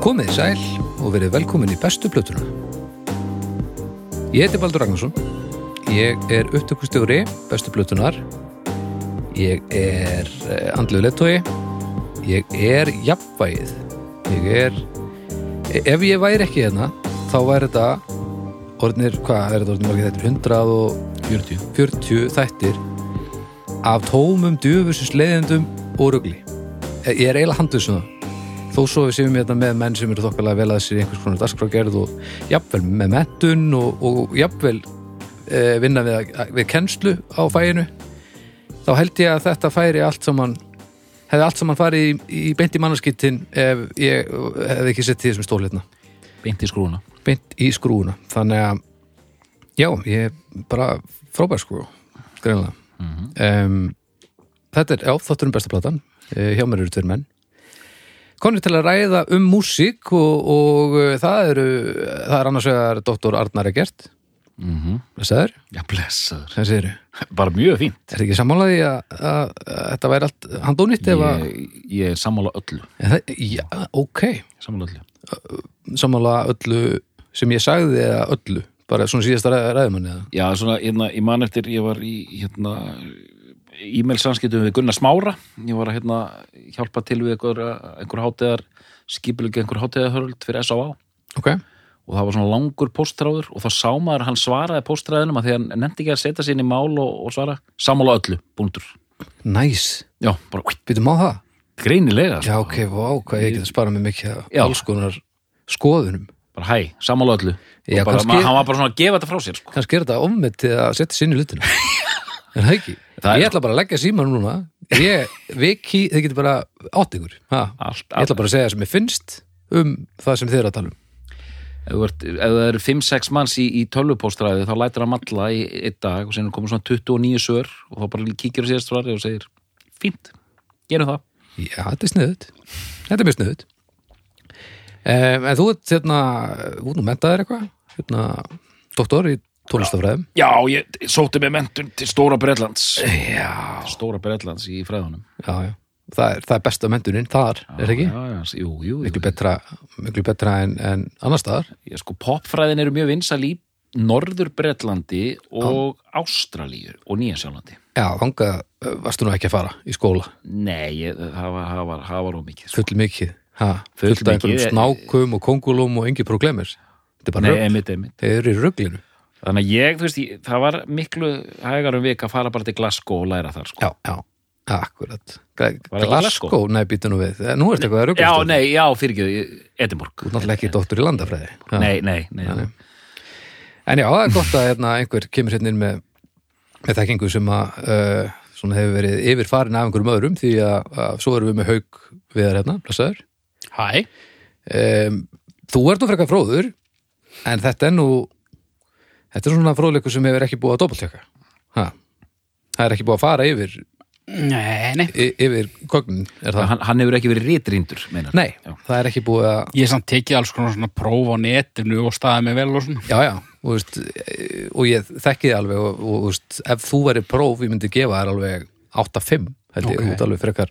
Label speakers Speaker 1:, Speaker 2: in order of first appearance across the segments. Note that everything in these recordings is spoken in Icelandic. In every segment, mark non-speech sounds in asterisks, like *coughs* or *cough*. Speaker 1: Verið sæl og verið velkomin í bestu plötuna. Ég heiti Baldur Ragnarsson. Ég er upptökustjóri bestu plötunar. Ég er eh, andlegu lettói. Ég er jafnvægið. Ég er... e- Ef ég væri ekki hérna, þá væri þetta orðnir, hvað er þetta orðnir margir þættir? 140 þættir af tómum, djöfusins leiðendum og rugli. E- Ég er eiginlega handvissum það þó svo við séum hérna með menn sem eru þokkalega vel að sér í einhvers konar dagskrágerð og jafnvel með mettun og, og jafnvel e, vinna við, að- við kennslu á fæinu þá held ég að þetta færi allt saman hefði allt saman farið í, í beint í mannarskittin ef ég hefði ekki sett því sem stóð hérna
Speaker 2: beint í skrúna
Speaker 1: beint í skrúuna þannig að já, ég er bara frábær sko greinlega mm þetta er, já, þáttur um besta platan Eh, hjá mér eru tveir menn konir til að ræða um músík og, og eh, það eru það er annars vegar doktor Arnar Egert
Speaker 2: mm
Speaker 1: blessaður,
Speaker 2: Já, blessaður
Speaker 1: sem segir
Speaker 2: Bara mjög fínt
Speaker 1: er ekki sammálaði að, að, að þetta væri allt handónýtt ef að
Speaker 2: Ég, ég er sammála öllu
Speaker 1: Er það- já, ok,
Speaker 2: Sammála öllu
Speaker 1: sammála öllu sem ég sagði eða öllu bara svona síðasta ræ- ræðumanni eða
Speaker 2: Já, svona, hérna, ég man eftir, ég var í, hérna e-mail samskiptum við Gunnar Smára Ég var að, hérna, hjálpa til við einhver, einhver hátíðar skipulegi einhver hátíðarhörld fyrir SAA
Speaker 1: ok,
Speaker 2: og það var svona langur postráður og þá sá maður að hann svaraði postráðunum að því að hann nefndi ekki að setja sér inn í mál og, og svara sammála öllu, búndur
Speaker 1: næs nice.
Speaker 2: Já, bara ui,
Speaker 1: Býtum á það?
Speaker 2: greinilega
Speaker 1: Já,
Speaker 2: sko.
Speaker 1: ok, vá, hvað ég geti að spara mig mikið af
Speaker 2: Já.
Speaker 1: alls konar skoðunum.
Speaker 2: bara hæ, sammála öllu
Speaker 1: Já,
Speaker 2: Og bara,
Speaker 1: kannski-
Speaker 2: hann var bara svona að gefa þetta frá sér sko.
Speaker 1: Kannski er þetta ofmetið að setja sinni
Speaker 2: *laughs*
Speaker 1: lutinu. en það ekki.
Speaker 2: Það er-
Speaker 1: ég ætla bara að leggja síma núna. Ég, viki, þið getur bara átt ykkur. Ha.
Speaker 2: allt,
Speaker 1: Ég ætla bara að segja sem ég finnst um það sem þið eru að tala um.
Speaker 2: ef þú ert- ef það eru 5-6 manns í, í tölvupóstræði þá lætir hann matla í einn dag og sen komur svona 29 sör og þá bara kíkir á síðast svar og segir fínt, gerum það
Speaker 1: Já, þetta er sniðut. Þetta er mjög sniðut. Um, en þú ert hérna, út nú mentaðir eitthvað, hérna, doktor í tónlistafræðum.
Speaker 2: Já, ég sótti með mentun til Stóra Bretlands
Speaker 1: Já.
Speaker 2: Stóra Bretlands í fræðunum
Speaker 1: Já, já. Það er, það er besta mentunin þar, er það ekki?
Speaker 2: Já, já, s- jú, jú, jú.
Speaker 1: miklu betra, miklu betra en, en annar staðar
Speaker 2: Ég, sko, Popfræðin eru mjög vinsal í Norður Bretlandi og Ástralíu og Nýjansjálandi
Speaker 1: já, þangað uh, varstu nú ekki að fara í skóla
Speaker 2: Nei, ég, það var, það var, það var ómikið sko.
Speaker 1: full mikið, ha,
Speaker 2: Full
Speaker 1: full fullt af einhverjum
Speaker 2: mikið, eh,
Speaker 1: snákum og kongulum og engi próglemir þetta er bara
Speaker 2: Nei,
Speaker 1: rögl,
Speaker 2: einmitt, einmitt
Speaker 1: þeir eru í röglinu
Speaker 2: Þannig að ég, þú veist, ég, það var miklu hægar um vik að fara bara til Glasgow og læra þar, sko.
Speaker 1: já, já, akkurat Gra-
Speaker 2: það Glasgow?
Speaker 1: Glasgow, nei, býtum nú við Eh, nú ertu eitthvað að röglast þú
Speaker 2: nei, já, fyrir ekki, Edinborg.
Speaker 1: ert náttúrulega ekki dóttur í landafræði Já.
Speaker 2: Nei, nei, nei.
Speaker 1: Nei, nei. en já, það er gott að hérna, einhver kemur hérna inn með, með þekkingu sem að uh, svona hefur verið yfirfarin af einhverjum öðrum því að, að svo erum við með haug við hérna, blessaður
Speaker 3: Hæ?
Speaker 1: um, Þú ert nú frekar fróður en þetta er nú þetta er svona fróðleikur sem hefur ekki búið að doppeltjöka Það er ekki búið að fara yfir
Speaker 3: Nei, nei.
Speaker 1: y- yfir kognin, er það?
Speaker 2: Hann, hann hefur ekki verið rétrýndur, meinar.
Speaker 1: Nei,
Speaker 2: Já.
Speaker 1: það er ekki búið að
Speaker 3: Ég er samt tekið alls konar svona próf á netinu og staðið mig vel og svona.
Speaker 1: Já, já, og, veist, eh, og ég þekki þið alveg og, og veist, ef þú væri próf, ég myndi gefa þér alveg 8-5, held ég,
Speaker 3: Ok.
Speaker 1: út alveg frekar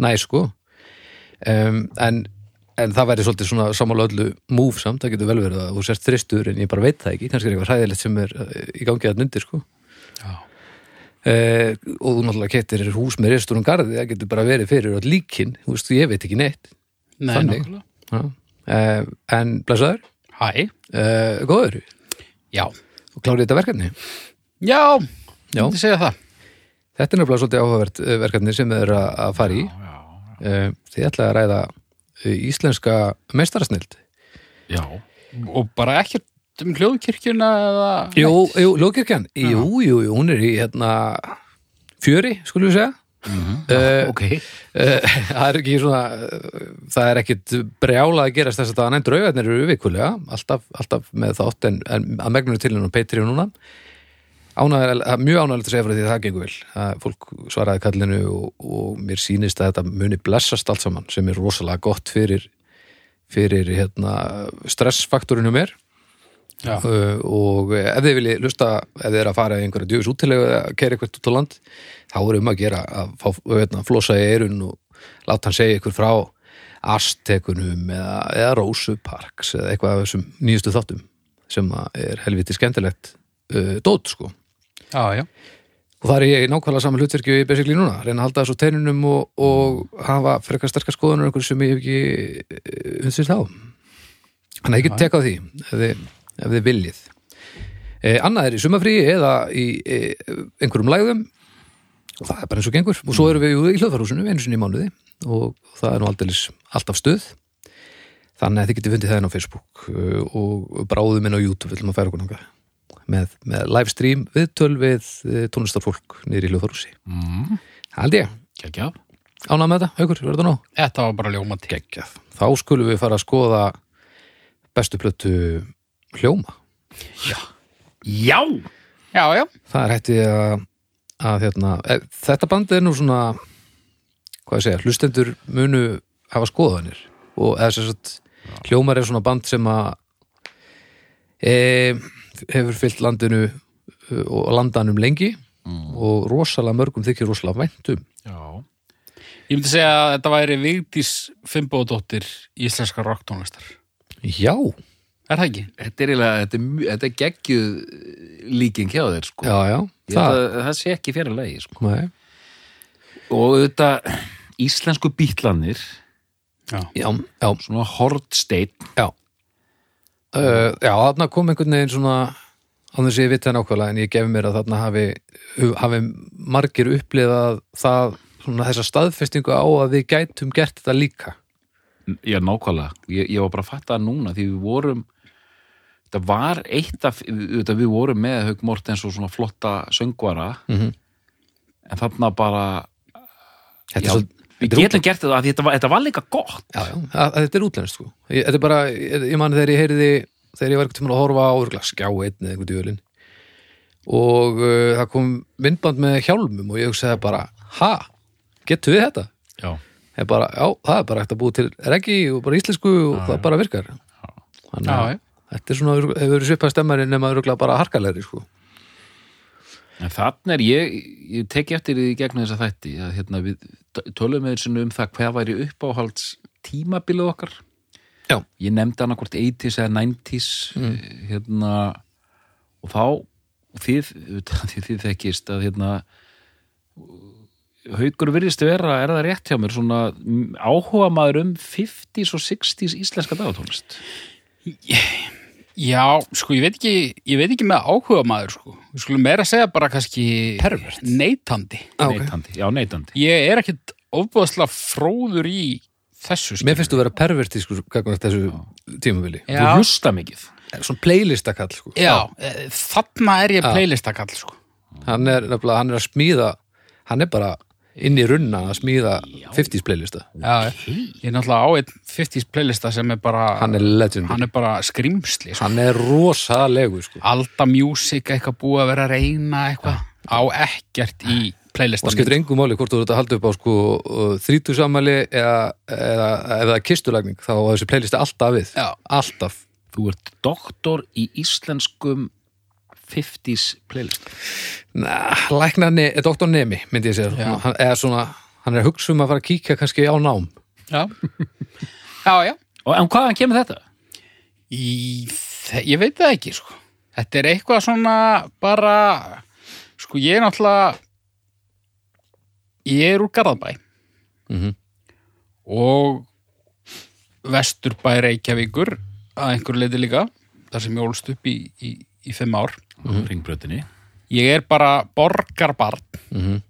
Speaker 1: næ, sko um, en, en það væri svolítið svona sammála öllu múf samt, það getur vel verið að þú sért þristur en ég bara veit það ekki, kannski er eitthvað hræðilegt sem er eh, í gangi að nundir, sko
Speaker 3: Já.
Speaker 1: Uh, og þú náttúrulega kettir er hús með restur um garði, það getur bara verið fyrir all líkin, þú veist, ég veit ekki neitt
Speaker 3: Nei,
Speaker 1: Þannig.
Speaker 3: nákvæmlega.
Speaker 1: uh, en blessaður
Speaker 3: Hæ?
Speaker 1: uh, góður,
Speaker 3: Já.
Speaker 1: og klárið þetta verkefni
Speaker 3: Já,
Speaker 1: Já.
Speaker 3: myndi segja það.
Speaker 1: Þetta er nefnilega svolítið áhugavert eh, verkefni sem þið eru að- að fara í.
Speaker 2: Já,
Speaker 1: Eh, Þið ætlaði að ræða eh, íslenska meistarasnild.
Speaker 2: já.
Speaker 3: Og bara ekkert um hljóðkirkjuna eða...
Speaker 1: Jú, jú, Ljókirkjan, jú, jú, jú, hún er í hérna fjöri, skulum við segja. Eh,
Speaker 2: ok.
Speaker 1: eh, Það er ekki svona, eh, það er ekkit brjálað að gerast þess að það en draugarnir eru vikulega, alltaf, alltaf með þátt en, en að megnur til hennar Patreon núna. Ánægður, mjög ánægulegt að segja frá því að það gengur vel. Það, fólk svaraði kallinu og, og mér sýnist að þetta muni blessast allt saman sem er rosalega gott fyrir, fyrir hérna, stressfaktorinu mér
Speaker 3: Já.
Speaker 1: uh, og ef þið viljið lusta ef þið er að fara í einhverja djöfis útilegu eða kæra eitthvað út á land hérna, þá er um að gera að fá, veitna, flosa í eirun og láta hann segja ykkur frá Aztekunum eða, eða Rósu Parks eða eitthvað af þessum nýjustu þáttum sem að er helviti skemmtilegt uh, dót sko
Speaker 3: já, já.
Speaker 1: og það er ég í nákvæmlega saman hlutverki og ég besikli núna, reyna að halda þessu teinunum og, og hafa frekar sterkar skoðunar einhverju sem ég hef ekki eh, undsýrt þá þannig að ég get tekað á því ef þið, ef þið viljið e, annað er í sumafríi eða í e, einhverjum lægum og það er bara eins og gengur og svo erum við jú í hlöðfarhúsinu einu sinni í mánuði og það er nú aldeilis alltaf stuð þannig að þið getið fundið það inn á Facebook eh, og bráðum inn á YouTube við ætlum að færa okkur nanga með, með livestream viðtöl við eh, tónlistarfólk niður í hljóðarúsi
Speaker 3: Mm.
Speaker 1: held ég,
Speaker 2: Kekja.
Speaker 1: ánað með þetta, haukur, verður það nóg
Speaker 3: Þetta var bara ljómandi.
Speaker 1: geggjað, þá skulum við fara að skoða bestu plötu hljóma,
Speaker 2: Já!
Speaker 3: Já, já.
Speaker 1: það er hætti að, að hérna, e, þetta band er nú svona hvað ég segja, hlustendur munu hafa skoðanir og eða sem sagt, hljómar er svona band sem að e, hefur fyllt landinu ö, og landanum lengi og rosalega mörgum þykir rosalega um. væntum
Speaker 2: Já.
Speaker 3: Ég myndi segja að þetta væri Vigdís Fimboðdóttir íslenska rocktónlistar.
Speaker 1: já,
Speaker 3: Er það ekki?
Speaker 2: Þetta er, eiginlega- þetta, er, mj- þetta er geggjuð líking hjá þér, sko.
Speaker 1: já, já
Speaker 2: Ég held
Speaker 1: það,
Speaker 2: að það sé ekki fyrir lagi, sko.
Speaker 1: nei,
Speaker 2: Og auðvitað, íslensku bítlanir,
Speaker 1: já, já,
Speaker 2: svona hortsteinn,
Speaker 1: já uh, já, þarna kom einhvern veginn svona án þess að ég viti það nákvæmlega en ég gefi mér að þarna hafi, hafi margir upplifað það svona þessa staðfestingu á að við gætum gert þetta líka
Speaker 2: já, nákvæmlega. Ég, ég var bara að fatta það núna, því við vorum, þetta var eitt af, auðvitað við vorum með Haug Mortens og svona flotta söngvara,
Speaker 1: Mhm.
Speaker 2: en þarna bara,
Speaker 1: þetta
Speaker 2: já,
Speaker 1: er svo
Speaker 2: við
Speaker 1: þetta er
Speaker 2: getum gert þetta, af því þetta var, þetta var líka gott.
Speaker 1: já, já, að, að þetta er útlænst sko ég, þetta er bara, ég, ég man þegar ég heyriði þegar ég var eitthvað að horfa á örugglega skjá einn eða einhvern djölin og uh, það kom myndband með hjálmum og ég hugsaði bara, ha, getum við þetta?
Speaker 2: Já.
Speaker 1: Ég bara, já, það er bara hægt að búa til reggi og bara íslensku og það bara virkar þannig
Speaker 3: Já,
Speaker 1: að
Speaker 3: já.
Speaker 1: þetta er svona, örugglega- hefur verið svipað stemmari nema örugglega bara harkalegri sko
Speaker 2: En þannig er ég, ég teki eftir því í gegnum þessa þætti að hérna við tölum með þessum um það hvað væri uppáhalds tímabilið okkar.
Speaker 1: Já.
Speaker 2: Ég nefndi hana hvort 80s eða 90s eh, hérna og þá og þið, auðvitað, *laughs* því þið þekkist að hérna haukur virðist vera, er það rétt hjá mér svona mm, áhuga maður um 50s og 60s íslenska dagatónlist
Speaker 3: Já, sko, ég veit ekki, ég veit ekki með áhuga maður, sko. Við skulum meira segja bara kannski...
Speaker 1: Pervert.
Speaker 3: Neitandi.
Speaker 1: Já, Ah, ok.
Speaker 2: neitandi, já neitandi
Speaker 3: Ég er ekkit ofbúðslega fróður í þessu, sko.
Speaker 1: Mér finnst þú vera perverti sko gagnvart þessu tímabili
Speaker 2: þú
Speaker 3: Já,
Speaker 2: hlusta mikið
Speaker 1: Svona playlistakall sko
Speaker 3: já, eh, þarna er ég playlistakall, sko.
Speaker 1: Hann er nefnilega, hann er að smíða hann er bara inn í runna að smíða 50s playlista
Speaker 3: Já, ég er náttúrulega á einn 50s playlista sem er bara...
Speaker 1: Hann er legend
Speaker 3: hann er bara skrimsli, sko.
Speaker 1: Hann er rosalegu sko
Speaker 3: Alda Music eitthvað búið að vera að reyna eitthvað á ekkert í
Speaker 1: og
Speaker 3: playlistan
Speaker 1: skiptir engu máli hvort þú ert að halda upp á sko þrítu samæli eða, eða, eða kistulagning þá á þessi playlisti alltaf við
Speaker 3: Já.
Speaker 1: alltaf
Speaker 2: Þú ert doktor í íslenskum 50s playlist.
Speaker 1: Næ, læknar ne doktor Nemi, myndi ég segja
Speaker 3: Já.
Speaker 1: hann, eða svona, hann er að hugsa um að fara að kíkja kannski á nám
Speaker 3: Já, já, já.
Speaker 2: Og en hvaðan kemur þetta?
Speaker 3: Í, þe- ég veit það ekki, sko. Þetta er eitthvað svona bara, sko, ég er náttúrulega, ég er úr Garðabæ
Speaker 1: Mhm.
Speaker 3: og Vesturbæ Reykjavíkur að einhverju leiti líka, þar sem ég ólst upp í, í, í fimm ár.
Speaker 2: Mm. Ringbrötinni.
Speaker 3: Ég er bara borgarbarn
Speaker 1: mm -hmm.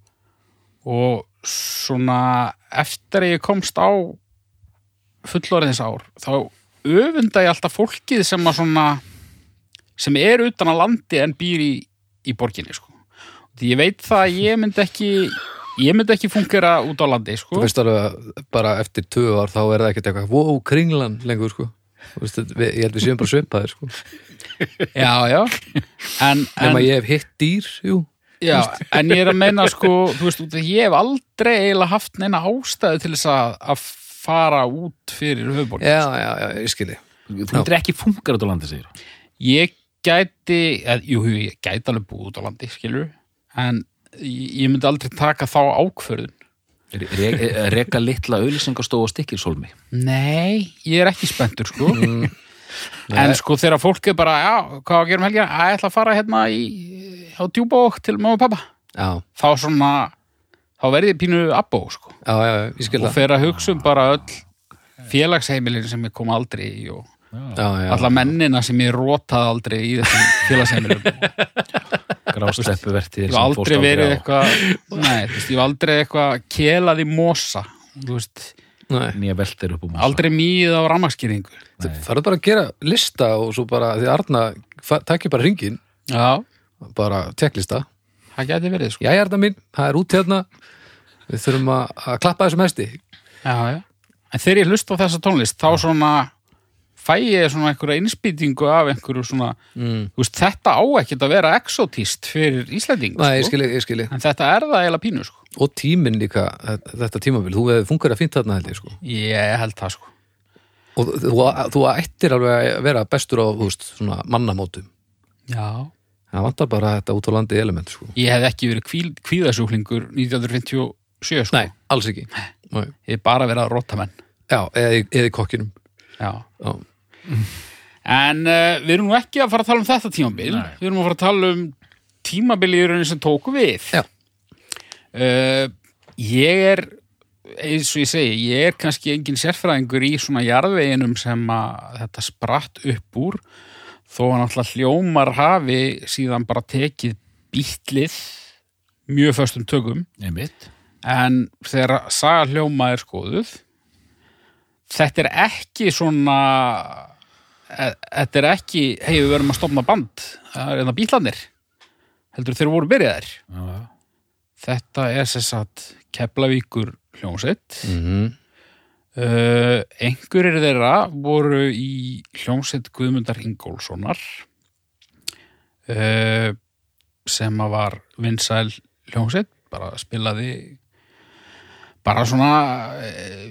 Speaker 3: og svona eftir að ég komst á fullorðins ár þá öfunda ég alltaf fólkið sem að svona sem er utan að landi en býr í, í borginni sko. því ég veit það að ég myndi ekki ég myndi ekki fungera út á landi
Speaker 1: þú
Speaker 3: sko.
Speaker 1: veist alveg að bara eftir tvö ár þá er það ekkert eitthvað, wow, kringlan lengur sko Þú veist, þetta- við, ég held við séum bara svipaðir sko
Speaker 3: já, já en, en,
Speaker 1: nema ég hef hitt dýr, jú
Speaker 3: já, en ég er að meina sko, þú veist, út af því ég hef aldrei eiginlega haft neina ástæðu til þess að, að fara út fyrir höfuborgin
Speaker 1: já, já, já, ég skilji
Speaker 2: Þú myndir ekki fungar út á landi, segir hann.
Speaker 3: Ég gæti, eð, jú, jú, ég gæti alveg búið út á landi, skilur en ég ég myndi aldrei taka þá ákvörðun
Speaker 2: Re eh, reka litla auðlýsingastóð og stikkilsólmi
Speaker 3: Nei, ég er ekki spenntur sko En sko þegar fólk er bara Já, hvað á að gera um helgina? Æ, ég ætla að fara hérna í, á djúbók til mamma og pappa
Speaker 1: já,
Speaker 3: Þá svona Þá verði ég pínu abbó sko
Speaker 1: já, já, já, ég skil
Speaker 3: Og
Speaker 1: það
Speaker 3: fer að hugsa um bara öll félagsheimilin sem ég kom aldrei í og
Speaker 1: já, já,
Speaker 3: alla mennina sem ég rótaði aldrei í *laughs* þessum félagsheimilum Ég
Speaker 2: grásleppuvertið
Speaker 3: hef aldrei verið eitthvað Nei, þú veist, ég hef aldrei eitthvað kelað í mosa Þú veist,
Speaker 1: Nei.
Speaker 2: nýja veltir upp um
Speaker 3: aldrei mýð á rammaskýringu
Speaker 1: Þú farið bara að gera lista og svo bara, því Arna fa- takir bara ringin,
Speaker 3: Já,
Speaker 1: bara tekklista
Speaker 3: það gæti verið sko
Speaker 1: Jæja, Arna mín, það er út hérna Við þurfum að, að klappa þessum hesti
Speaker 3: Já, já. En þegar ég hlusta á þessa tónlist, þá svona fæ ég svona einhverja innspýtingu af einhverju svona,
Speaker 1: mm.
Speaker 3: þú veist, þetta á ekkert að vera exotíst fyrir Íslanding,
Speaker 1: Nei, ég skili, ég skili
Speaker 3: En þetta er það eiginlega pínu, sko.
Speaker 1: Og tíminn líka, þetta- þetta tímabil, þú hefði fungur að fínt þarna held ég sko
Speaker 3: Ég held það, sko.
Speaker 1: Og þú, þú ættir alveg að vera bestur á, þú veist, svona mannamótum
Speaker 3: Já.
Speaker 1: Það vantar bara þetta út á landi element sko
Speaker 3: Ég hef ekki verið kvíl, kvíðasjúklingur 1957, sko.
Speaker 1: Nei, alls ekki Nei.
Speaker 3: Ég hef bara verið að rota menn.
Speaker 1: Já, eða, í- eða í kokkinum
Speaker 3: Já.
Speaker 1: Já,
Speaker 3: En uh, við erum nú ekki að fara að tala um þetta tímabil.
Speaker 2: Nei.
Speaker 3: Við erum að fara að tala um tímabil í rauninni sem tóku við.
Speaker 1: Já.
Speaker 3: Eh, ég er, eins og ég segi, ég er kannski engin sérfræðingur í svona jarðveginum sem að þetta spratt upp úr þó hann alltaf hljómar hafi síðan bara tekið býtlið mjög föstum tökum
Speaker 2: einmitt
Speaker 3: en þegar saga hljóma er skoðuð þetta er ekki svona e- þetta er ekki hei við verðum að stofna band það er eða bítlanir heldur þeir voru byrjaðir þetta er sér satt Keflavíkur hljómsveit mm. Eh, einhverjir þeirra voru í hljómsveit Guðmundar Ingólfssonar uh, sem að var vinsæl hljómsveit bara spilaði bara svona uh,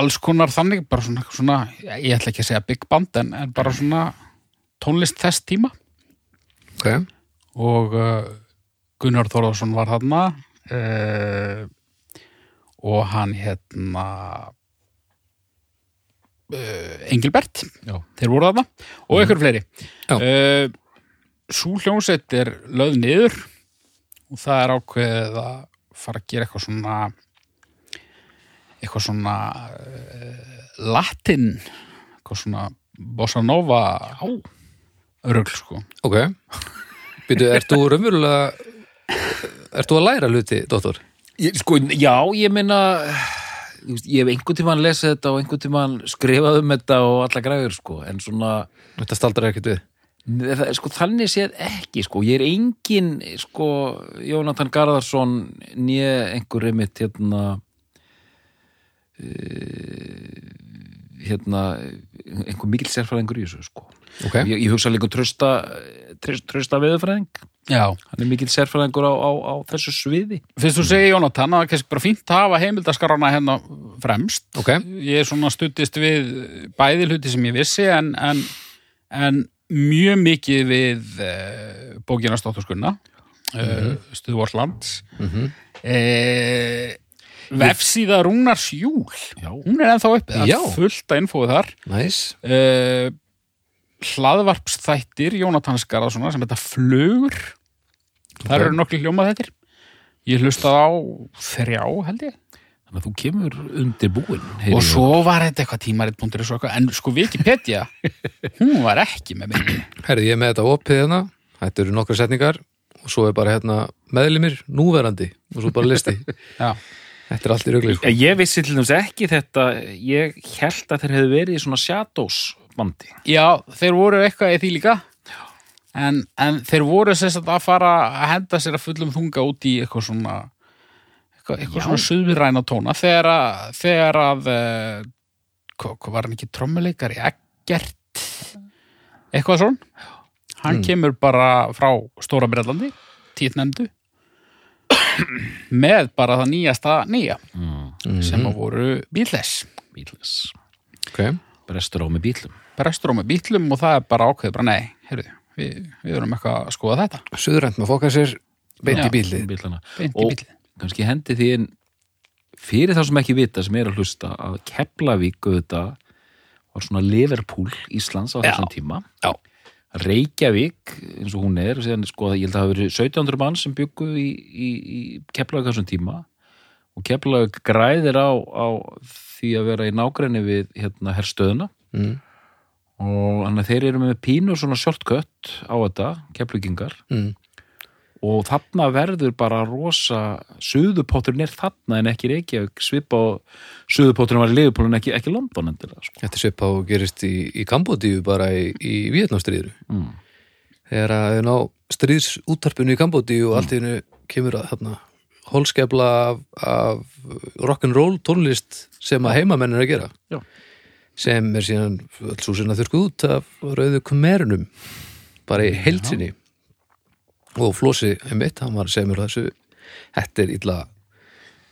Speaker 3: alls konar þannig bara svona, svona, ég ætla ekki að segja big band en, en bara svona tónlist þess tíma
Speaker 1: ok
Speaker 3: og uh, Gunnar Þorðarsson var þarna uh, og hann hérna uh, Engilbert
Speaker 2: Já.
Speaker 3: þeir voru þarna og ykkur fleiri
Speaker 1: Já.
Speaker 3: uh, Sú hljómsveit er löð niður og það er ákveðið að fara að gera eitthvað svona eitthvað svona uh, latin eitthvað svona bossa nova rögl sko
Speaker 1: Ok, býtu, ert þú raunverulega ert þú að læra hluti, dóttor?
Speaker 2: ég, sko, já, ég meina þú veist, ég hef einhvern tímann lesið þetta og einhvern tímann skrifað um þetta og alla græður sko, en svona
Speaker 1: Þetta staldrar ekkert við
Speaker 2: það, sko, þannig séð ekki sko, ég er engin sko, Jónatan Garðarsson nýja einhver einmitt hérna eh, hérna einhver mikill sérfræðingur í þessu sko
Speaker 1: Ok,
Speaker 2: ég, ég hugsa líka um trösta trösta, trösta veðurfræðing
Speaker 3: Já,
Speaker 2: hann er mikill sérfræðingur á, á, á þessu sviði
Speaker 3: Fyrst þú segir Jónatan að það er kannski bara fínt að hafa heimildaskarana hérna fremst.
Speaker 1: ok,
Speaker 3: Ég er svona stuttist við bæði hluti sem ég vissi en, en, en mjög mikið við uh, bókina Stótturskunna, uh, mm -hmm. Stuðvorslands. Mm Eh, vefsíða Rúnars Júl,
Speaker 2: Já.
Speaker 3: hún er ennþá uppið, það
Speaker 1: Já.
Speaker 3: er fullt að infóðu þar.
Speaker 1: næs
Speaker 3: Uh, hlaðvarpsþættir Jónatans Garðarssona sem þetta flugur þar
Speaker 1: Ok.
Speaker 3: eru nokkli hljómað þettir ég hlustaði á þrjá held ég
Speaker 2: þannig að þú kemur undir búin
Speaker 3: og svo var þetta eitthvað tímarit.is og eitthvað, en sko Wikipedia hún var ekki með mig
Speaker 1: Herði, ég er með þetta opið hérna Þetta eru nokkra setningar og svo er bara hérna meðlimir núverandi og svo bara listi
Speaker 3: já,
Speaker 1: *laughs* Þetta er allt í rugli sko.
Speaker 2: ég vissi til dæmis ekki þetta ég held að þeir hefðu verið í svona shadows bandi
Speaker 3: já, þeir voru eitthvað í því líka en, en þeir voru sérst að fara að henda sér að fullum þunga út í eitthvað svona eitthvað,
Speaker 2: Já.
Speaker 3: eitthvað svona suðræna tóna þegar að, þegar að eh, hvað hva var hann ekki trommuleikari Eggert eitthvað svona hann kemur bara frá Stóra Breitlandi tíðnefndu með bara það nýjasta nýja
Speaker 2: Mm.
Speaker 3: sem að voru bílles
Speaker 2: bílis,
Speaker 1: Ok,
Speaker 2: brestur á með bílum
Speaker 3: prestur á með bílum og það er bara ákveðið bara nei, heyrðu, við, við erum eitthvað að skoða þetta
Speaker 1: suðrænt maður fóka sér beint
Speaker 3: Já.
Speaker 1: í bílið
Speaker 2: bílana
Speaker 3: beint í
Speaker 2: og
Speaker 3: bílið
Speaker 2: kannski hendi því inn fyrir þá sem ekki vita sem er að hlusta að Keflavík auðvitað var svona Liverpool Íslands á
Speaker 1: Já.
Speaker 2: þessum tíma
Speaker 1: Já.
Speaker 2: Reykjavík eins og hún er síðan, sko, ég held að það hafi verið 1700 mann sem byggu í, í, í Keflavík á þessum tíma og Keflavík græðir á, á því að vera í nágræni við hérna herstöðuna
Speaker 1: mm.
Speaker 2: og þannig að þeir eru með pínu svona shortcut á þetta, Keflavíkingar
Speaker 1: Mm.
Speaker 2: og þarna verður bara rosa suðupotturinn er þarna en ekki Reykjavík svipa og suðupotturinn var í Liverpool en ekki, ekki London endilega sko.
Speaker 1: Þetta sépp á gerist í, í Kambodíu bara í, í Vietnamstríður
Speaker 2: mm.
Speaker 1: þegar að þau ná stríðsútarpinu í Kambodíu og allt í hennu kemur að þarna holskefla af, af rock'n'roll tónlist sem að heimamenn er að gera
Speaker 2: Já.
Speaker 1: sem er síðan öll svo sinna þurrkuð út af rauðu kumerinum bara í heilsinni og Flósi einmitt, hann var semur á þessu þetta er illa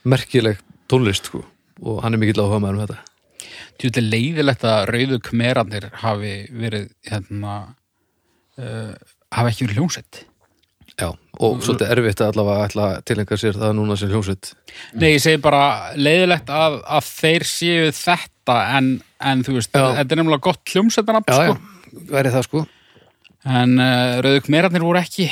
Speaker 1: merkileg tónlist sko og hann er mikill áhuga maður um þetta
Speaker 3: Þetta er leiðilegt að rauðu kmeranir hafi verið hérna uh, hafi ekki verið hljómsett.
Speaker 1: Já, og svolítið erfitt að allavega ætla að tilengja sér það núna sem hljómsveit
Speaker 3: Nei, ég segi bara leiðilegt að, að þeir séu þetta en, en þú veist,
Speaker 1: Já.
Speaker 3: þetta er nefnilega gott hljómsettanab
Speaker 1: Já,
Speaker 3: sko.
Speaker 1: já, verið það sko
Speaker 3: en uh, rauðu kmeranir voru ekki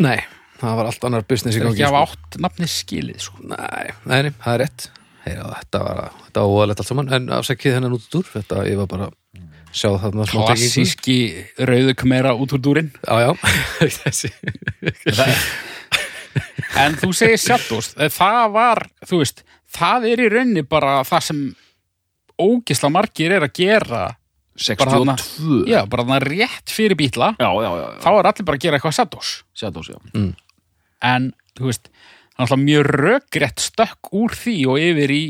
Speaker 1: Nei, það var allt annar business í
Speaker 3: þeir
Speaker 1: gangi
Speaker 3: ekki hafa
Speaker 1: sko.
Speaker 3: átt nafni skilið sko.
Speaker 1: Nei, nei, nei, það er rétt Heyra, Þetta var, þetta var óalegt allt saman en afsækið hennan út úr þetta, ég var bara að sjá þarna smá tengingu.
Speaker 3: klassíski rauðu kmera út úr dúrin
Speaker 1: Já, já, *laughs* þessi
Speaker 3: en þú segir Shadows það var, þú veist, það er í raunni bara það sem ógisla margir er að gera Bara þarna.
Speaker 2: 62
Speaker 3: já, bara þannig rétt fyrir bítla
Speaker 2: já, já, já, já.
Speaker 3: þá er allir bara að gera eitthvað Shadows
Speaker 2: Shadows, já.
Speaker 3: en, þú veist, það er alltaf mjög rökrétt stökk úr því og yfir í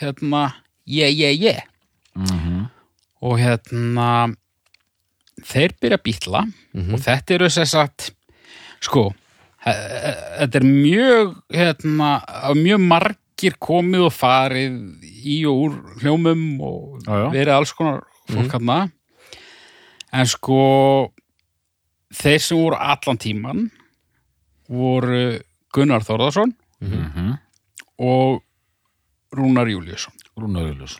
Speaker 3: hérna, yeah, yeah, yeah
Speaker 2: Mhm.
Speaker 3: og hérna þeir byrja að bítla
Speaker 2: Mhm.
Speaker 3: og þetta eru þess að sko, he- he- þetta er mjög hérna, af mjög margir komið og farið í og úr hljómum
Speaker 2: Já,
Speaker 3: og
Speaker 2: Mhm. já.
Speaker 3: verið alls konar fólk hérna en sko þeir sem voru allan tíman voru Gunnar Þórðarsson
Speaker 2: Mhm.
Speaker 3: og Rúnar Júliusson
Speaker 2: Rúnar Július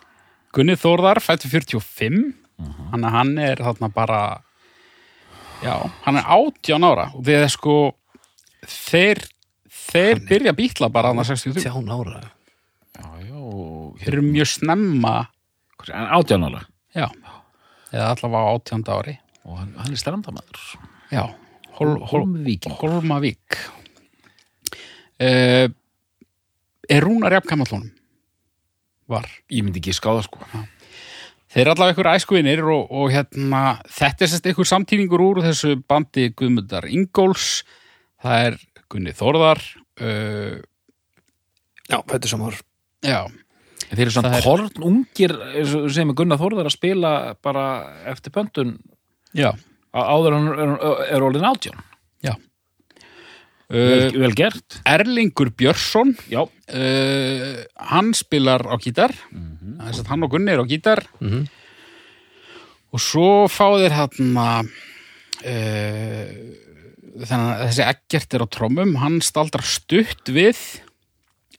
Speaker 3: Gunni Þórðar fættu 45 hann, hann er þarna bara já, hann er 18 ára og þeir sko þeir, þeir byrja að býtla bara hann að 63
Speaker 1: tján ára
Speaker 2: já, já, og
Speaker 3: þeir
Speaker 2: hér
Speaker 3: eru mjög snemma
Speaker 2: Hvað er- en átjánalega
Speaker 3: já, eða allavega á 18 ári
Speaker 2: og hann, hann er strandamæður
Speaker 3: já, hol, hol,
Speaker 2: Hólmvíking
Speaker 3: Holmavík uh, er Rúnar jafnkamatlónum var
Speaker 2: ég myndi ekki skáða sko
Speaker 3: Þeir eru allavega ykkur æskuvinir og, og hérna, þetta er sérst ykkur samtíningur úr þessu bandi Guðmundar Ingóls, það er Gunni Þórðar, uh,
Speaker 1: Já, þetta er samar
Speaker 3: já,
Speaker 2: En þeir eru svona
Speaker 3: Það
Speaker 2: er...
Speaker 3: er-
Speaker 2: korn ungir sem er Gunnar Þórðar að spila bara eftir pöntun
Speaker 3: já,
Speaker 2: á- áður en hann er, er orðin átján
Speaker 3: já.
Speaker 2: vel,
Speaker 3: Uh,
Speaker 2: vel gert
Speaker 3: Erlingur Björnsson,
Speaker 2: já,
Speaker 3: uh, hann spilar á gítar,
Speaker 2: Mhm.
Speaker 3: þess að hann og Gunni er á gítar
Speaker 1: Mhm.
Speaker 3: og svo fá þeir hérna, uh, þannig að þessi ekkert er á trommum, hann staldrar stutt við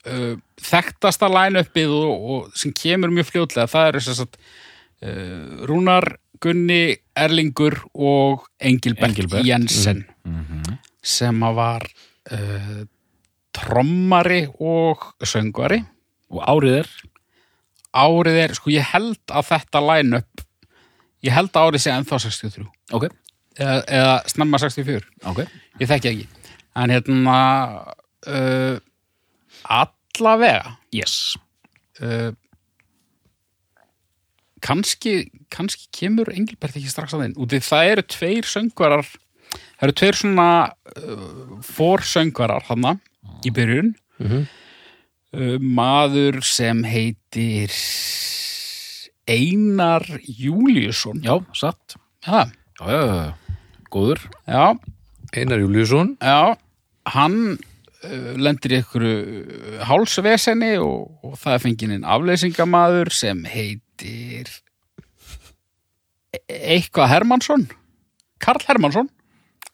Speaker 3: uh, þekktasta line-upið og, og sem kemur mjög fljótlega, það eru þess að uh, Rúnar, Gunni, Erlingur og Engilbert,
Speaker 2: Engilbert.
Speaker 3: Jensen Mhm. sem að var uh, trommari og söngvari
Speaker 2: og árið er
Speaker 3: árið er, sko ég held að þetta line-up ég held að árið sé ennþá 63
Speaker 2: ok,
Speaker 3: eða, eða snemma 64,
Speaker 2: ok
Speaker 3: ég þekki ekki en hérna uh, allavega
Speaker 2: yes,
Speaker 3: uh, kannski kannski kemur Engilbert ekki strax að þeim út því það eru tveir söngvarar það eru tveir svona uh, fór söngvarar hana í byrjun
Speaker 1: Mhm.
Speaker 3: uh, maður sem heitir Einar Júliusson
Speaker 2: já, satt
Speaker 3: ja,
Speaker 2: já, já, já, já, góður
Speaker 3: já,
Speaker 1: Einar Júliusson
Speaker 3: já hann uh, lendir í ykkur hálsvesenni og, og það er fengið inn afleysingamaður sem heitir e- eitthvað Hermansson Karl Hermansson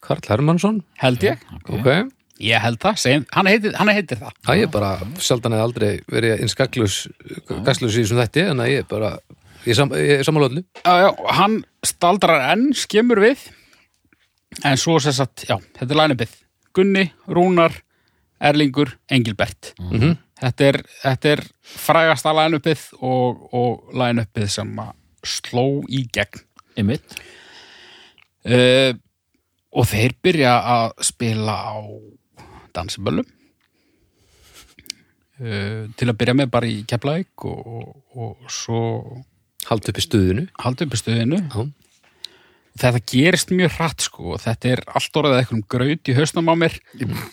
Speaker 1: Karl Hermansson,
Speaker 3: held ég
Speaker 1: ok
Speaker 3: Ég held það, segjum, hann, heitir, hann heitir það
Speaker 1: Það ég bara sjaldan eða aldrei verið eins gaglus, gaglus í þessum þætti en að ég bara, ég, sam, ég er sammála öllu
Speaker 3: já, já, Hann staldrar enn, skemur við En svo sem sagt, já, þetta er lænibið Gunni, Rúnar, Erlingur, Engilbert
Speaker 1: Mhm.
Speaker 3: þetta, er, þetta er frægasta lænibið og, og lænibið sem að sló í gegn
Speaker 2: Einmitt.
Speaker 3: uh, og þeir byrja að spila á dansiböllum uh, til að byrja með bara í Keflavík og, og, og svo
Speaker 1: Haldi upp í stuðinu
Speaker 3: haldum upp í stöðinu
Speaker 1: Já.
Speaker 3: þetta gerist mjög hratt sko og þetta er allt orðið eitthvað graut í hausnum á mér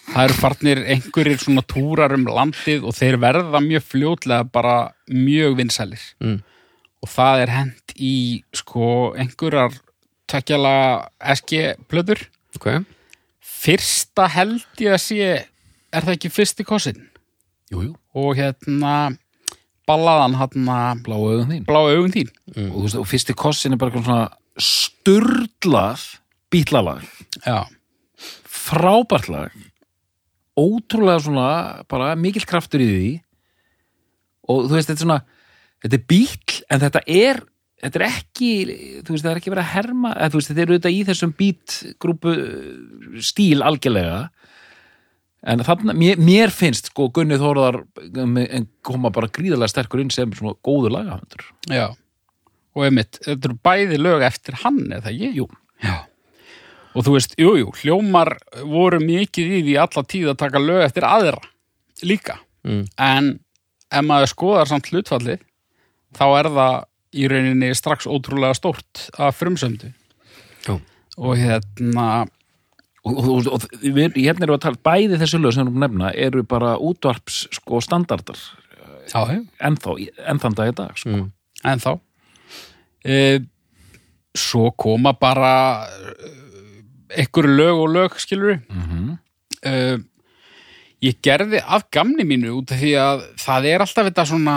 Speaker 3: það eru farnir einhverjir svona túrar um landið og þeir verða mjög fljótlega bara mjög vinsælir
Speaker 1: Mm.
Speaker 3: og það er hent í sko einhverjar tökjala SG plöður
Speaker 1: Ok,
Speaker 3: fyrsta held ég að sé er það ekki fyrsti kosinn
Speaker 2: Jú, jú.
Speaker 3: og hérna ballaðan hérna
Speaker 2: Blá augun þín.
Speaker 3: blá augun þín
Speaker 2: Og, þú veist, og fyrsti kossin er bara eitthvað svona sturdlað bítlalag.
Speaker 3: já,
Speaker 2: Frábært lag. Ótrúlega svona, bara mikill kraftur í því. Og þú veist, þetta er svona, þetta er bíl, en þetta er, þetta er ekki, þú veist, það er ekki verið að herma, eða, þú veist, þetta er auðvitað í þessum bítgrúpu stíl algjörlega. En þarna, mér, mér finnst, sko, Gunni Þóraðar eh, koma bara gríðarlega sterkur inn sem svona góður lagahöndur.
Speaker 3: já og einmitt, þetta eru bæði lög eftir hann eða ekki?
Speaker 2: Jú.
Speaker 3: Já. og þú veist, jú, jú, hljómar voru mikið í því alla tíð að taka lög eftir aðra líka
Speaker 1: Mm.
Speaker 3: en ef maður skoðar samt hlutfallið þá er það í rauninni strax ótrúlega stórt að frumsöndu
Speaker 1: Já.
Speaker 3: og hérna
Speaker 2: og, og, og, og við, hérna erum við að tala bæði þessu lög sem við erum að nefna eru bara útvarps sko standardar
Speaker 3: já, hef.
Speaker 2: ennþá, enn þann dag í dag sko.
Speaker 1: Mm.
Speaker 3: En þá? E, svo koma bara e, einhver lög og lög, skilur
Speaker 2: mm -hmm.
Speaker 3: uh, ég gerði af gamni mínu út af því að það er alltaf þetta svona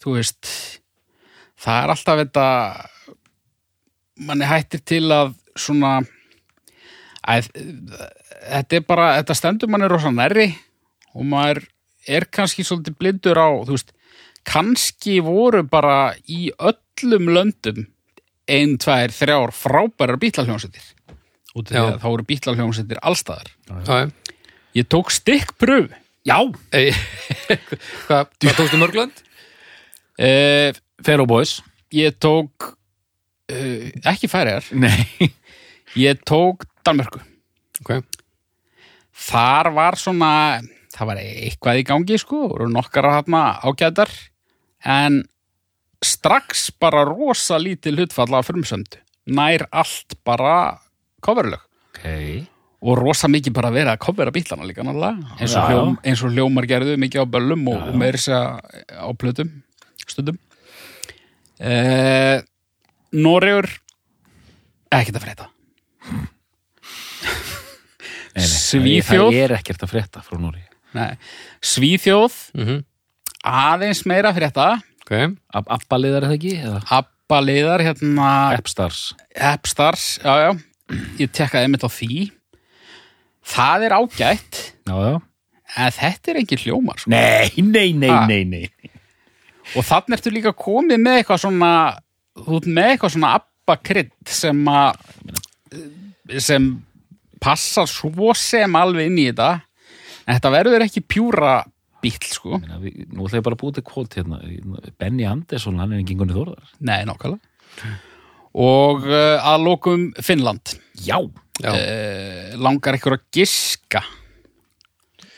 Speaker 3: þú veist það er alltaf þetta manni hættir til að svona að, þetta er bara, þetta stendur manni rosa nærri og maður er kannski svolítið blindur á, þú veist kannski voru bara í öllum löndum ein, tvær, þrjár frábærar bítlaljónsettir út af því
Speaker 1: Já.
Speaker 3: að þá voru bítlaljónsettir allstaðar
Speaker 1: já,
Speaker 3: Ég tók stikkpröfu.
Speaker 2: já,
Speaker 1: Ei, *laughs* Hvað hva tókstu Mörgland?
Speaker 3: Uh,
Speaker 2: Eh, Fair Boys
Speaker 3: ég tók uh, ekki færiðar.
Speaker 2: nei,
Speaker 3: Ég tók Danmörku.
Speaker 1: Ok,
Speaker 3: Þar var svona, það var eitthvað í gangi sko, voru nokkara hana ágætar, en strax bara rosa lítið hlutfall af frumsöndu. Nær allt bara coverlög.
Speaker 2: okay.
Speaker 3: Og rosa mikið bara verið að covera bílana líka náttúrulega, eins,
Speaker 2: Já,
Speaker 3: og
Speaker 2: já.
Speaker 3: hljóm, eins og hljómar gerðu mikið á böllum og,
Speaker 2: Já, já.
Speaker 3: og meiri segja á plötum stundum. Eh, Noregur, ekkert að frétta.
Speaker 2: nei, nei,
Speaker 3: Svíþjóð?
Speaker 2: það er ekkert að frétta frá Núri
Speaker 3: Nei. Svíþjóð,
Speaker 1: mm
Speaker 3: aðeins meira að frétta.
Speaker 1: ok
Speaker 2: Abbaliðar er það ekki? Eða?
Speaker 3: Abba liðar, hérna,
Speaker 2: Ah. Epstars
Speaker 3: Appstars, já, já, ég tekkaði einmitt á því. Það er ágætt,
Speaker 2: já, já.
Speaker 3: en þetta er engin hljómar, sko.
Speaker 2: nei, nei, nei,
Speaker 3: Ha.
Speaker 2: nei, nei
Speaker 3: Og þannig ertu líka komið með eitthvað svona, þú ert með eitthvað svona abbakrydd sem að, sem passar svo sem alveg inn í þetta. En þetta verður ekki pjúra bíl, sko.
Speaker 2: Meina, við, nú ætla ég bara að búið til kvót hérna Benny Andersson, hann er ekki Gunni Þóraðar
Speaker 3: Nei, nákvæmlega. Og uh, að lokum Finnland.
Speaker 2: já,
Speaker 1: Já,
Speaker 3: Uh, langar ykkur að giska?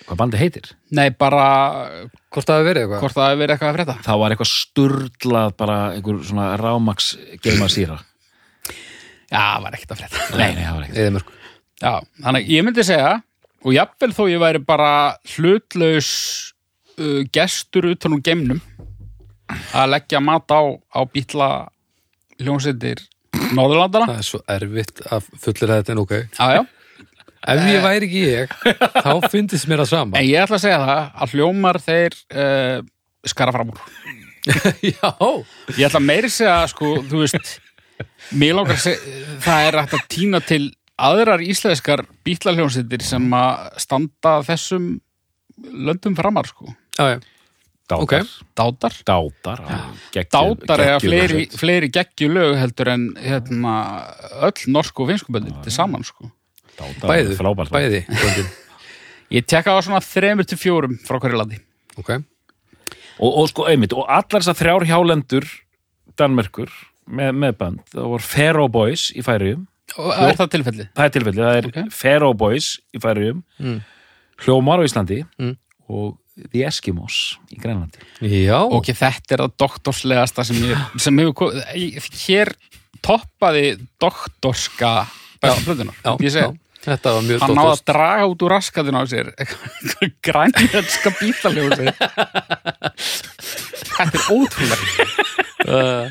Speaker 2: hvað bandi heitir?
Speaker 3: Nei, bara
Speaker 1: hvort það hefur verið eitthvað?
Speaker 3: hvort það hefur verið eitthvað að frétta.
Speaker 2: það var eitthvað sturlað bara einhver svona rámaks geima síra
Speaker 3: Já, það var ekkert að frétta.
Speaker 2: nei, nei, það var ekkert
Speaker 1: Eða mörg
Speaker 3: Ah. Já, þannig að ég myndi segja og jafnvel þó ég væri bara hlutlaus uh, gestur utan úr geimnum að leggja mat á, á býtla hljómsveitir Norðurlandana
Speaker 1: Það er svo erfitt að fullir þetta en ok
Speaker 3: *laughs* Já, já,
Speaker 1: Ef ég væri ekki
Speaker 3: *laughs*
Speaker 1: ég, þá fyndist mér það sama
Speaker 3: en ég ætla að segja það að hljómar þeir uh, skara fram úr
Speaker 1: *laughs* Já,
Speaker 3: Ég ætla meiri að segja sko, þú veist mér langar að segja, það er hægt að tína til aðrar íslenskar bítlaljónsýttir sem að standa þessum löndum framar sko.
Speaker 1: já, já,
Speaker 2: Dátar
Speaker 1: Ok.
Speaker 3: Dátar
Speaker 2: Dátar geggjum,
Speaker 3: Dátar eða fleiri, fleiri geggjulög heldur en hérna, öll norsku og finsku böndir til saman sko.
Speaker 2: Dátar
Speaker 1: bæði,
Speaker 2: frábært lag.
Speaker 1: bæði
Speaker 3: *laughs*
Speaker 1: böndin.
Speaker 3: Ég tekka á svona þremur til fjórum frá hverju landi
Speaker 1: ok,
Speaker 2: og, og sko einmitt, og allar þessar þrjár hjálendur Danmerkur með, með band, það voru Faroe Boys í færiðum,
Speaker 3: og er það tilfelli
Speaker 2: það er tilfellið, það er
Speaker 3: Ok.
Speaker 2: Faroe Boys í færiðum
Speaker 1: Mm.
Speaker 2: Hljómar á Íslandi
Speaker 1: Mm.
Speaker 2: og The Eskimos í Grænlandi
Speaker 1: já
Speaker 3: Ok, þetta er það doktorslegasta sem, ég, sem hefur komið Hér toppaði doktorska bæða plöðunar
Speaker 1: já,
Speaker 3: Ég
Speaker 1: já,
Speaker 3: segi,
Speaker 1: þetta var mjög
Speaker 3: hann náði
Speaker 1: dóttast
Speaker 3: að draga út úr raskatinn á sér *laughs* grænjönska bítaljósi þetta er ótrúlega
Speaker 1: Eh.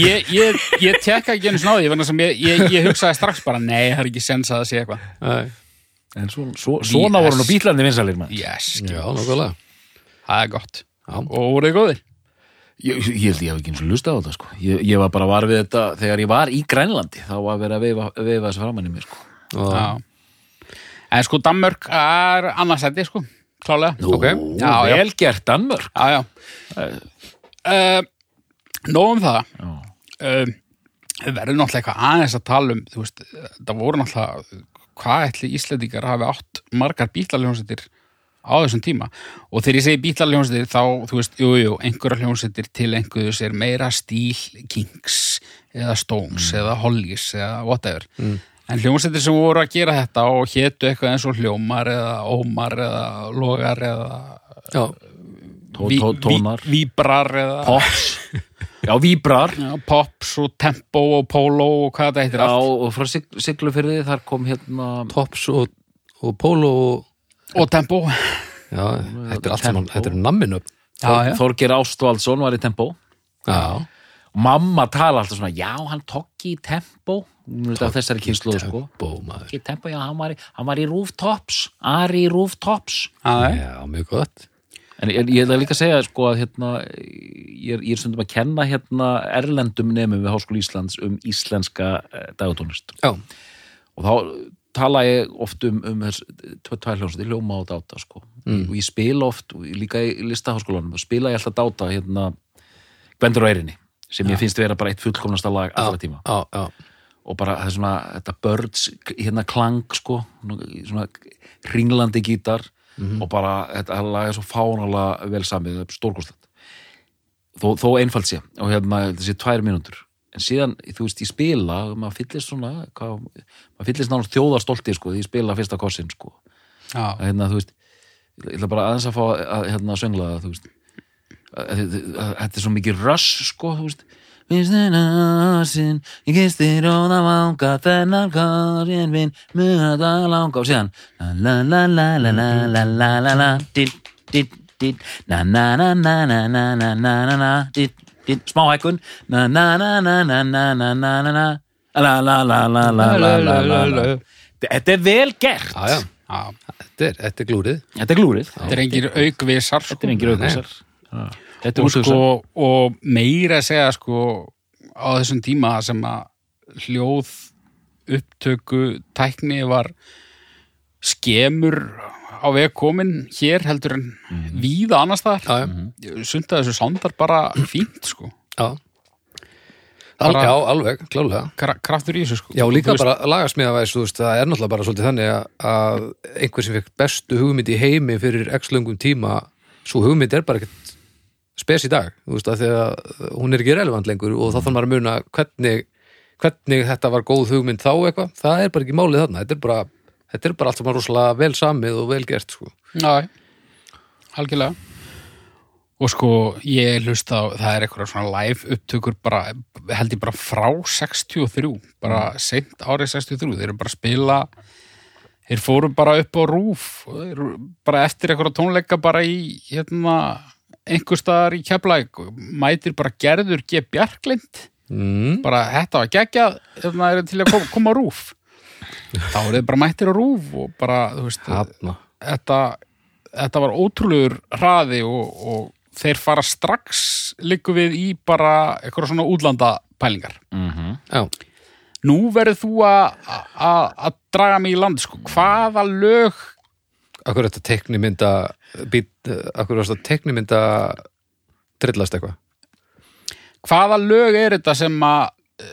Speaker 3: ég, ég, ég tekka ekki einu snáði ég, ég, ég, ég hugsaði strax bara nei, það er ekki sens að það sé eitthvað
Speaker 2: en svo, svo, svona
Speaker 3: The
Speaker 2: voru nú bílandi vinsalir maður
Speaker 3: yes,
Speaker 1: já, nokkulega
Speaker 3: það er gott
Speaker 1: Já.
Speaker 3: og voruð þið góðir
Speaker 2: Ég, ég held ég hef ekki eins og lusta á þetta sko. ég, ég var bara var við þetta þegar ég var í Grænlandi þá var verið að veifa, veifa þessu framann í mér sko.
Speaker 1: og,
Speaker 3: Já. en sko Danmörk er annarsætti sko, klálega
Speaker 2: Nú,
Speaker 1: Ok.
Speaker 3: Já, já.
Speaker 2: vel gert Danmörk
Speaker 3: já, já uh, nóg um það
Speaker 2: já.
Speaker 3: um, við verðum náttúrulega eitthvað aðeins að tala um þú veist, það voru náttúrulega hvað ætli Íslandingar hafi átt margar bílaljónsettir á þessum tíma og þegar ég segi bílaljónsettir þá, þú veist, jú, jú, einhverja hljónsettir til einhverju sér meira stíl Kings eða Stones
Speaker 2: Mm.
Speaker 3: eða Hollies eða whatever en hljónsettir sem voru að gera þetta og hétu eitthvað eins og hljómar eða ómar eða logar eða
Speaker 1: já,
Speaker 2: Tó,
Speaker 3: ví-
Speaker 2: tó,
Speaker 3: ví-
Speaker 2: tónar
Speaker 3: víbrar eða
Speaker 2: Pops Já, Víbrar
Speaker 3: Já, pops og tempo og polo og hvað þetta heitir
Speaker 2: Já,
Speaker 3: allt
Speaker 2: og frá sig, Siglufyrði þar kom hérna
Speaker 1: tops og, og polo og,
Speaker 3: og tempo
Speaker 1: já, þetta er allt saman,
Speaker 2: Tempo.
Speaker 1: þetta er namminu
Speaker 3: já, já.
Speaker 2: Þorgir Ástvaldsson var í Tempo
Speaker 1: já,
Speaker 2: Mamma tala alltaf svona, já, hann tók í Tempo Hún er þetta af þessari kynslu, sko
Speaker 1: bó maður
Speaker 2: Tók í Tempo, já, hann var í, hann var í Rooftops Ari í Rooftops
Speaker 3: Já,
Speaker 1: já, mjög gott
Speaker 2: En ég, ég ætla líka að segja, sko, að hérna ég er, ég er stundum að kenna hérna erlendum nefnum við Háskóla Íslands um íslenska eh, dagatónlist
Speaker 1: já,
Speaker 2: og þá tala ég oft um, um þess tvær hljómsveit, hljóma og dáta sko. og ég spila oft, og ég líka í listaháskólanum og spila ég alltaf dáta hérna Gvendur á Eirinni sem ég finnst vera bara eitt fullkomnasta lag allra tíma
Speaker 1: já, já,
Speaker 2: og bara það er svona þetta birds, hérna klang sko, nú- svona ringlandi gítar og bara þetta lag er svo fánalega vel samið stórkostlegt þó, þó einfalt sé og hérna þessi tvær mínútur en síðan, þú veist, ég spila og maður fyllist svona hvað, maður fyllist náttúrulega þjóðarstolti sko, því ég spila fyrsta kossin sko.
Speaker 3: já,
Speaker 2: að hérna, þú veist ég ætla bara aðeins að fá að hérna, söngla það, þú veist Að- að- að- að- þetta er svo mikið rush, sko, þú veist Vistu násin, ég kisti róða vanga, þennan karinn minn, mjöða langa og síðan la la la la la la la la la dit, dit, dit na na na na na na na na na na dit, dit, smá hækkun na na na na na na na na na na la la la la la la la la la Þetta er vel gert
Speaker 1: já, já.
Speaker 3: já.
Speaker 1: Þetta er, þetta er glúrið
Speaker 2: Þetta er glúrið.
Speaker 3: Þetta er engir aukvisar
Speaker 2: Þetta er
Speaker 3: sko.
Speaker 2: engir auðvitað. Þetta er
Speaker 3: og, sko,
Speaker 2: úthugsað.
Speaker 3: og meira að segja sko, á þessum tíma sem að hljóð upptöku tækni var skemur á veg komin hér heldur en víða annars þar
Speaker 1: já, já,
Speaker 3: sunda þessu sándar bara fínt sko
Speaker 1: já Al,
Speaker 3: Bara-
Speaker 1: já, alveg, klálega
Speaker 3: Kra- kraftur í þessu sko
Speaker 1: Já,
Speaker 3: Og
Speaker 1: líka
Speaker 3: þú veist-
Speaker 1: bara lagasmiðavæs, þú veist, það er náttúrulega bara svolítið þannig að- að einhver sem fekk bestu hugmynd í heimi fyrir x löngum tíma, svo hugmynd er bara ekkert spes í dag, þú veist, að þegar hún er ekki relevant lengur og þá þarf maður að muna hvernig, hvernig þetta var góð hugmynd þá eitthvað, það er bara ekki málið þarna, þetta er bara, þetta er bara allt sem er rosalega vel samið og vel gert, sko.
Speaker 3: Já, algjörlega Og sko, ég hlusta á, það er eitthvað svona live upptökur bara, held ég bara frá 63, bara seint árið 63, þeir eru bara að spila þeir fóru bara upp á rúf og þeir eru bara eftir eitthvað tónleika bara í, hérna einhver staðar í Keflæk mætir bara gerður G. Bjarklind
Speaker 1: Mm.
Speaker 3: bara þetta var geggjað hérna eru til að koma, koma á rúf þá eru þeir bara mættir á rúf og bara, þú veist,
Speaker 1: Hanna.
Speaker 3: þetta, þetta var ótrúlegur hraði og, og þeir fara strax líku við í bara eitthvað svona útlanda pælingar.
Speaker 2: Mhm.
Speaker 1: Já,
Speaker 3: nú verður þú að- að að draga mig í land sko. hvaða lög
Speaker 1: Akkur er þetta teknimynda být, Akkur er þetta teknimynda drillast eitthvað
Speaker 3: hvaða lög er þetta sem að eh,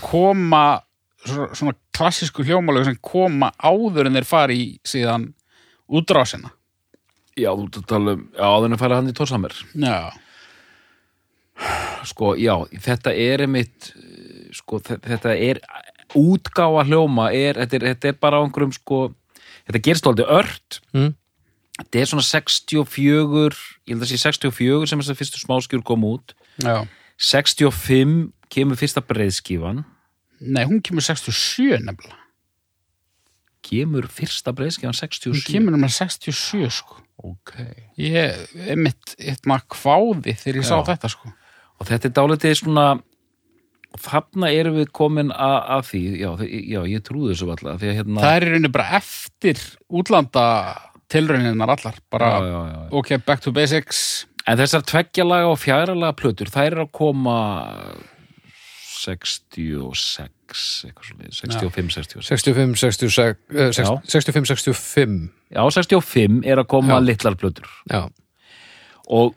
Speaker 3: koma svo- svona klassísku hljómalög sem koma áður en þeir fari í síðan útrásina
Speaker 2: Já, þú ert að tala um, já, þannig að fara hann í Tórshammer.
Speaker 3: já,
Speaker 2: Sko, já, þetta er einmitt, eh, sko, þe- þetta er, útgáfa hljóma er, þetta er, þetta er bara á einhverjum, sko, þetta gerst aldrei ört.
Speaker 1: Mm.
Speaker 2: Þetta er svona 64, ég held að sé 64 sem þess að fyrstu smáskjur kom út.
Speaker 3: já
Speaker 2: 65 kemur fyrsta breiðskífan.
Speaker 3: nei, hún kemur 67 nefnilega
Speaker 2: Kemur fyrsta breiðskífan 67?
Speaker 3: hún kemur um 67 sko
Speaker 2: Ok.
Speaker 3: ég, einmitt, hérna kváði þegar ég sá
Speaker 2: Já.
Speaker 3: þetta sko
Speaker 2: og þetta er dálítið svona og þarna erum við komin að, að því, já, þe- já, ég trúi þessu alltaf, því að hérna
Speaker 3: það er í rauninni bara eftir útlanda tilrauninnar allar bara,
Speaker 2: já, já, já.
Speaker 3: ok, back to basics
Speaker 2: en þessar tveggjalaga og fjæralaga plötur þær eru að koma 66 eitthvað svo 65, 66
Speaker 1: 65, 66, eh,
Speaker 2: Já.
Speaker 1: 65, 65
Speaker 2: já, 65 er að koma litlar plötur
Speaker 1: já.
Speaker 2: og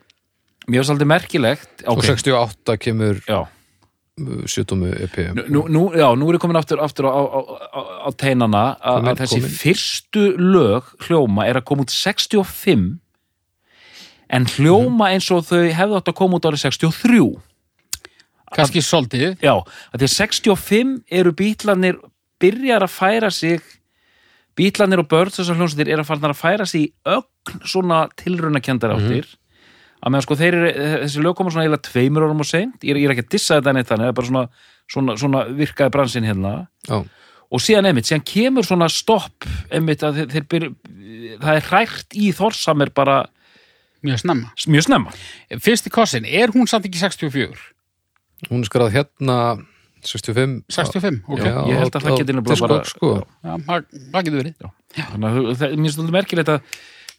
Speaker 2: mjög svolítið merkilegt
Speaker 1: og
Speaker 2: ok,
Speaker 1: 68 kemur eh, E
Speaker 2: já
Speaker 1: sjötumu EP
Speaker 2: Nú, nú, já, nú er ég komin aftur, aftur á, á, á, á teinana að
Speaker 1: Komin,
Speaker 2: að þessi
Speaker 1: komin.
Speaker 2: fyrstu lög hljóma er að koma út 65 en hljóma eins og þau hefðu átt að koma út árið 63
Speaker 3: kannski svolítið
Speaker 2: já, að því að 65 eru bítlanir byrjar að færa sig bítlanir og börn þessar hljómsveitir eru að farnar að færa sig í ögn svona
Speaker 1: Mhm.
Speaker 2: tilraunakendar áttir að meðan sko þeir eru, þessi lög koma svona eiginlega tveimur árum og seint, ég er, ég er ekki að dissa þetta neitt þannig, það er bara svona, svona, svona virkaði bransin hérna
Speaker 1: já,
Speaker 2: og síðan einmitt, síðan kemur svona stopp einmitt að þeir, þeir byr, það er hrært í Þorsamir bara
Speaker 3: mjög snemma
Speaker 2: mjög snemma
Speaker 3: fyrsti kossin, er hún samt ekki 64?
Speaker 1: hún er skráð hérna 65
Speaker 3: 65,
Speaker 1: Já,
Speaker 3: ok já,
Speaker 2: Ég held að
Speaker 1: á-
Speaker 2: það
Speaker 1: á
Speaker 2: geti nefnilega bara-
Speaker 1: Discogs, sko.
Speaker 2: Já.
Speaker 3: það það getur verið
Speaker 2: þannig að það er mjög stundum merkilegt að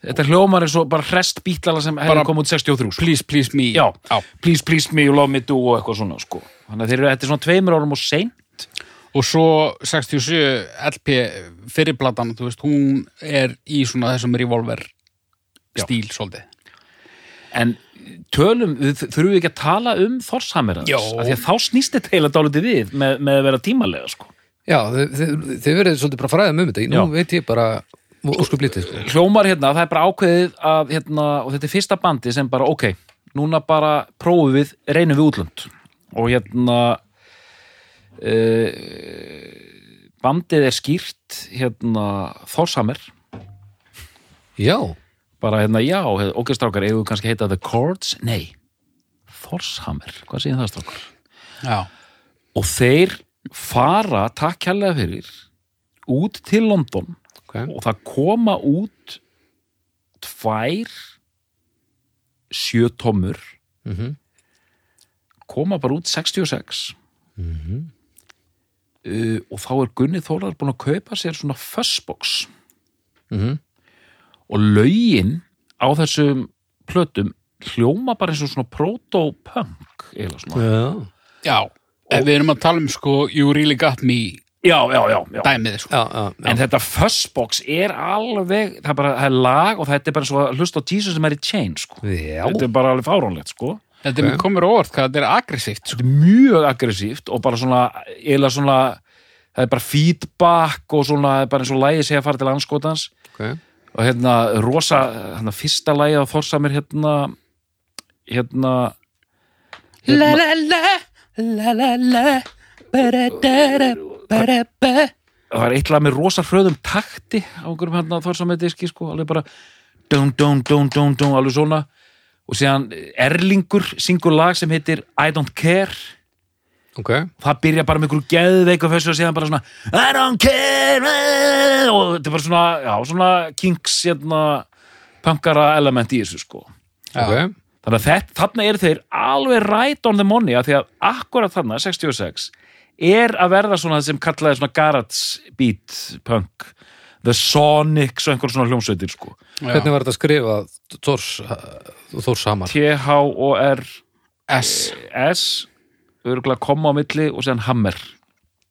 Speaker 2: þetta hljómar er svo bara hrest bítlala sem hefur
Speaker 3: Bara-
Speaker 2: komið út 63 sko.
Speaker 3: please, please me
Speaker 2: já,
Speaker 3: Já.
Speaker 2: please, please me, you love me do og eitthvað svona sko. þannig að þeir eru, þetta er svona tveimur árum og sein
Speaker 3: og svo 67 LP fyrirplatan, þú veist, hún er í svona þessum revolver stíl svolítið
Speaker 2: en tölum, við þ- þurfum við ekki að tala um Þorsamir
Speaker 3: Jó.
Speaker 2: aðeins, af því að þá snýst þetta heila dálítið við með, með að vera tímalega sko.
Speaker 1: já, þið, þið, þið verið svolítið bara fræðum um þetta nú
Speaker 2: Já.
Speaker 1: veit ég bara óskup lítið sko.
Speaker 2: hljómar hérna, það er bara ákveðið að, hérna, og þetta er fyrsta bandi sem bara, ok, núna bara prófum við, reynum við útlönd og hérna uh, bandið er skýrt hérna Þorsamir,
Speaker 1: já,
Speaker 2: bara hérna, já hérna, ok, strákar, eigum við kannski að heita The Chords? Nei, Þorsamir hvað séð það, strákar?
Speaker 3: já,
Speaker 2: Og þeir fara, takk kærlega fyrir út til London
Speaker 1: okay.
Speaker 2: og það koma út tvær sjö tómur
Speaker 1: mm
Speaker 2: koma bara út 66
Speaker 1: Mhm.
Speaker 2: uh, og þá er Gunni Þólar búin að kaupa sér svona fussbox
Speaker 1: Mhm.
Speaker 2: og lögin á þessum plötum hljóma bara eins og svona proto-punk eða svona
Speaker 1: já.
Speaker 3: já En við erum að tala um sko You Really Got Me
Speaker 2: já, já, já, já.
Speaker 3: dæmið sko.
Speaker 1: Já, já, já.
Speaker 2: en þetta fussbox er alveg það er bara, það er lag og þetta er bara svo hlust á Jesus sem er í chain sko.
Speaker 1: já.
Speaker 2: þetta er bara alveg fáránlegt sko
Speaker 3: Þetta er mér komur á orð hvað þetta er aggressíft sko.
Speaker 2: þetta er mjög aggressíft og bara svona, eða svona það er bara feedback og svona bara eins og lægi segja að fara til anskotans
Speaker 1: Okay.
Speaker 2: og hérna rosa, hérna fyrsta lægi á Þorsamir hérna hérna
Speaker 3: La la la La la la Ba-da-da-da Ba-da-ba
Speaker 2: það var eitt lag með rosa fröðum takti á einhverjum hérna Þorsamir diski sko, alveg bara dun dun dun dun dun, alveg svona og síðan Erlingur syngur lag sem heitir I don't care
Speaker 1: ok,
Speaker 2: það byrja bara með einhverju geðveiku þessu og síðan bara svona I don't care eh, og þetta er bara svona, já, svona kinks hérna, punkara element í þessu sko
Speaker 1: ok
Speaker 2: þannig að þetta, þarna eru þeir alveg right on the money af því að akkurat þarna, 66 er að verða svona það sem kallaði svona garage beat punk The Sonics og einhver svona hljómsveitir sko
Speaker 1: Hvernig var þetta að skrifa Þórs, Þórs Hamar?
Speaker 2: T-H-O-R
Speaker 3: S
Speaker 2: S örgulega koma á milli og séðan Hammer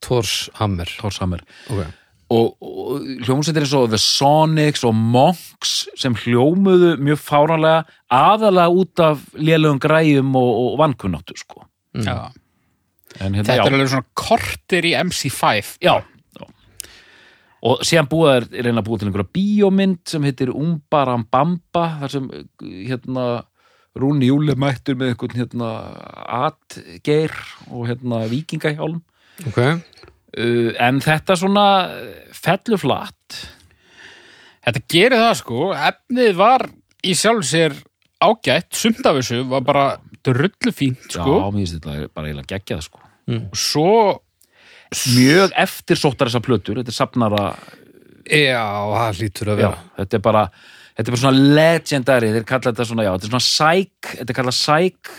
Speaker 1: Thors Hammer
Speaker 2: Thor Hammer
Speaker 1: okay.
Speaker 2: og, og hljómsveitir eins og The Sonics og Monks sem hljómuðu mjög fáranlega aðalega út af lélugum græjum og, og vankunnáttu sko.
Speaker 3: Já.
Speaker 2: en hérna,
Speaker 3: Þetta er
Speaker 2: já,
Speaker 3: alveg svona kortir í MC5
Speaker 2: já, já og síðan búið er reyna að búið til einhverja bíómynd sem heitir Umbaram Bamba þar sem hérna Rúni Júli er mættur með einhvern hérna atgeir og hérna vikingahjálm
Speaker 1: Okay.
Speaker 2: uh, en þetta svona fellur flatt
Speaker 3: Þetta gerir það sko, efnið var í sjálf sér ágætt, sumt af þessu var bara drullu fínt sko,
Speaker 2: já, mér finnst þetta bara eiginlega geggjað sko
Speaker 3: og svo
Speaker 2: mjög eftirsóttar þessar plötur þetta er safnara,
Speaker 1: Já, það hlýtur að
Speaker 2: já,
Speaker 1: vera
Speaker 2: þetta er bara þetta er bara svona legendary, þeir kalla þetta svona já, þetta er svona sæk, þetta er kallað sæk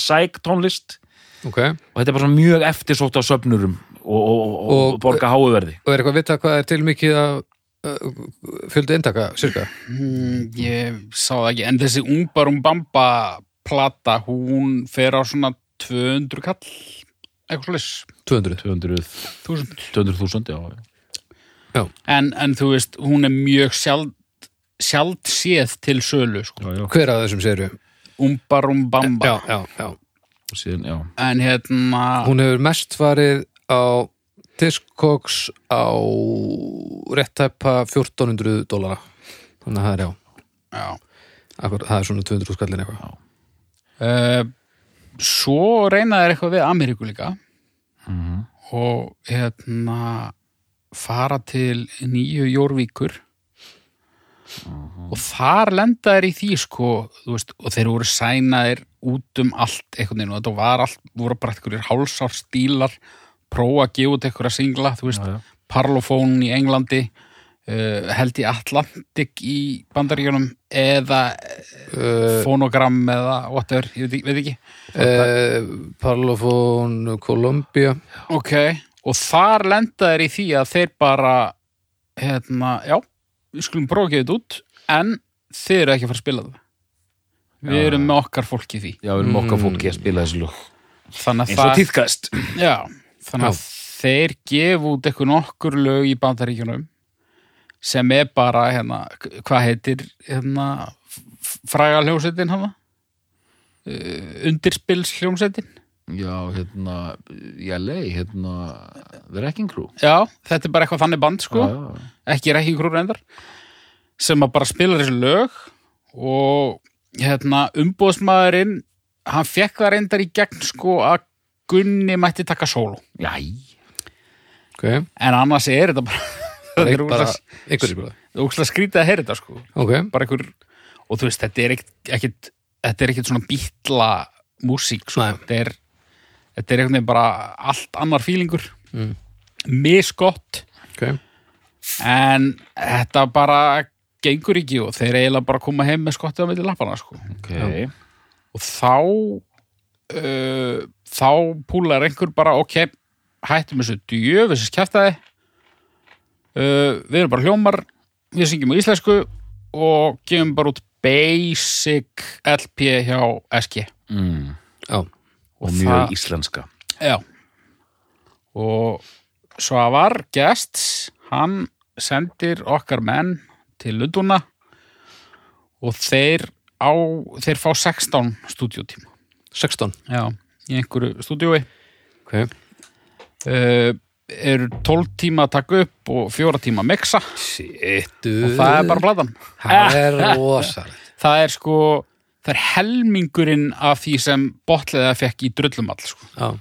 Speaker 2: sæk tónlist
Speaker 1: okay.
Speaker 2: og þetta er bara svona mjög eftirsótt á söfnurum og, og, og, og,
Speaker 1: Og-
Speaker 2: borga háuverði
Speaker 1: Og er eitthvað að vita hvað er til mikið að uh, fjöldi eintaka, cirka
Speaker 3: mm, ég sá það ekki, en þessi Ungbarum Bamba plata, hún fer á svona 200 kall eitthvað slis,
Speaker 1: 200
Speaker 2: 200
Speaker 3: 1000
Speaker 2: 200.000, já
Speaker 3: en, en þú veist, hún er mjög sjald sjald séð til sölu sko.
Speaker 2: já, já,
Speaker 1: Hver af þessum séru?
Speaker 3: Ungbarum Bamba
Speaker 1: Já, já, já
Speaker 2: og síðan, já
Speaker 3: en hérna,
Speaker 1: Hún hefur mest farið á Discogs á réttæpa 1400 dólara Þannig að það er já
Speaker 3: já
Speaker 1: Akkur, það er svona 200 skallin eitthvað
Speaker 3: uh, svo reyna þeir eitthvað við Ameríku líka
Speaker 2: Mhm.
Speaker 3: og hérna fara til nýju jórvíkur
Speaker 2: Mhm.
Speaker 3: og þar lenda þeir í því sko, þú veist, og þeir voru sænaðir út um allt einhvern veginn og þetta var allt, voru bara einhverjir hálsár stílar, prófa að gefa út einhverja singla, þú veist,
Speaker 2: Já, já.
Speaker 3: Parlophone í Englandi uh, held í Atlantic í Bandaríkjunum eða
Speaker 2: Eh,
Speaker 1: Uh,
Speaker 3: fonogram eða whatever, ég veit, ekki- veit ekki
Speaker 1: uh, Parlophone Columbia
Speaker 3: ok, og þar lenda þeir í því að þeir bara hérna, já, við skulum prófa að gefa þetta út en þeir eru ekki að fara að spila það við
Speaker 2: Já.
Speaker 3: erum með okkar fólk í því
Speaker 2: já, við erum okkar fólki að spila þessu lúk eins
Speaker 3: þannig að,
Speaker 2: og
Speaker 3: það,
Speaker 2: tíðkast
Speaker 3: já, þannig að þeir gefa út eitthvað nokkur lög í bandaríkjunum sem er bara hérna, k- hvað heitir hérna, fræga hljómsveitin hana Eh, undirspils hljómsveitin
Speaker 2: já, hérna, í LA hérna, The Wrecking Crew
Speaker 3: Já, þetta er bara eitthvað þannig band sko,
Speaker 2: já, já.
Speaker 3: ekki rekking krúr endar sem að bara spila þessi lög og hérna umbóðsmaðurinn hann fekk það reyndar í gegn sko að Gunni mætti taka sólu
Speaker 2: Jæ,
Speaker 1: okay.
Speaker 3: en annars er
Speaker 1: *laughs*
Speaker 3: þetta bara
Speaker 1: Bara,
Speaker 3: þetta er
Speaker 1: bara
Speaker 3: úkslega-
Speaker 1: einhverjum bara.
Speaker 3: úkslega skrítið að heyra þetta sko
Speaker 1: Ok,
Speaker 3: bara einhver, og þú veist þetta er ekkit, ekkit þetta er ekkit svona bítla músík sko.
Speaker 1: Nei.
Speaker 3: þetta er þetta er einhvern veginn bara allt annar fílingur
Speaker 1: Mm.
Speaker 3: misgott
Speaker 1: ok
Speaker 3: en þetta bara gengur ekki og þeir eiginlega bara koma heim með skottið á milli lappana sko.
Speaker 2: ok
Speaker 3: og þá uh, þá púlar einhver bara ok, hættum þessu djöfis kjæftaði uh, við erum bara hljómar við syngjum á íslensku og gefum bara út basic LP hjá SG
Speaker 2: mm.
Speaker 1: Já,
Speaker 2: og
Speaker 3: Og
Speaker 2: mjög
Speaker 3: það-
Speaker 2: íslenska
Speaker 3: Já. Og Svavar Gests, hann sendir okkar menn til Lunduna og þeir, á, þeir fá 16 stúdíótíma.
Speaker 1: 16
Speaker 3: Já, í einhverju stúdíói.
Speaker 1: okay.
Speaker 3: Uh, eru 12 tíma að taka upp og 4 tíma að mixa
Speaker 1: Sittu
Speaker 3: og það er bara Eh. blatan.
Speaker 1: Það er
Speaker 3: *laughs*
Speaker 1: rosalegt
Speaker 3: Það er sko, það er helmingurinn af því sem botleða fekk í drullumall, sko.
Speaker 1: Já,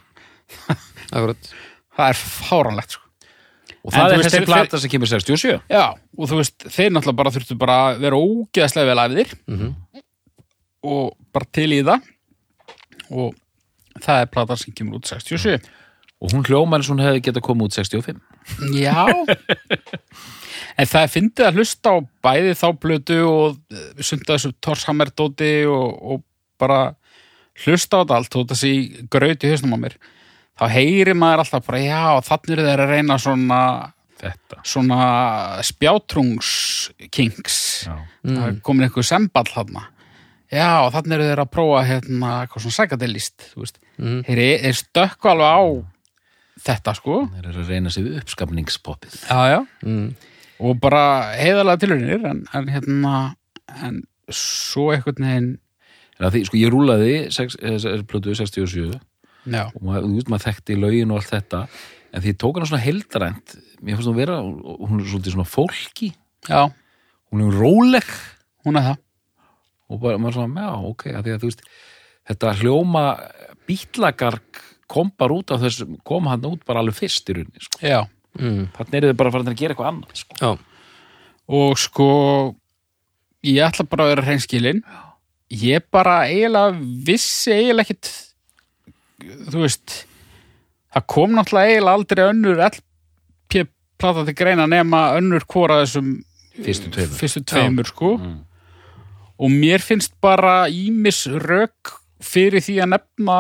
Speaker 1: akkurat
Speaker 3: Það er fáranlegt, sko.
Speaker 2: og það
Speaker 3: þú
Speaker 2: er
Speaker 3: veist,
Speaker 2: þessi
Speaker 3: þeir-
Speaker 2: plata sem kemur 67
Speaker 3: Já, og þú veist, þeir náttúrulega bara þurftu bara að vera ógeðslega vel æfðir
Speaker 1: Mhm.
Speaker 3: og bara til í það og það er platan sem kemur út 67
Speaker 2: og hún hljóma eins og hún hefði getað komið út 65
Speaker 3: Já *laughs* En það er fyndið að hlusta á bæði þá blötu og sunda þessu Torshammerdóti og, og bara hlusta á þetta allt og þessi gröti hausnum á mér þá heyri maður alltaf bara já, þannig eru þeir að reyna svona
Speaker 2: þetta
Speaker 3: svona spjátrungskings
Speaker 2: já,
Speaker 3: það er komin einhver semball þarna já, og þannig eru þeir að prófa hérna, hvað svona sækadellist, þú veist
Speaker 1: Mhm.
Speaker 3: þeir, þeir stökku alveg á þetta sko
Speaker 2: Þeir eru að reyna sig við uppskapningspoppið.
Speaker 3: já, já.
Speaker 1: mm.
Speaker 3: og bara heiðalega tilhörinir en, en hérna en svo einhvern veginn
Speaker 2: En að Því, sko, ég rúlaði sex, eh, eh, plötu 67
Speaker 3: já,
Speaker 2: og maður, þú veist, maður þekkti lögin og allt þetta en því ég tók hana svona heldrænt mér fannst hún vera, hún er svolítið svona fólki
Speaker 3: já,
Speaker 2: hún er róleg
Speaker 3: hún er það
Speaker 2: og bara, maður svona, já, ok, að því að þú veist þetta hljóma bítlagark kom bara út af þessu kom hann út bara alveg fyrst í rauninni sko.
Speaker 3: já.
Speaker 1: Mm.
Speaker 2: þannig eru þau bara farin að gera eitthvað annað sko.
Speaker 1: Já.
Speaker 3: og sko ég ætla bara að vera hreinskilin ég bara eiginlega vissi eiginlega ekkit þú veist það kom náttúrulega eiginlega aldrei önnur LP plata til greina nema önnur hvora þessum
Speaker 2: fyrstu tveimur Mm.
Speaker 3: fyrstu tveimur sko og mér finnst bara ímis rök fyrir því að nefna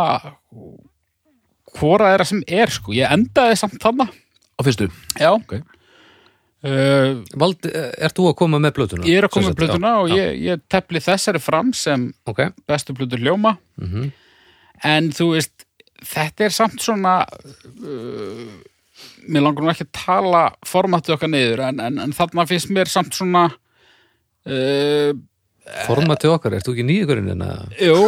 Speaker 3: hvora þeirra sem er sko ég endaði samt þarna
Speaker 2: á fyrstu,
Speaker 3: já
Speaker 2: Ok.
Speaker 3: uh,
Speaker 1: Vald, eh, ert þú að koma með plötuna?
Speaker 3: ég er að koma
Speaker 1: Sem
Speaker 3: um
Speaker 1: sagt,
Speaker 3: plötuna
Speaker 1: já,
Speaker 3: og
Speaker 1: já,
Speaker 3: ég, ég tepli þessari fram sem
Speaker 1: Ok,
Speaker 3: bestu plötur ljóma
Speaker 1: mm
Speaker 3: en þú veist, þetta er samt svona uh, mér langar nú ekki að tala formatið okkar niður en, en, en þarna finnst mér samt svona uh,
Speaker 1: formatið okkar, ert þú ekki hérna? nýjökurinn en að
Speaker 3: Jú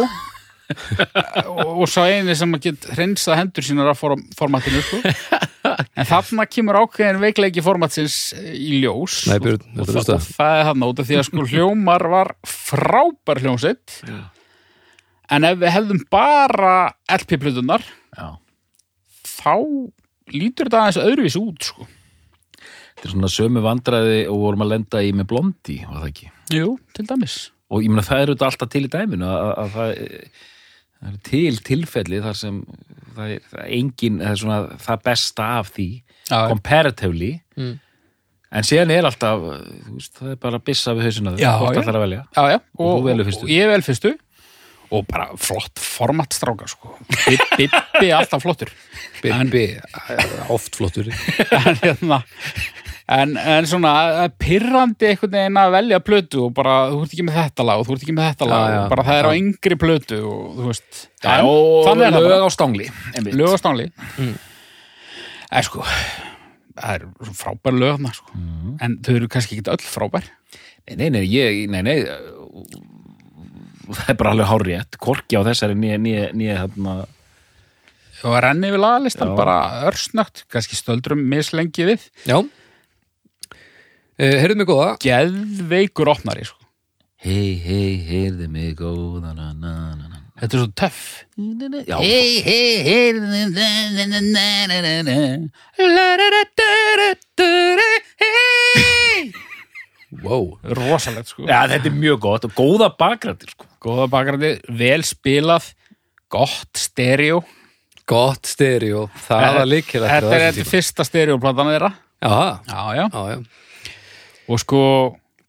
Speaker 3: *laughs* og, og sá eini sem að get hreinsað hendur sínar af form, formatinu sko. *laughs* en þarna kemur ákveðin veikleiki formatsins í ljós
Speaker 1: Nei, Björn,
Speaker 3: og, og,
Speaker 1: þetta er
Speaker 3: það,
Speaker 1: það.
Speaker 3: og það er þarna út af því að sko hljómar var frábær hljómsveit
Speaker 2: Já.
Speaker 3: en ef við hefðum bara LP-plötunar
Speaker 2: já
Speaker 3: þá lítur þetta aðeins öðruvís út sko.
Speaker 2: þetta er svona sömu vandræði og vorum að lenda í með blondi, var það ekki
Speaker 3: Jú, til dæmis
Speaker 2: og ég meina það er auðvitað alltaf til í dæminu að, að, að það, eh, það er til tilfelli þar sem það er, það er engin það, er svona, það besta af því
Speaker 3: Já.
Speaker 2: comparatively
Speaker 1: Mm.
Speaker 2: en síðan er alltaf eh, þú veist, það er bara að byssa við hausina
Speaker 3: Já,
Speaker 2: hvort
Speaker 3: já.
Speaker 2: ætlar að velja
Speaker 3: já, já, og,
Speaker 2: þú velur fyrstu.
Speaker 3: og ég vel fyrstu og bara flott formatstrákar sko. Bib- Bibbi er alltaf flottur
Speaker 1: Bibi, oft flottur
Speaker 3: en, *laughs* hérna, en, en svona það er pirrandi einhvern veginn að velja plötu og bara þú ert ekki með þetta lag og þú ert ekki með þetta lag
Speaker 1: já,
Speaker 3: og bara það er á
Speaker 1: já.
Speaker 3: yngri plötu og þú veist
Speaker 2: Já,
Speaker 3: en,
Speaker 2: og
Speaker 3: þannig er það
Speaker 2: lög
Speaker 3: bara
Speaker 2: á stangli einmitt.
Speaker 3: lög á stánli en sko það eru svo frábær lög þarna sko. en þau eru kannski ekki öll frábær
Speaker 2: Nei, nei, nei, ég, nei, nei eh, það er bara alveg hárétt korki á þessari nýja, nýja, nýja hérna,
Speaker 3: og renni við lagalistan
Speaker 2: Já.
Speaker 3: bara örsnögt kannski stöldrum mislengi við
Speaker 1: Já Eh, Heyrðu mig góða
Speaker 3: geðveikur opnari sko.
Speaker 2: hei, hei, heyrðu mig góða na, na, na, na.
Speaker 3: þetta er svo töff
Speaker 2: Já,
Speaker 3: Hey, hey, hey
Speaker 1: wow.
Speaker 3: Rosalegt sko
Speaker 2: Já, þetta er mjög gott og góða bakgrættir sko.
Speaker 3: Góða bakgrandi, vel spilað Gott stereo
Speaker 1: Gott stereo, það var líkir
Speaker 3: Eh, Þetta er þetta fyrsta stereoplatana þeirra
Speaker 1: Já,
Speaker 3: Já, já
Speaker 1: já, já
Speaker 3: Og sko,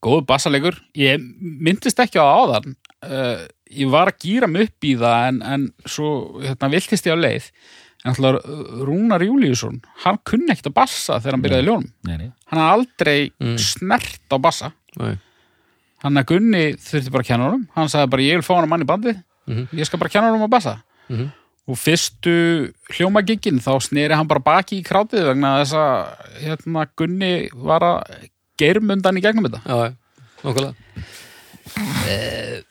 Speaker 3: góð bassalegur Ég myndist ekki á áðan uh, Ég var að gýra mig upp í það En, en svo, hérna, viltist ég á leið En alltaf Rúnar Júlíusson Hann kunni ekkert að bassa þegar hann byrjaði í ljónum
Speaker 2: Nei, nei.
Speaker 3: hann hafði aldrei
Speaker 1: Mm.
Speaker 3: snert á bassa
Speaker 1: Nei.
Speaker 3: hann að Gunni þurfti bara að kenna honum hann sagði bara ég vil fá hann að mann í bandið
Speaker 1: Mhm.
Speaker 3: ég skal bara kenna honum á bassa
Speaker 1: Mhm.
Speaker 3: og fyrstu hljómagiggin þá sneri hann bara baki í krátið vegna þess að hérna, Gunni var að geirmundan í gegnum þetta
Speaker 1: Já, já, nokkulega Eh,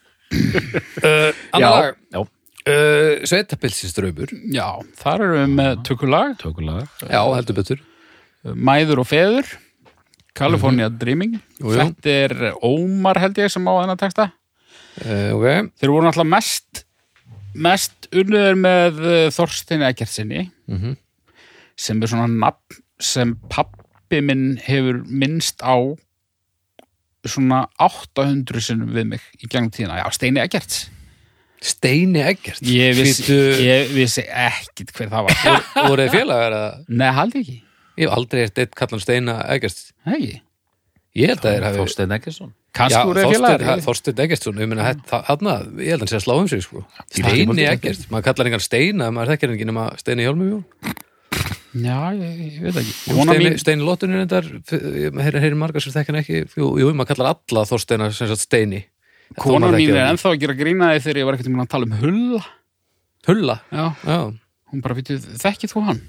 Speaker 1: uh, Annar lag
Speaker 2: já,
Speaker 1: uh, Sveitapilsistraumur
Speaker 3: já, þar erum við með tökulag
Speaker 2: tökulega
Speaker 1: Já, heldur betur
Speaker 3: Mæður og Feður California Dreaming
Speaker 1: Mhm. Jú, jú.
Speaker 3: þetta er Ómar held ég sem á þennan texta
Speaker 1: uh, Ok,
Speaker 3: þeir voru náttúrulega mest mest unnuður með eh, Þorstein Ekkertsinni
Speaker 1: Mhm.
Speaker 3: sem er svona nafn sem pappi minn hefur minnst á svona 800 sinnum við mig í gegnum tíðina, já, Steini Ekkerts
Speaker 1: Steini Eggert
Speaker 3: ég vissi,
Speaker 1: Fýttu-
Speaker 3: ég vissi ekkit hver það var
Speaker 1: *laughs* voru þið félagar að
Speaker 3: nei, haldi ekki,
Speaker 1: ég hef aldrei eftir eitt kallan Steina Eggert
Speaker 3: ekki
Speaker 1: ég held að þeir hafi
Speaker 2: Þorstein Eggerson
Speaker 1: Já,
Speaker 3: kannski voru þið
Speaker 1: Þorstein-
Speaker 3: félagar
Speaker 1: ha-
Speaker 3: ég-
Speaker 1: Þorstein Eggertsson, ég meina hætt- þa- þarna, ég held að hann sé að slá um sig sko.
Speaker 2: Steini
Speaker 1: Steini
Speaker 3: um
Speaker 1: Eggert, maður kallar engan Steina maður þekkir hann ekki nema Steini Hjálmum
Speaker 3: já, ég, ég veit ekki Kona
Speaker 1: Steini,
Speaker 3: mín,
Speaker 1: Steini Lottunir endar heyrir heyri margar sem þekkir hann ekki jú, jú, maður kallar alla Þorsteina sem sagt Steini Þó
Speaker 3: kona
Speaker 1: maður
Speaker 3: mín
Speaker 1: þekkir
Speaker 3: er
Speaker 1: hann.
Speaker 3: ennþá að gera grínaði þegar ég var ekkert um að tala um hulla
Speaker 1: Hulla,
Speaker 3: já,
Speaker 1: já,
Speaker 3: hún bara vitið, þekkið þú hann?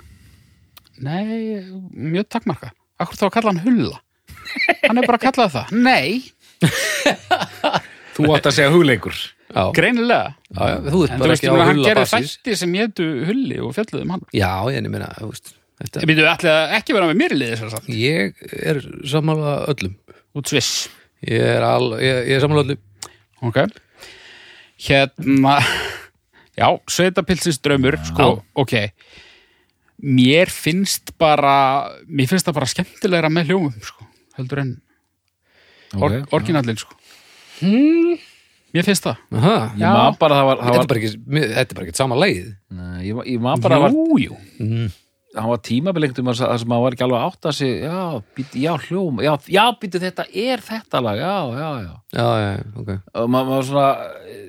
Speaker 3: Nei, mjög takkmarka. Akkur þá að kalla hann Hulla? Hann er bara að kalla það. Nei,
Speaker 2: Þú átt að segja hugleikur.
Speaker 1: Já,
Speaker 3: greinilega.
Speaker 1: já, já, þú ert
Speaker 3: En þú
Speaker 1: bara
Speaker 3: veist,
Speaker 1: ekki á
Speaker 3: ég meina, hann
Speaker 1: hulla
Speaker 3: gerði
Speaker 1: basis
Speaker 3: þætti sem hétu Hulli og fjallið um hann.
Speaker 1: Já, en ég meina, þú veist þetta,
Speaker 3: Ég byrju ætli að ekki vera með mér í liðið þess að
Speaker 1: Ég er sammála öllum
Speaker 3: Út sviss.
Speaker 1: Ég er, al, ég, ég er sammála öllum
Speaker 3: Ok. Hérna, já, sveitapilsins draumur, sko, ok. Mér finnst bara, mér finnst það bara skemmtilegra með hljómum, sko, heldur en okay,
Speaker 2: Ok.
Speaker 3: orginallin, sko. Mér finnst það.
Speaker 1: Aha,
Speaker 2: Ég maður bara að það var, það
Speaker 1: þetta, er
Speaker 2: var
Speaker 1: bara ekki, mér- þetta er bara ekki sama leið
Speaker 2: Nei, ég, ma- ég maður bara að það var,
Speaker 3: Jú, jú.
Speaker 2: það var tímabelengt um að það sem maður var ekki alveg átt að sig, já, býti, já, hljóm, já, já, býti, þetta er þetta lag, já, já, já.
Speaker 1: Já, já, já, ok
Speaker 2: og maður var svona eh,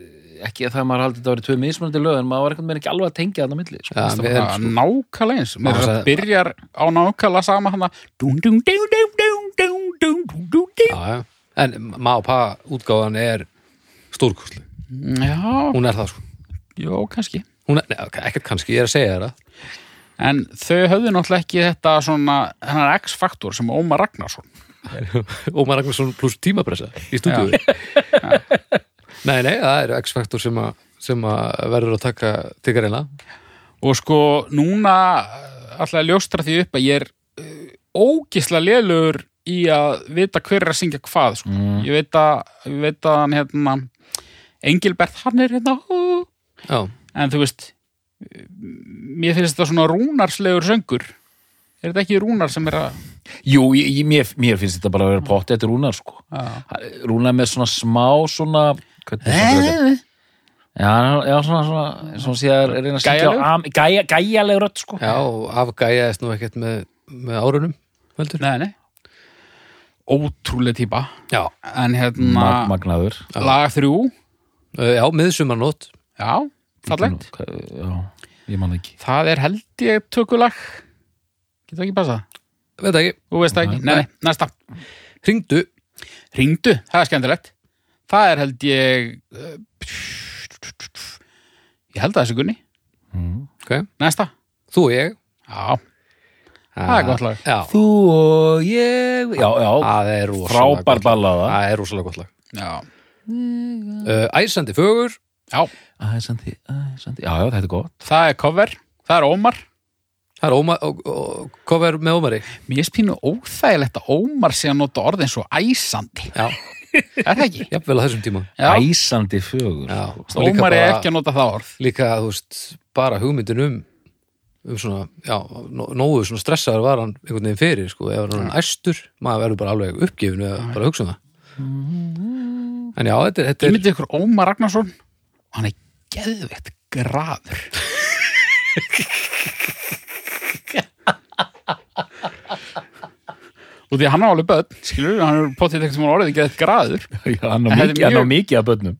Speaker 2: ekki að það maður haldið þetta verið tvö mismunandi lög en maður var einhvern veginn ekki alveg að tengja þarna á milli sko.
Speaker 1: Já, við erum
Speaker 3: Það er nákvæmlega eins Mér finnst
Speaker 1: sagði-
Speaker 3: að byrjar á nákvæmlega sama hana dún, dún, dún, dún, dún, dún, dún, dún, dún, dún.
Speaker 1: Já, já. En má og pa útgáfan er stórkostlu.
Speaker 3: Já,
Speaker 1: Hún er það sko.
Speaker 3: jú, kannski
Speaker 1: Hún er, neða, ekkert kannski, ég er að segja þér það.
Speaker 3: En þau höfðu náttúrulega ekki þetta svona, hennar X-faktor sem Ómar Ragnarsson
Speaker 1: Ómar Ragnarsson pluss tímapressa í stúdíu. *laughs* nei, nei, það eru X-faktor sem, að- sem að verður að taka tikka reyna.
Speaker 3: Og sko, núna alltaf ljóstra því upp að ég er uh, ógisla lélugur í að vita hver er að syngja hvað sko.
Speaker 2: Mm.
Speaker 3: ég, veit að, ég veit að hann hérna Engilbert, hann er hérna hú,
Speaker 1: Já,
Speaker 3: en þú veist mér finnst þetta svona rúnarslegur söngur er þetta ekki rúnar sem er að
Speaker 2: Jú, ég, ég- mér, mér finnst þetta bara að vera potti eftir Rúnar sko. Rúnar með svona smá svona hvernig er svona þetta? Já, já, svona, svona, svona sé að reyna að syngja
Speaker 3: Gæjaleg?
Speaker 2: á am- gæja, gæjaleg rödd sko.
Speaker 1: já, og afgæjaðist nú ekkert með, með árunum, heldur.
Speaker 3: nei, nei. ótrúlega típa
Speaker 1: Já,
Speaker 3: en hérna
Speaker 2: Mag, magnaður
Speaker 3: lag þrjú
Speaker 1: uh, já, miðsumarnót.
Speaker 3: já, fallegt
Speaker 2: Hvað- Já, ég man það ekki
Speaker 3: það er held ég tökulag getur ekki passað,
Speaker 1: Veit það ekki,
Speaker 3: þú veist það ekki nei, nei, næsta,
Speaker 1: hringdu.
Speaker 3: ringdu, það er skemmtilegt það er held ég eh, ég held að þessu gunni
Speaker 2: Mm.
Speaker 1: Ok,
Speaker 3: næsta,
Speaker 1: þú og ég.
Speaker 3: já, það er gott lag
Speaker 1: Já,
Speaker 2: Þú og ég Já, já,
Speaker 1: það er rosalega
Speaker 2: frábær
Speaker 1: gott lag.
Speaker 2: ballaða
Speaker 1: Það er rosalega gott lag.
Speaker 3: já,
Speaker 1: Uh, Æsandi fögur.
Speaker 3: já,
Speaker 2: ah. Æsandi, æsandi Já, já, þetta er gott
Speaker 3: það er cover það er Ómar
Speaker 1: Það er Ómar, og, og, cover með Ómari
Speaker 3: Mér er spínu óþægilegt að Ómar sé að nota orðin svo æsandi.
Speaker 1: Já,
Speaker 3: Er það ekki?
Speaker 1: jafnvel á þessum tíma
Speaker 3: Já.
Speaker 2: Æsandi fögur
Speaker 1: Já, og líka
Speaker 3: Ómar er
Speaker 1: bara-
Speaker 3: ekki að nota það orð.
Speaker 1: Líka, þú veist, bara hugmyndin um um svona, já, nó- nógu svona stressaður var hann einhvern veginn fyrir, sko ef hann er hann æstur, maður verður bara alveg uppgefin við að bara hugsa um það
Speaker 2: Mhm.
Speaker 1: En já, þetta, er- þetta
Speaker 3: Ég
Speaker 1: er
Speaker 3: myndi ykkur Ómar Ragnarsson og hann er geðveikt graður. Og því að hann á alveg börn, skilur við, hann er potið ekkert sem hann orðið geðveikt graður.
Speaker 2: Já, hann á
Speaker 3: En þetta er
Speaker 2: mikið, hann á
Speaker 3: mjög-
Speaker 2: mikið af börnum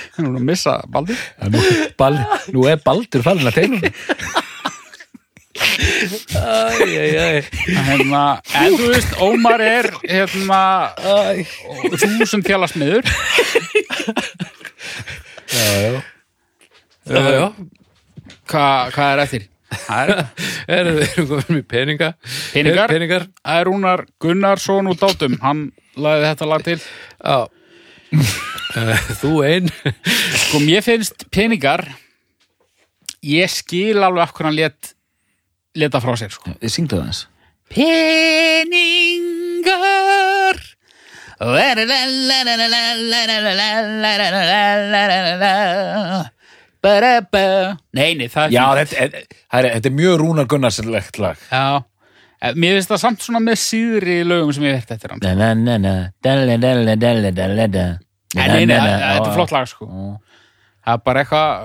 Speaker 3: Hann er búin að missa baldi.
Speaker 2: Já, nú, bal, nú er Baldur fallin að tegnum
Speaker 1: Æ, æ, æ,
Speaker 3: En Hérna, en þú veist, Ómar er hérna,
Speaker 1: æ.
Speaker 3: þú sem tjálast meður.
Speaker 1: Já, já,
Speaker 3: Hvað hva er eftir? Það er
Speaker 1: erum við erum komin í peninga
Speaker 3: Peningar.
Speaker 1: Peningar,
Speaker 3: Það er Rúnar Gunnarsson úr dátum Hann laði þetta lag til
Speaker 2: *laughs*
Speaker 1: já Eh, Þú ein
Speaker 3: Sko, mér finnst peningar Ég skil alveg af hvernig hann let Leta frá sér, sko
Speaker 2: Ég syngdu það eins
Speaker 3: Peningar Nei, nei, það er
Speaker 2: Já,
Speaker 3: fínt.
Speaker 2: þetta er, það er, þetta er mjög Rúnar Gunnarslegt lag
Speaker 3: Já. Eh, Mér finnst það samt svona með síðri lögum sem ég verði eftir hann
Speaker 2: Na, na, na, na, dalli, dalli, dalli, dalli, da. Na,
Speaker 3: Nei, nei,
Speaker 2: na,
Speaker 3: nei,
Speaker 2: na,
Speaker 3: þetta er
Speaker 2: á,
Speaker 3: flott lag, sko Það er bara eitthvað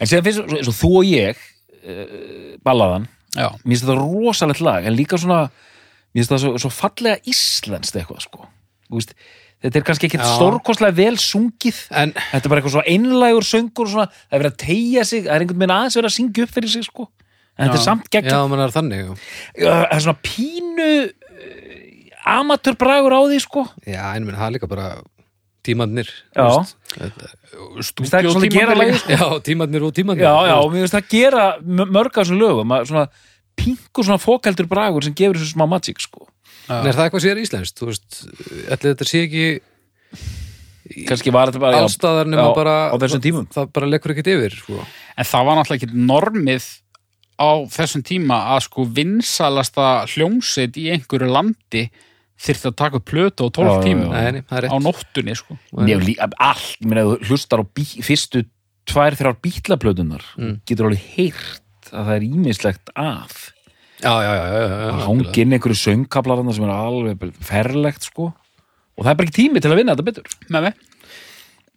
Speaker 2: En séðan finnst svo, svo þú og ég uh, ballaðan,
Speaker 3: Já,
Speaker 2: mér finnst þetta rosalegt lag en líka svona, mér finnst það svo, svo fallega íslenskt eitthvað sko Þú veist, Þetta er kannski ekkert
Speaker 1: Já.
Speaker 2: stórkostlega vel sungið
Speaker 1: En
Speaker 2: Þetta er bara eitthvað svo einlægur söngur og svona, það er verið að tegja sig, það er einhvern veginn aðeins verið að syngja upp fyrir sig sko En þetta er samt gegn
Speaker 1: Já, mann er þannig já.
Speaker 2: það er svona pínu amatörbragur á því sko
Speaker 1: Já, en minn, það er líka bara tímannir
Speaker 2: Já. Það er
Speaker 3: stúdíó
Speaker 2: ekki svolítið gera lagið,
Speaker 1: já, tímannir og tímannir
Speaker 2: já, já, og mér finnst það gera mö- mörg af þessum lögum að svona pingu svona fókaldur bragur sem gefur þessu smá magic sko.
Speaker 1: En er það eitthvað sér íslenskt, þú veist ætli þetta sé ekki
Speaker 2: kannski var þetta bara já,
Speaker 1: allstaðar nema
Speaker 2: já,
Speaker 1: bara
Speaker 2: á þessum tímum
Speaker 1: það bara lekur ekkert yfir sko.
Speaker 3: en það var náttúrulega ekki normið á þessum tíma að sko vinsalasta hljómsveit í einhverju landi þyrfti að taka upp plötu á 12
Speaker 2: Já, já,
Speaker 3: tíma
Speaker 2: já.
Speaker 1: Nei, nei, það er
Speaker 3: á
Speaker 1: rétt
Speaker 3: nóttunni sko
Speaker 2: Ég hef lí- allt, ég meina ef þú hlustar á bí, fyrstu tvær, þrjár bítlaplötunar
Speaker 1: Mm.
Speaker 2: getur alveg heyrt að það er ímislegt af
Speaker 1: Já, já, já, já, já,
Speaker 2: það
Speaker 1: já
Speaker 2: hangi inn einhverju söngkablarana sem er alveg ferlegt sko og það er bara ekki tími til að vinna þetta betur
Speaker 3: með mig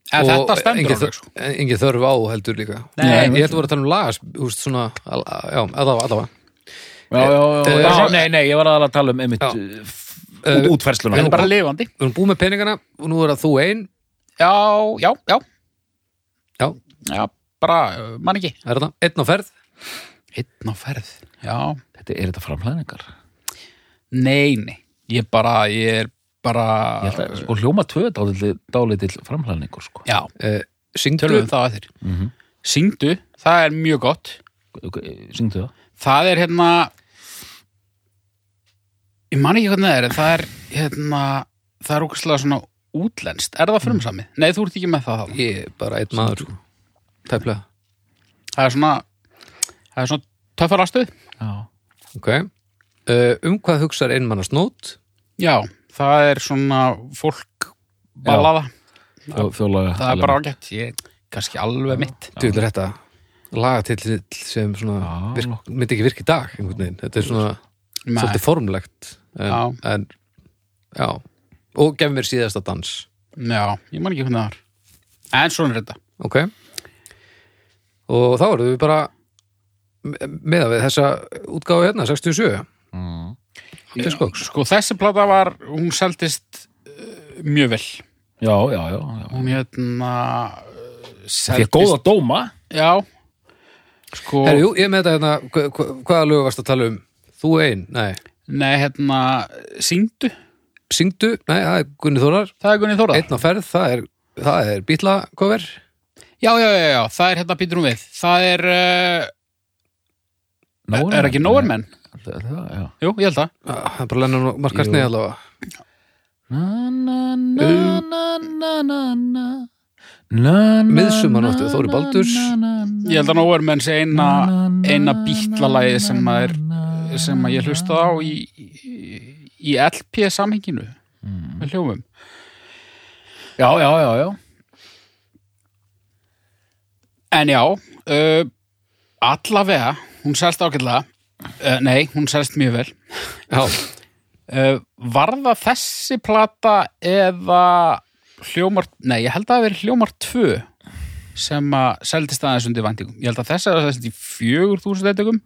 Speaker 3: en
Speaker 1: Og
Speaker 3: þetta stendur
Speaker 1: engin
Speaker 3: alveg sko
Speaker 1: þör- engin þörf á heldur líka
Speaker 3: Nei,
Speaker 1: ég held að voru að tala um lagas úst, svona, al- já, allavega, allavega
Speaker 2: Já, já, já,
Speaker 1: Eh,
Speaker 2: já,
Speaker 1: svo-
Speaker 2: nei, nei, ég var aðalega að tala um einmitt
Speaker 1: Já.
Speaker 2: uh, f-
Speaker 1: Eh,
Speaker 2: út, útfersluna
Speaker 3: en bara lifandi
Speaker 1: við erum búið með peningana og nú er það þú ein
Speaker 3: já, já, já,
Speaker 1: já,
Speaker 3: já bara, uh, man ekki
Speaker 1: það er það, einn á ferð
Speaker 3: einn á ferð já,
Speaker 2: Þetta er þetta framhlæðingar
Speaker 3: nei, nei ég bara, ég er bara
Speaker 2: sko, hljóma tvö dálítill dálítill framhlæðingur sko.
Speaker 3: já,
Speaker 1: uh, syngdu
Speaker 3: tölum við um það að þér
Speaker 2: Mhm.
Speaker 3: syngdu, það er mjög gott
Speaker 2: Ok, Syngdu það
Speaker 3: Það er hérna Ég man ekki hvernig það er en það er hérna það er ókvæslega svona útlenskt Er það frumsamið? Nei, þú ert ekki með það þá
Speaker 1: ég er bara einn maður sko. tæplega,
Speaker 3: Það er svona það er svona töffarastuð
Speaker 2: Já,
Speaker 1: ok uh, um hvað hugsar einmannast nót
Speaker 3: Já, það er svona fólk ballaða
Speaker 2: Fjó, fjólaga
Speaker 3: Það er bara ágætt Ég kannski alveg mitt
Speaker 1: þú vil þetta lagatill sem svona
Speaker 2: Já.
Speaker 1: virk, myndi ekki virka í dag einhvern veginn, þetta er svona
Speaker 3: Nei,
Speaker 1: svolítið formlegt en,
Speaker 3: Já.
Speaker 1: en, já og gef mér síðasta dans
Speaker 3: Já, ég man ekki hvernig það er En svona er þetta
Speaker 1: ok og þá erum við bara með að við þessa útgáfu hérna 67
Speaker 2: mm.
Speaker 1: Fiskóks.
Speaker 3: Sko, þessi plata var, hún seldist uh, mjög vel
Speaker 2: Já, já, já, já.
Speaker 3: Hún hérna uh,
Speaker 2: Því að góða dóma
Speaker 3: Já Sko,
Speaker 1: Herri, jú, ég er með þetta hérna, hva- hva- hvaða lög varst að tala um? Þú ein, nei
Speaker 3: nei hérna Syngdu,
Speaker 1: Syngdu, nei, það er Gunni Þórar
Speaker 3: það er Gunni Þóra
Speaker 1: Einn á ferð, það er, það er bítla cover
Speaker 3: já, já, já, já, það er hérna Pítur um við Það er, uh,
Speaker 2: Nóir
Speaker 3: er ekki
Speaker 2: menn?
Speaker 3: Nóermenn
Speaker 2: Það- það- já.
Speaker 3: Jú, ég held það
Speaker 1: Það er bara lennan og markast
Speaker 2: Jú.
Speaker 1: neða allavega
Speaker 2: Na, na, na, na, na, na, na. Na, na,
Speaker 1: Miðsumarnóttu,
Speaker 2: na,
Speaker 1: Þórir Baldurs.
Speaker 2: na, na, na.
Speaker 3: Ég held að Nóermenn sé eina, eina bítlalagið sem að er sem að ég hlusta á í, í, í LP samhenginu með hljófum
Speaker 2: Mm. Já, já, já, já
Speaker 3: En já, uh, allavega hún selst ágætlega uh, Nei, hún selst mjög vel
Speaker 1: Já,
Speaker 3: Uh, var það þessi plata eða hljómar, nei ég held að það hafi verið hljómar 2 sem að seldist aðeins undir væntingum. Ég held að þessi að seldist í 4000 eitthvað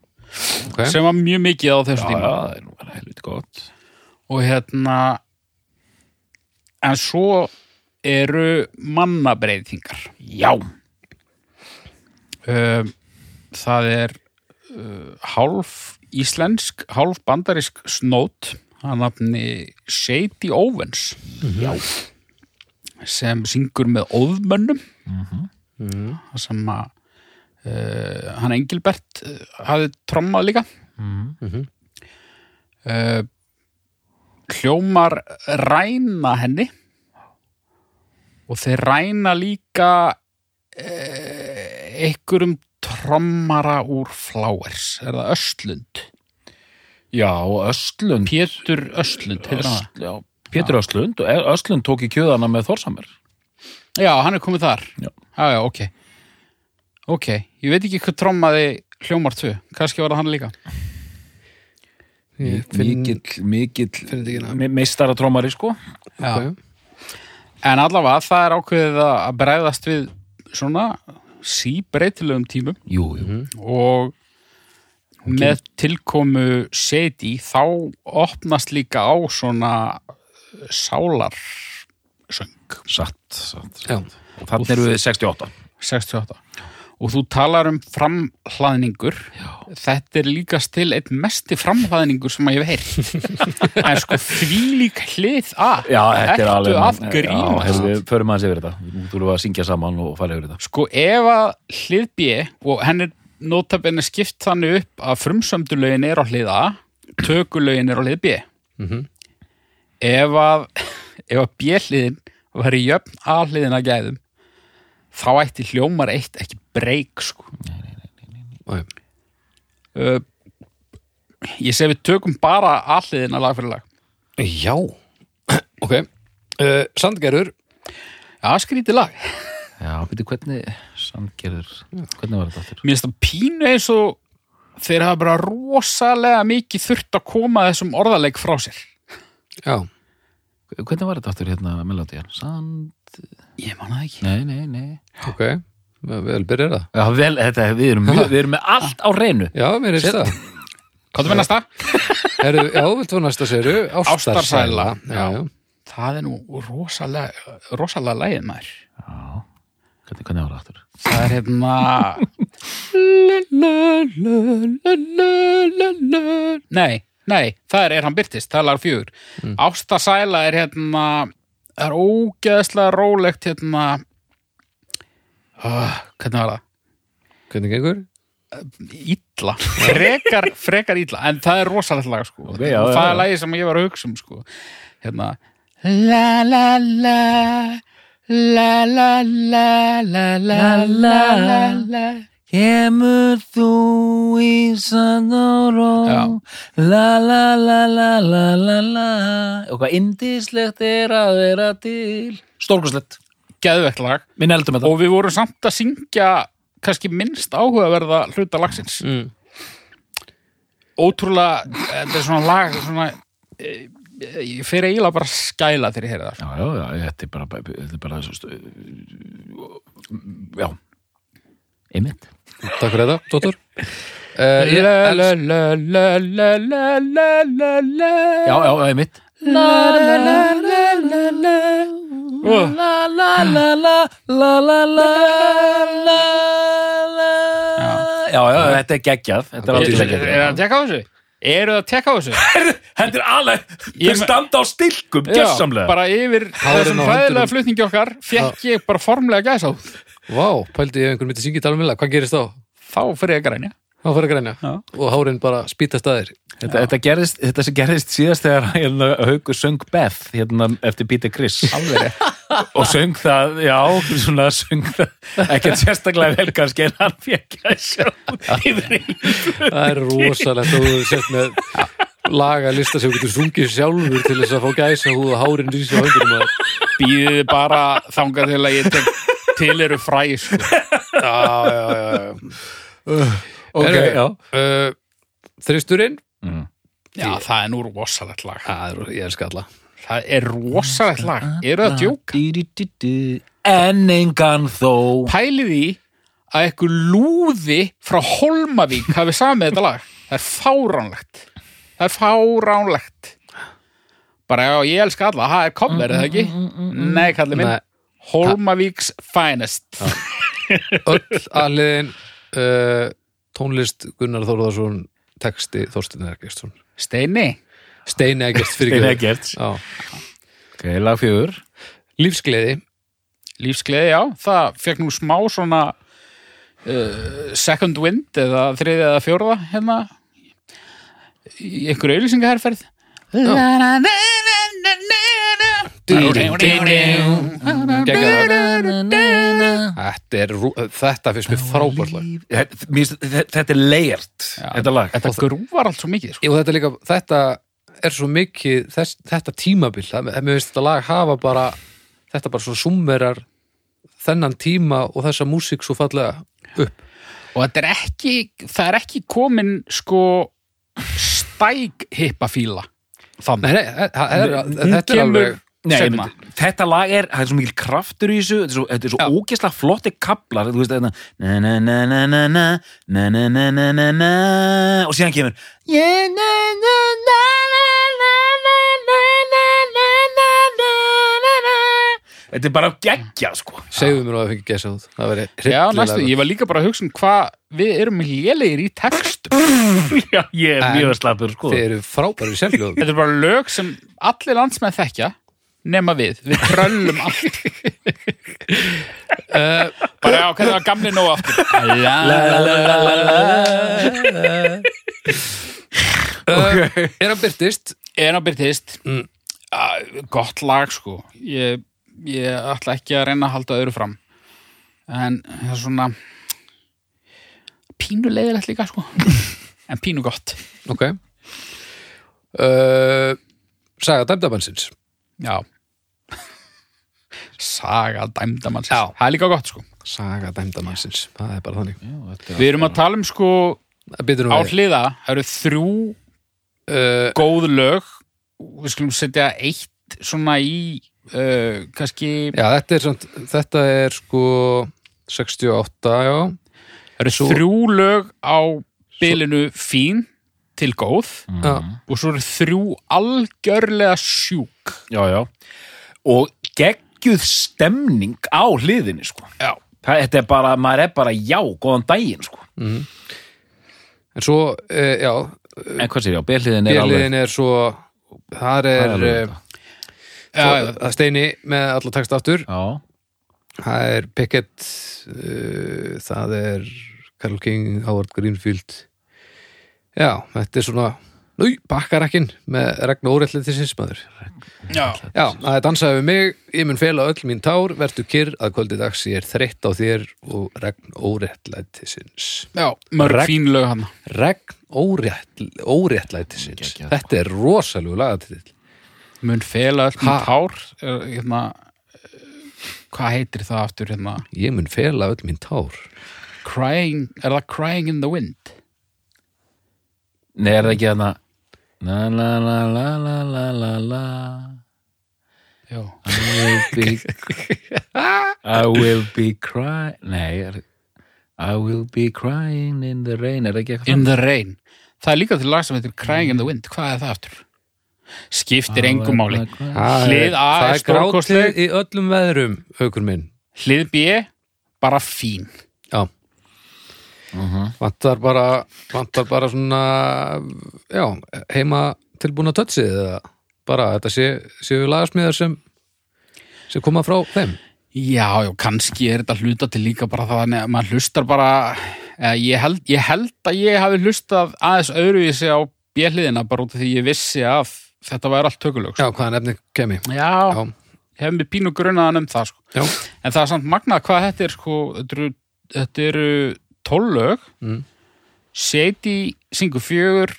Speaker 1: ok
Speaker 3: sem var mjög mikið á
Speaker 2: Já,
Speaker 3: þessu
Speaker 2: já,
Speaker 3: tíma
Speaker 2: það er nú bara helviti gott
Speaker 3: og hérna en svo eru mannabreiðingar
Speaker 2: Já
Speaker 3: um, það er uh, hálf íslensk, hálf bandarisk snót, hann nafni Shady Owens
Speaker 2: Já.
Speaker 3: sem syngur með óðmönnum
Speaker 2: Mhm.
Speaker 3: það sem að uh, hann Engilbert uh, hafði trommað líka
Speaker 2: Mhm.
Speaker 3: uh, hljómar ræna henni og þeir ræna líka uh, einhverjum trommara úr Flowers er það Östlund
Speaker 2: Já, og Östlund
Speaker 3: Pétur Östlund heitir hann það?
Speaker 2: Ösl, já, Pétur Östlund og Östlund tók í kjöðana með Þorsamir
Speaker 3: Já, hann er komið þar
Speaker 2: Já.
Speaker 3: já, já, ok Ok, ég veit ekki hvað trommaði hljómar 2, kannski var það hann líka
Speaker 1: Ég finn-
Speaker 2: Mikill, mikill
Speaker 1: þetta ekki nafn.
Speaker 2: me- meistaratrómari sko
Speaker 3: Já.
Speaker 1: ok.
Speaker 3: En allavega, það er ákveðið að að bregðast við svona síbreytilegum tímum
Speaker 2: Jú, jú,
Speaker 3: og með tilkomu seti þá opnast líka á svona sálarsöng
Speaker 2: satt, satt, satt.
Speaker 1: Já,
Speaker 2: Og þannig eru við 68
Speaker 3: 68 og og þú talar um framhlaðningur þetta er líkast til eitt mesti framhlaðningur sem að ég
Speaker 2: *laughs*
Speaker 3: hef heyrt en sko því lík hlið að
Speaker 2: Já, þetta er alveg
Speaker 3: að
Speaker 2: Já,
Speaker 3: grínast
Speaker 2: hefur við förum aðeins yfir þetta Nú þurfum við að syngja saman og fara yfir þetta
Speaker 3: sko ef að hlið B og henn er notabene skipt þannig upp að frumsömdulögin er á hlið A tökulögin er á hlið B
Speaker 1: Mhm.
Speaker 3: ef að ef að B hliðin var í jöfn A hliðin að gæðum þá ætti hljómar eitt ekki breyk sko
Speaker 1: Æ,
Speaker 3: uh, ég segi við tökum bara alliðina lag fyrir lag
Speaker 1: Já, *coughs* ok uh, Sandgerður,
Speaker 3: já, skrítið lag
Speaker 2: Já, byrju, hvernig samgerður Hvernig var þetta aftur?
Speaker 3: mér finnst það pínu eins og þeir hafa bara rosalega mikið þurft að koma þessum orðaleik frá sér
Speaker 1: já
Speaker 2: Hvernig var þetta aftur hérna melodían? Sand...
Speaker 3: ég man það ekki
Speaker 2: Nei, nei, nei
Speaker 1: Ok, vel vel byrjar það
Speaker 2: Já, vel, þetta, við erum, mjög- við erum með allt á reynu
Speaker 1: Já, mér er það
Speaker 3: hvað það finnast það?
Speaker 1: Heru, Já, viltu að næsta séru? Ástarsæla
Speaker 3: Ástarsæla,
Speaker 1: já, já.
Speaker 3: það er nú rosalega rosalega lagið maður
Speaker 2: Já, hvernig, hvernig var það aftur?
Speaker 3: það er hérna nei, nei, það er er hann byrtist, það er lag fjögur mm. ástasæla er hérna það er ógeðslega rólegt hérna uh, hvernig var það?
Speaker 1: Hvernig gengur?
Speaker 3: illa
Speaker 2: *laughs*
Speaker 3: frekar, frekar illa, en það er rosalegt lag sko.
Speaker 2: Ok, já,
Speaker 3: það
Speaker 2: já,
Speaker 3: er
Speaker 2: já.
Speaker 3: lagið sem ég var að hugsa um sko. hérna la la la la la la la la la la la
Speaker 2: Kemur þú í sann og ró La la la la la la la Og hvað indislegt er að vera til Stórkurslegt
Speaker 3: geðvegt lag
Speaker 2: Minn eldum um þetta
Speaker 3: og við vorum samt að syngja kannski minnst áhugaverða hluta lagsins
Speaker 1: Mm.
Speaker 3: ótrúlega, þetta er svona lag svona, eh, ég fer eiginlega bara að skæla þegar ég heyri það
Speaker 2: Já, já, já, þetta er bara, þetta er bara svo, stu, Já Einmitt
Speaker 1: Takk fyrir þetta, Dóttur uh, Ég
Speaker 3: La, la,
Speaker 1: els-
Speaker 3: la, la, la, la, la, la, la.
Speaker 2: Já, já, einmitt La la la la la la La la la la la la la la la Já, já, þetta er geggjað Þetta er aldrei
Speaker 3: Er
Speaker 2: geggjað
Speaker 3: það að tekka á þessu? Eru það að tekka á þessu?
Speaker 2: Þetta er alveg, þau standa á stilkum
Speaker 3: Já, bara yfir þessum
Speaker 1: nú
Speaker 3: hræðilega
Speaker 1: hundurinn.
Speaker 3: flutningi okkar fekk ég bara formlega gæs á
Speaker 1: Vá, pældi ég ef einhvern myndi syngið talmilla Hvað gerist þá?
Speaker 3: þá fyrir ég að grænja
Speaker 1: Þá fyrir að grænja
Speaker 3: Já.
Speaker 1: Og hárin bara spýtast að þér
Speaker 2: Þetta, þetta, gerðist, þetta sem gerðist síðast þegar *laughs* hérna, Haukur söng Beth hérna, eftir Peter Chris
Speaker 3: alveg rétt.
Speaker 2: *laughs* og söng það, já, svona söng það ekkert sérstaklega vel kannski en hann fekk að sjá
Speaker 1: Það er rosalegt og þú hefur sett með lagalista sem þú getur sungið sjálfur til þess að fá gæsa húð og hárin rísi á höndurum að
Speaker 3: býðið þið bara þangað til að ég tek til eru fræ sko.
Speaker 1: Já, já, já, já.
Speaker 2: Ok, já
Speaker 1: uh, Þristurinn
Speaker 3: já það er nú rosalegt lag
Speaker 1: Það er, ég er skalla
Speaker 3: það er rosalegt lag, eru það að djóka
Speaker 2: En engan þó
Speaker 3: pælið í að eitthvað lúði frá Holmavík hafi samið þetta lag það er fáránlegt það er fáránlegt bara já, ég elska alla, það er cover, er það ekki? mm, Nei, kallið minn
Speaker 1: Nei.
Speaker 3: Holmavíks finest
Speaker 1: Öll aðliðin uh, tónlist Gunnar Þórðarsson texti Þorstin Ergestsson
Speaker 3: Steini
Speaker 1: Steini Eggest fyrir
Speaker 2: Steini Eggerts.
Speaker 1: Já.
Speaker 2: Ok, lag fjögur
Speaker 1: Lífsgleði
Speaker 3: Lífsgleði, já, það fekk nú smá svona uh, second wind eða þriði eða fjórða hérna í einhverju auðlýsingaherferð
Speaker 1: Þetta er rú- þetta finnst mér frábærtlag
Speaker 2: Þetta mér finnst- þe- þetta er layert Þetta lag
Speaker 3: Þetta grúvar allt svo mikið sko.
Speaker 1: og þetta er líka, þetta er svo mikið þess, þetta tímabil, það- mér finnst þetta lag hafa bara, þetta bara svo summerar þennan tíma og þessa músík svo fallega upp
Speaker 3: og þetta er ekki það er ekki komin sko stæk hippafíla
Speaker 1: Nei, nei, þa- það er,
Speaker 3: Hún
Speaker 1: þetta er alveg
Speaker 2: Nei, ég
Speaker 3: seinna.
Speaker 2: myndi, þetta lag er, það er svo mikil kraftur í þessu, þetta er svo, þetta er svo ógeðslega flotti kaplar, þú veist, þetta na na na na na na, na na na na na na, og síðan kemur yeah, na na na na na na na na na na na na Þetta er bara geggja, sko *laughs*
Speaker 1: segðu mér nú að það fengi gæsa út það væri
Speaker 3: Já,
Speaker 1: hryllilega
Speaker 3: næstu,
Speaker 1: gott.
Speaker 3: ég var líka bara að hugsa um hvað við erum lélegir í textum.
Speaker 2: Já, ég er
Speaker 1: En-
Speaker 2: mjög slappur, sko
Speaker 1: Þið eru frábæri sérfljóð
Speaker 3: Þetta er bara lög sem allir landsmenn þekkja, nema við. Við tröllum *laughs* allt. uh, bara á hvernig var gamli nóg aftur. La, la, la, la, la, la.
Speaker 1: Er hann byrtist?
Speaker 3: En á byrtist,
Speaker 1: Mm.
Speaker 3: uh, gott lag sko. Ég, ég ætla ekki að reyna að halda öðru fram. En það er svona pínu leiðilegt líka *laughs* sko. en pínu gott.
Speaker 1: Ok uh, Saga dæmdabansins
Speaker 3: Já *laughs* Saga dæmdamanns Það er líka gott sko
Speaker 1: Saga dæmdabansins, það er bara þannig
Speaker 2: Já, þetta
Speaker 3: Við erum að tala um sko
Speaker 1: Það byrður
Speaker 3: á
Speaker 1: nú við
Speaker 3: hliða Það eru þrjú
Speaker 1: uh,
Speaker 3: góð lög Við skulum setja eitt svona í uh, kannski
Speaker 1: Já, þetta er, samt, þetta er sko 68, já
Speaker 3: Það eru
Speaker 1: svo-
Speaker 3: þrjú lög á bylinu fín til góð
Speaker 2: Mhm.
Speaker 1: Já.
Speaker 3: og svo eru þrjú algjörlega sjúk
Speaker 2: Já, já. Og geggjuð stemning á hliðinni, sko.
Speaker 3: Já
Speaker 2: Það, þetta er bara, maður er bara, já, góðan daginn, sko.
Speaker 1: En svo, uh, já,
Speaker 2: En hvað sér, já, B-hliðin er eh, alveg...
Speaker 1: bjöliðin er svo Þar
Speaker 2: Það er
Speaker 1: er
Speaker 2: alveg-
Speaker 1: uh,
Speaker 3: Já,
Speaker 1: það steini með alla takst aftur
Speaker 2: Já,
Speaker 1: Það er Pickett uh, Það er Carl King, Howard Greenfield Já, þetta er svona Új, bakkarakkin með regn og óréttlið til sinnsmaður.
Speaker 3: já,
Speaker 1: Já, það er dansaði við mig, ég mun fela öll mín tár, vertu kyrr að kvöldi dags ég er þreytt á þér og regn óréttlætisins.
Speaker 3: já Mörg
Speaker 1: Ragn-
Speaker 3: fín lög hann
Speaker 1: Regn óréttl, óréttlætisins.
Speaker 2: Geggjað.
Speaker 1: Þetta er rosalegu lagatill.
Speaker 3: mun fela öll
Speaker 1: Ha?
Speaker 3: minn tár er, hérna, eh, hvað heitir það aftur hérna
Speaker 1: Ég mun fela öll mín tár.
Speaker 3: crying, er það crying in the wind
Speaker 2: nei, er það ekki hana... La, la, la, la, la, la, la, la...
Speaker 3: já,
Speaker 2: I will
Speaker 3: *laughs*
Speaker 2: be... I will be crying... Nei, er... I will be crying in the rain, er það ekki eitthvað?
Speaker 3: in the rain það er líka til lag sem heitir crying in the wind hvað er það aftur? skiptir engum máli
Speaker 1: Það er-
Speaker 3: Hlið A
Speaker 1: það
Speaker 3: er stórkostleg.
Speaker 1: grátið í öllum veðrum, haukur minn.
Speaker 3: hlið B, bara fín
Speaker 1: Já. Vantar bara, vantar bara svona, já, heima tilbúna tötsið eða bara þetta sé, séu lagasmiðar sem, sem koma frá þeim.
Speaker 3: já, já, kannski er þetta hluta til líka bara þannig að maður hlustar bara eh, ég held, ég held að ég hafi hlustað aðeins öðruvísi á bjelliðina bara út af því ég vissi að þetta væri allt tökulög sko.
Speaker 1: Já, hvaða nefni kemi.
Speaker 3: já,
Speaker 1: Já,
Speaker 3: hef mér pínu grunaðan um það sko.
Speaker 1: já,
Speaker 3: en það er samt magnað hvað þetta er sko, þetta eru- þetta eru tólög
Speaker 1: Mm.
Speaker 3: Seiti syngur fjögur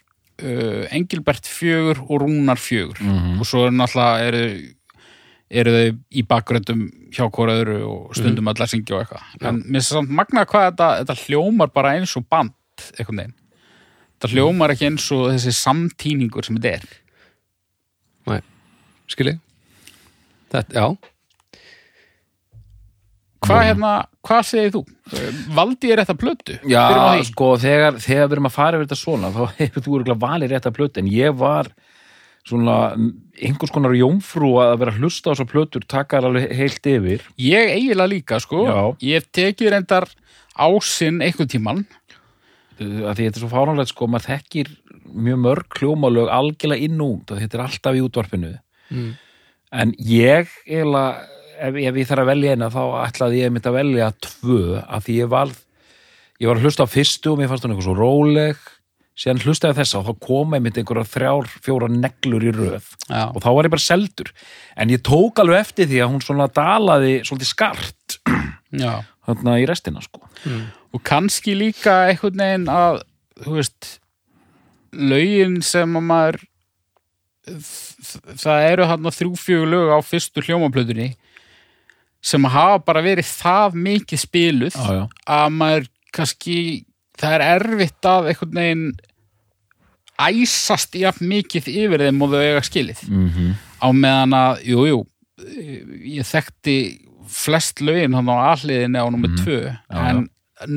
Speaker 3: uh, Engilbert fjögur og Rúnar fjögur
Speaker 2: Mhm.
Speaker 3: og svo er náttúrulega eru, eru þau í bakgröndum hjá hvora öðru og stundum allar syngja og eitthvað en mér er samt magnað hvað þetta, þetta hljómar bara eins og band einhvern veginn þetta hljómar ekki eins og þessi samtíningur sem þetta er
Speaker 1: næ, skilji. Þetta, já,
Speaker 3: Hvað, hérna, hvað segir þú? Eh, Valdi er þetta plötu? Byrjum á
Speaker 2: Já,
Speaker 3: því.
Speaker 2: sko, þegar, þegar við erum að fara yfir þetta svona, þá hefur þú örgulega valið rétt að plötu, en ég var svona einhvers konar jómfrú að vera að hlusta á þessar plötur, taka þær alveg heilt yfir.
Speaker 3: Ég eiginlega líka, sko.
Speaker 2: Já.
Speaker 3: Ég hef tekið reyndar ásinn einhvern tímann.
Speaker 2: Uh, af því þetta er svo fáránlegt sko, maður þekkir mjög mörg hljómalög algjörlega inn og út af því þetta er alltaf í útvarpinu
Speaker 1: Mm.
Speaker 2: en ég eiginlega, ef, ef ég þarf að velja eina þá ætlaði ég mitt að velja tvö af því ég valð ég var að hlusta á fyrstu og mér fannst hún eitthvað svo róleg síðan hlustaði á þessa og þá kom einmitt einhverjar þrjár, fjórar neglur í röð
Speaker 3: Já.
Speaker 2: og þá var ég bara seldur en ég tók alveg eftir því að hún svona dalaði svolítið skart
Speaker 3: Já.
Speaker 2: þarna í restina sko
Speaker 3: Og kannski líka einhvern veginn að, þú veist, lögin sem að maður, þ- það eru hann að þrjú-fjögur lög á fyrstu hljómaplötunni sem hafa bara verið það mikið spiluð
Speaker 2: já, já.
Speaker 3: að maður kannski, það er erfitt að einhvern veginn æsast jafn mikið yfir þeim og þau eiga skilið.
Speaker 2: Mm -hmm.
Speaker 3: á meðan að, jú, jú ég þekkti flest lögin hann á alliðinni á nummer 2
Speaker 2: Mhm. já.
Speaker 3: en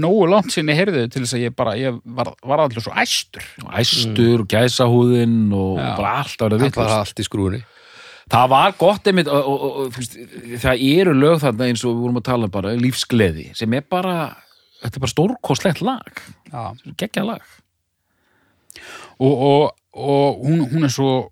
Speaker 3: nógu langt sinni heyrðu til þess að ég bara, ég var, var allir svo æstur
Speaker 2: æstur og gæsahúðin og
Speaker 3: Já.
Speaker 2: bara allt að vera
Speaker 1: það
Speaker 2: vitlaust.
Speaker 1: var allt í skrúinni.
Speaker 2: Það var gott einmitt og, og, og, og, fyrst, það eru lög þarna eins og við vorum að tala um bara lífsgleði sem er bara, þetta er bara stórkostlegt lag,
Speaker 3: Já.
Speaker 2: geggja lag
Speaker 3: og, og, og hún, hún er svo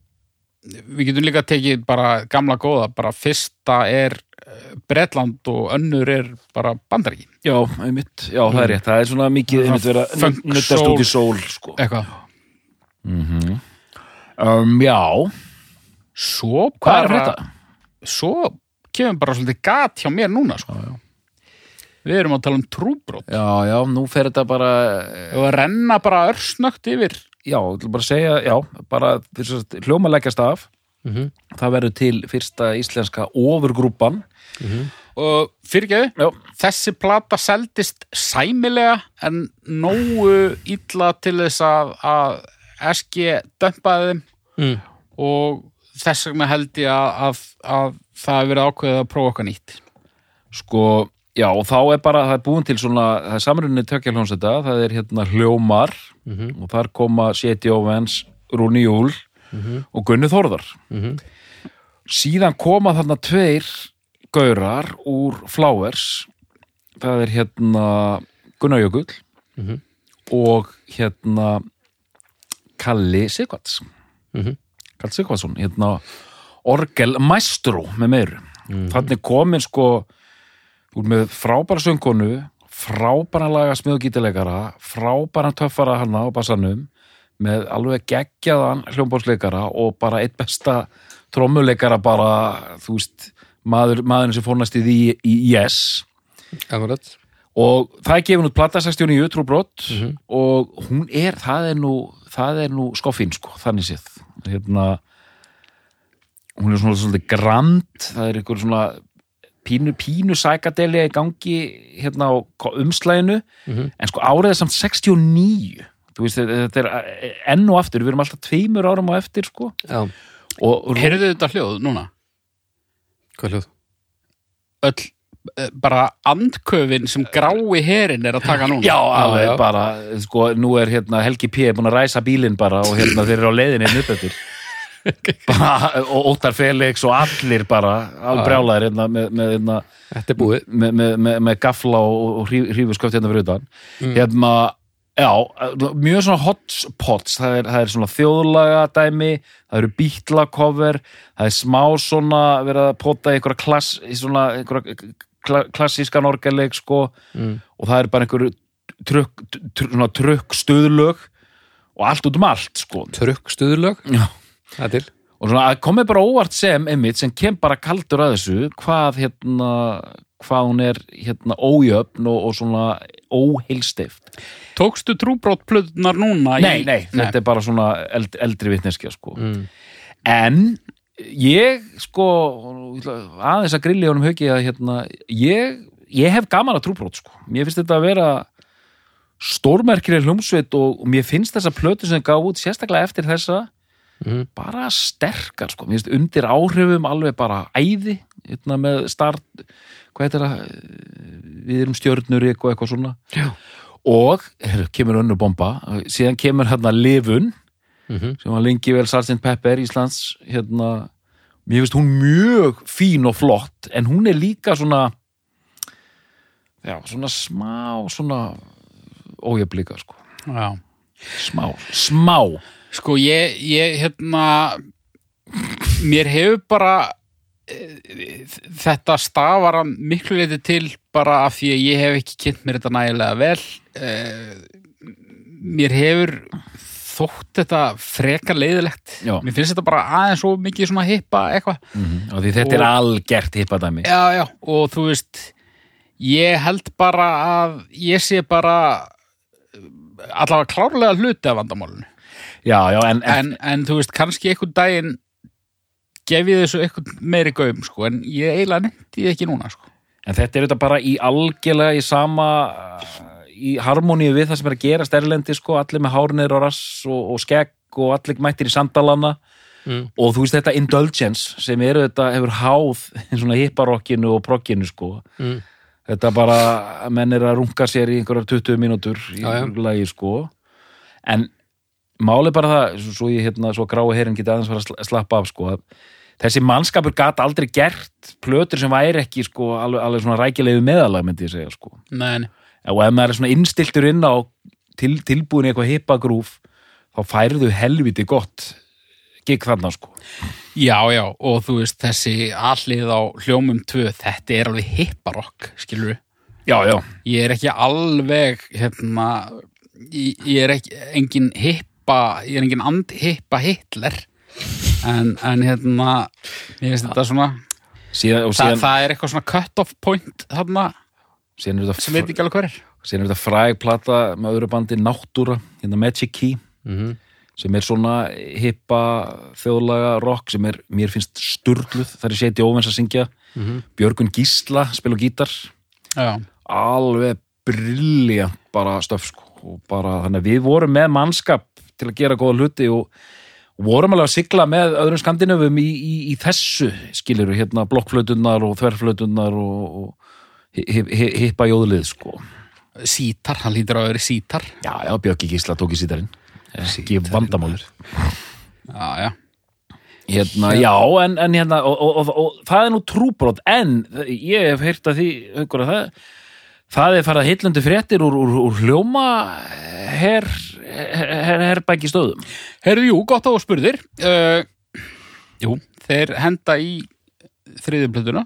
Speaker 3: við getum líka tekið bara gamla góða, bara fyrsta er eh, Bretland og önnur er bara bandaríkin,
Speaker 2: Já, einmitt, já það er rétt, Mm. það er svona mikið
Speaker 3: Það
Speaker 2: einmitt verið að
Speaker 3: funk,
Speaker 2: nu- nuddast
Speaker 3: soul.
Speaker 2: út í sól sko.
Speaker 3: eitthvað
Speaker 2: um, Já,
Speaker 3: svo
Speaker 2: hvað er
Speaker 3: bara
Speaker 2: þetta?
Speaker 3: svo kemur bara svolítið gat hjá mér núna sko. við erum að tala um trúbrot
Speaker 2: Já, já, nú fer þetta bara
Speaker 3: og að renna bara örsnögt yfir
Speaker 2: Já, ég ætla bara að segja, já, bara þess að hljóma leggjast af
Speaker 1: Mhm.
Speaker 2: það verður til fyrsta íslenska ofurgrúpan
Speaker 3: og fyrirgeðu,
Speaker 2: Já,
Speaker 3: þessi plata seldist sæmilega en nógu illa til þess að, að SG dömpaði þeim
Speaker 1: Mm.
Speaker 3: og þess vegna held ég að, að, að það hefur verið ákveðið að prófa okkar nýtt
Speaker 2: sko, já, og þá er bara það er búin til svona, það er samrunni tökjalhjónseta, það er hérna hljómar og þar koma Séti Óvens Rúni Júl og Gunni Þórðar síðan koma þarna tveir gaurar úr Flowers það er hérna Gunnar Jökull og hérna Kalli Sigvarts
Speaker 1: Mhm.
Speaker 2: Kalli Sigvartsson hérna Orgel Maestro með meiru þannig komin sko úr með frábæra söngkonu frábæra laga smið og gítileikara frábæra töffara hana á bassanum með alveg geggjaðan hljómbásleikara og bara eitt besta trommuleikara bara þú veist, maður, maðurinn sem fórnast í því í Yes
Speaker 1: Akkurat.
Speaker 2: og það er gefin út plata 69 trúbrott mm og hún er, það er nú það er nú skoffín sko, þannig séð hérna hún er svona svolítið grand það er einhver svona pínu, pínu sækadelja í gangi hérna á ko- umslæginu en sko árið er samt 69 þú veist, þetta þetta er enn og aftur við erum alltaf tveimur árum á eftir sko
Speaker 1: Já,
Speaker 2: og
Speaker 3: Heyrðu þetta hljóð núna?
Speaker 1: hvað er hljóð?
Speaker 3: Öll, eh, bara andköfin sem grái herin er að taka núna
Speaker 2: Já, alveg
Speaker 1: já.
Speaker 2: bara, sko, nú er hérna Helgi P. búin að ræsa bílinn bara og hérna þeir eru á leiðinni einn uppöftir bara, og Óttar Felix og allir bara, alveg brjálaðir hérna með, með, hérna,
Speaker 1: Þetta er búið.
Speaker 2: með, með, með, með gafla og, og hrífusköft hérna fyrir utan hérna, já, mjög svona hotspots, það er, það er svona þjóðlaga dæmi, það eru bítlakover, það er smá svona verið að pota í einhverja klass í svona einhverja kla, klassískan orgeleg sko,
Speaker 1: Mm.
Speaker 2: og það er bara einhverju trukk, trukk, svona trukk stuðlög og allt út um allt sko
Speaker 1: Trökk stuðurlög.
Speaker 2: Já.
Speaker 1: Það er til.
Speaker 2: og svona að komið bara óvart sem einmitt sem kem bara kaldur að þessu hvað hérna hvað hún er hérna ójöfn og, og svona óheilstift
Speaker 3: Tókstu trúbrot plöðnar núna? í-
Speaker 2: nei, nei, þetta er bara svona eld, eldri vitneskja sko
Speaker 1: Mm.
Speaker 2: en ég sko ég ætla aðeins að grilli honum höggi að hérna ég, ég hef gaman að trúbrót sko mér finnst þetta að vera stórmerkileg hljómsveit og, og mér finnst þessa plötu sem gaf út sérstaklega eftir þessa
Speaker 1: Mhm.
Speaker 2: bara sterkar sko mér finnst undir áhrifum alveg bara æði hérna með start hvað heitir það við erum stjörnurik og eitthvað svona
Speaker 1: Já.
Speaker 2: og heru, kemur önnu bomba síðan kemur hérna lifun
Speaker 1: Mhm.
Speaker 2: sem var lengi vel Sgt. Pepper Íslands hérna, mér finnst hún mjög fín og flott en hún er líka svona já, svona smá svona ójöflíka sko
Speaker 3: Já.
Speaker 2: smá, smá
Speaker 3: Sko ég, ég hérna mér hefur bara eh, þetta stafar að miklu leiti til bara af því að ég hef ekki kynnt mér þetta nægilega vel Eh, mér hefur þótt þetta frekar leiðilegt
Speaker 2: Já.
Speaker 3: mér finnst þetta bara aðeins svo mikið svona hippa eitthvað
Speaker 2: mm -hmm. því þetta er
Speaker 3: Og-
Speaker 2: algert hippadæmi
Speaker 3: já, já, og þú veist ég held bara að ég sé bara eh, allavega klárlega hluti af vandamálun
Speaker 2: já, já, en, en,
Speaker 3: en, en þú veist, kannski einhvern daginn gef ég þessu einhvern meiri gaum, sko, en ég eiginlega nefndi ég ekki núna, sko.
Speaker 2: en þetta er þetta bara í algjörlega í sama uh, í harmoníu við það sem er að gerast erlendi sko, allir með hárnir og rass og, og skegg og allir mættir í sandalana
Speaker 1: Mm.
Speaker 2: og þú veist þetta indulgence sem eru þetta hefur háð *laughs* svona hipparokkinu og prokkinu sko
Speaker 1: Mm.
Speaker 2: þetta bara að menn er að runga sér í einhverjar 20 mínútur
Speaker 1: Já,
Speaker 2: í
Speaker 1: já.
Speaker 2: einhverju lagi sko en máli bara það, svo- svo ég hérna, svo grái herin geti aðeins fara að sla- slappa af sko að þessi mannskapur gat aldrei gert plötur sem væri ekki sko, alveg, alveg svona rækilegu meðalag myndi ég segja sko.
Speaker 3: Nei, nei.
Speaker 2: og ef maður er svona innstiltur inn á til, tilbúin í eitthvað hippagrúf þá færðu helviti gott gikk þarna sko
Speaker 3: Já, já, og þú veist, þessi allið á hljómum tvö, þetta er alveg hipparokk, skilur við.
Speaker 2: já, já,
Speaker 3: Ég er ekki alveg, hérna, ég, ég er ekki, engin hippa, ég er engin andhippa Hitler, en, en hérna, ég veist þetta svona,
Speaker 2: síðan, og
Speaker 3: Þa,
Speaker 2: síðan,
Speaker 3: það er eitthvað svona cut-off point þarna,
Speaker 2: síðan er þetta
Speaker 3: sem veit ekki alveg hver er.
Speaker 2: síðan er þetta frægplata með öðru bandi Náttúra, hérna Magic Key
Speaker 3: Mhm.
Speaker 2: sem er svona hippa þjóðlaga rock sem er, mér finnst sturgluð, það er séti óvens að syngja
Speaker 3: Mhm.
Speaker 2: Björgun Gísla, spil og gítar
Speaker 3: Já,
Speaker 2: alveg brilljant bara stöf sko, og bara, þannig að við vorum með mannskap til að gera góða hluti og vorum alveg að sigla með öðrum skandinöfum í, í, í þessu skilur hérna blokkflötunar og þverflötunar og, og hi- hi- hi- hippa jóðlið sko
Speaker 3: sítar, hann lítur á öðru sítar.
Speaker 2: Já, já, Björki Gísla tók í sítarinn ekki vandamálur
Speaker 3: Já, já.
Speaker 2: hérna, Já, en, en hérna og, og, og, og það er nú trúbrot en ég hef heyrt að því haukur að það það er farað heillandi fréttir úr, úr, úr hljóma her, her, her, herbæki stöðum
Speaker 3: Herðu, jú, gott að þú spurðir. Uh, jú, þeir henda í þriðju plötuna,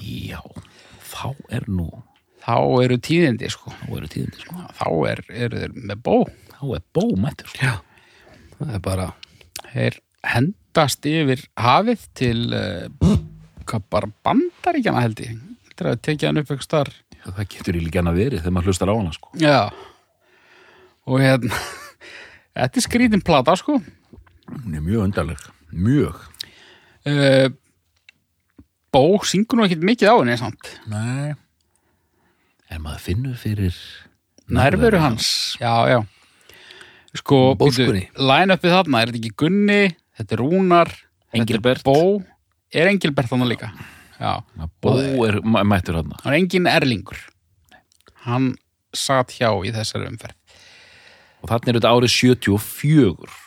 Speaker 2: Já, þá er nú
Speaker 3: þá eru tíðindi, sko.
Speaker 2: þá eru tíðinni sko,
Speaker 3: Þá er, eru þeir með bó.
Speaker 2: þá er bómættur sko.
Speaker 1: það er bara
Speaker 3: Þeir hendast yfir hafið til uh, hvað bara bandaríkjana held ég. Þetta er að tekja hann upp ekki starf.
Speaker 2: það getur í líka hana verið þegar maður hlustar á hana sko.
Speaker 3: Já. Og hérna, *laughs* þetta er skrítin plata, sko.
Speaker 2: hún er mjög undarleg, mjög
Speaker 3: Uh, bó syngur nú ekkert mikið á henni, samt.
Speaker 2: Nei En maður finnur fyrir
Speaker 3: Nærveru hans Já, já Sko,
Speaker 1: Bólskunni.
Speaker 3: line-upið þarna, er þetta ekki Gunni Þetta er Rúnar
Speaker 2: Engilbert.
Speaker 3: Þetta er Bó Er Engilbert þarna líka? Já,
Speaker 2: Bó er mæ- mættur hann
Speaker 3: hann er engin Erlingur Hann satt hjá í þessari umferð
Speaker 2: og þarna er þetta árið 74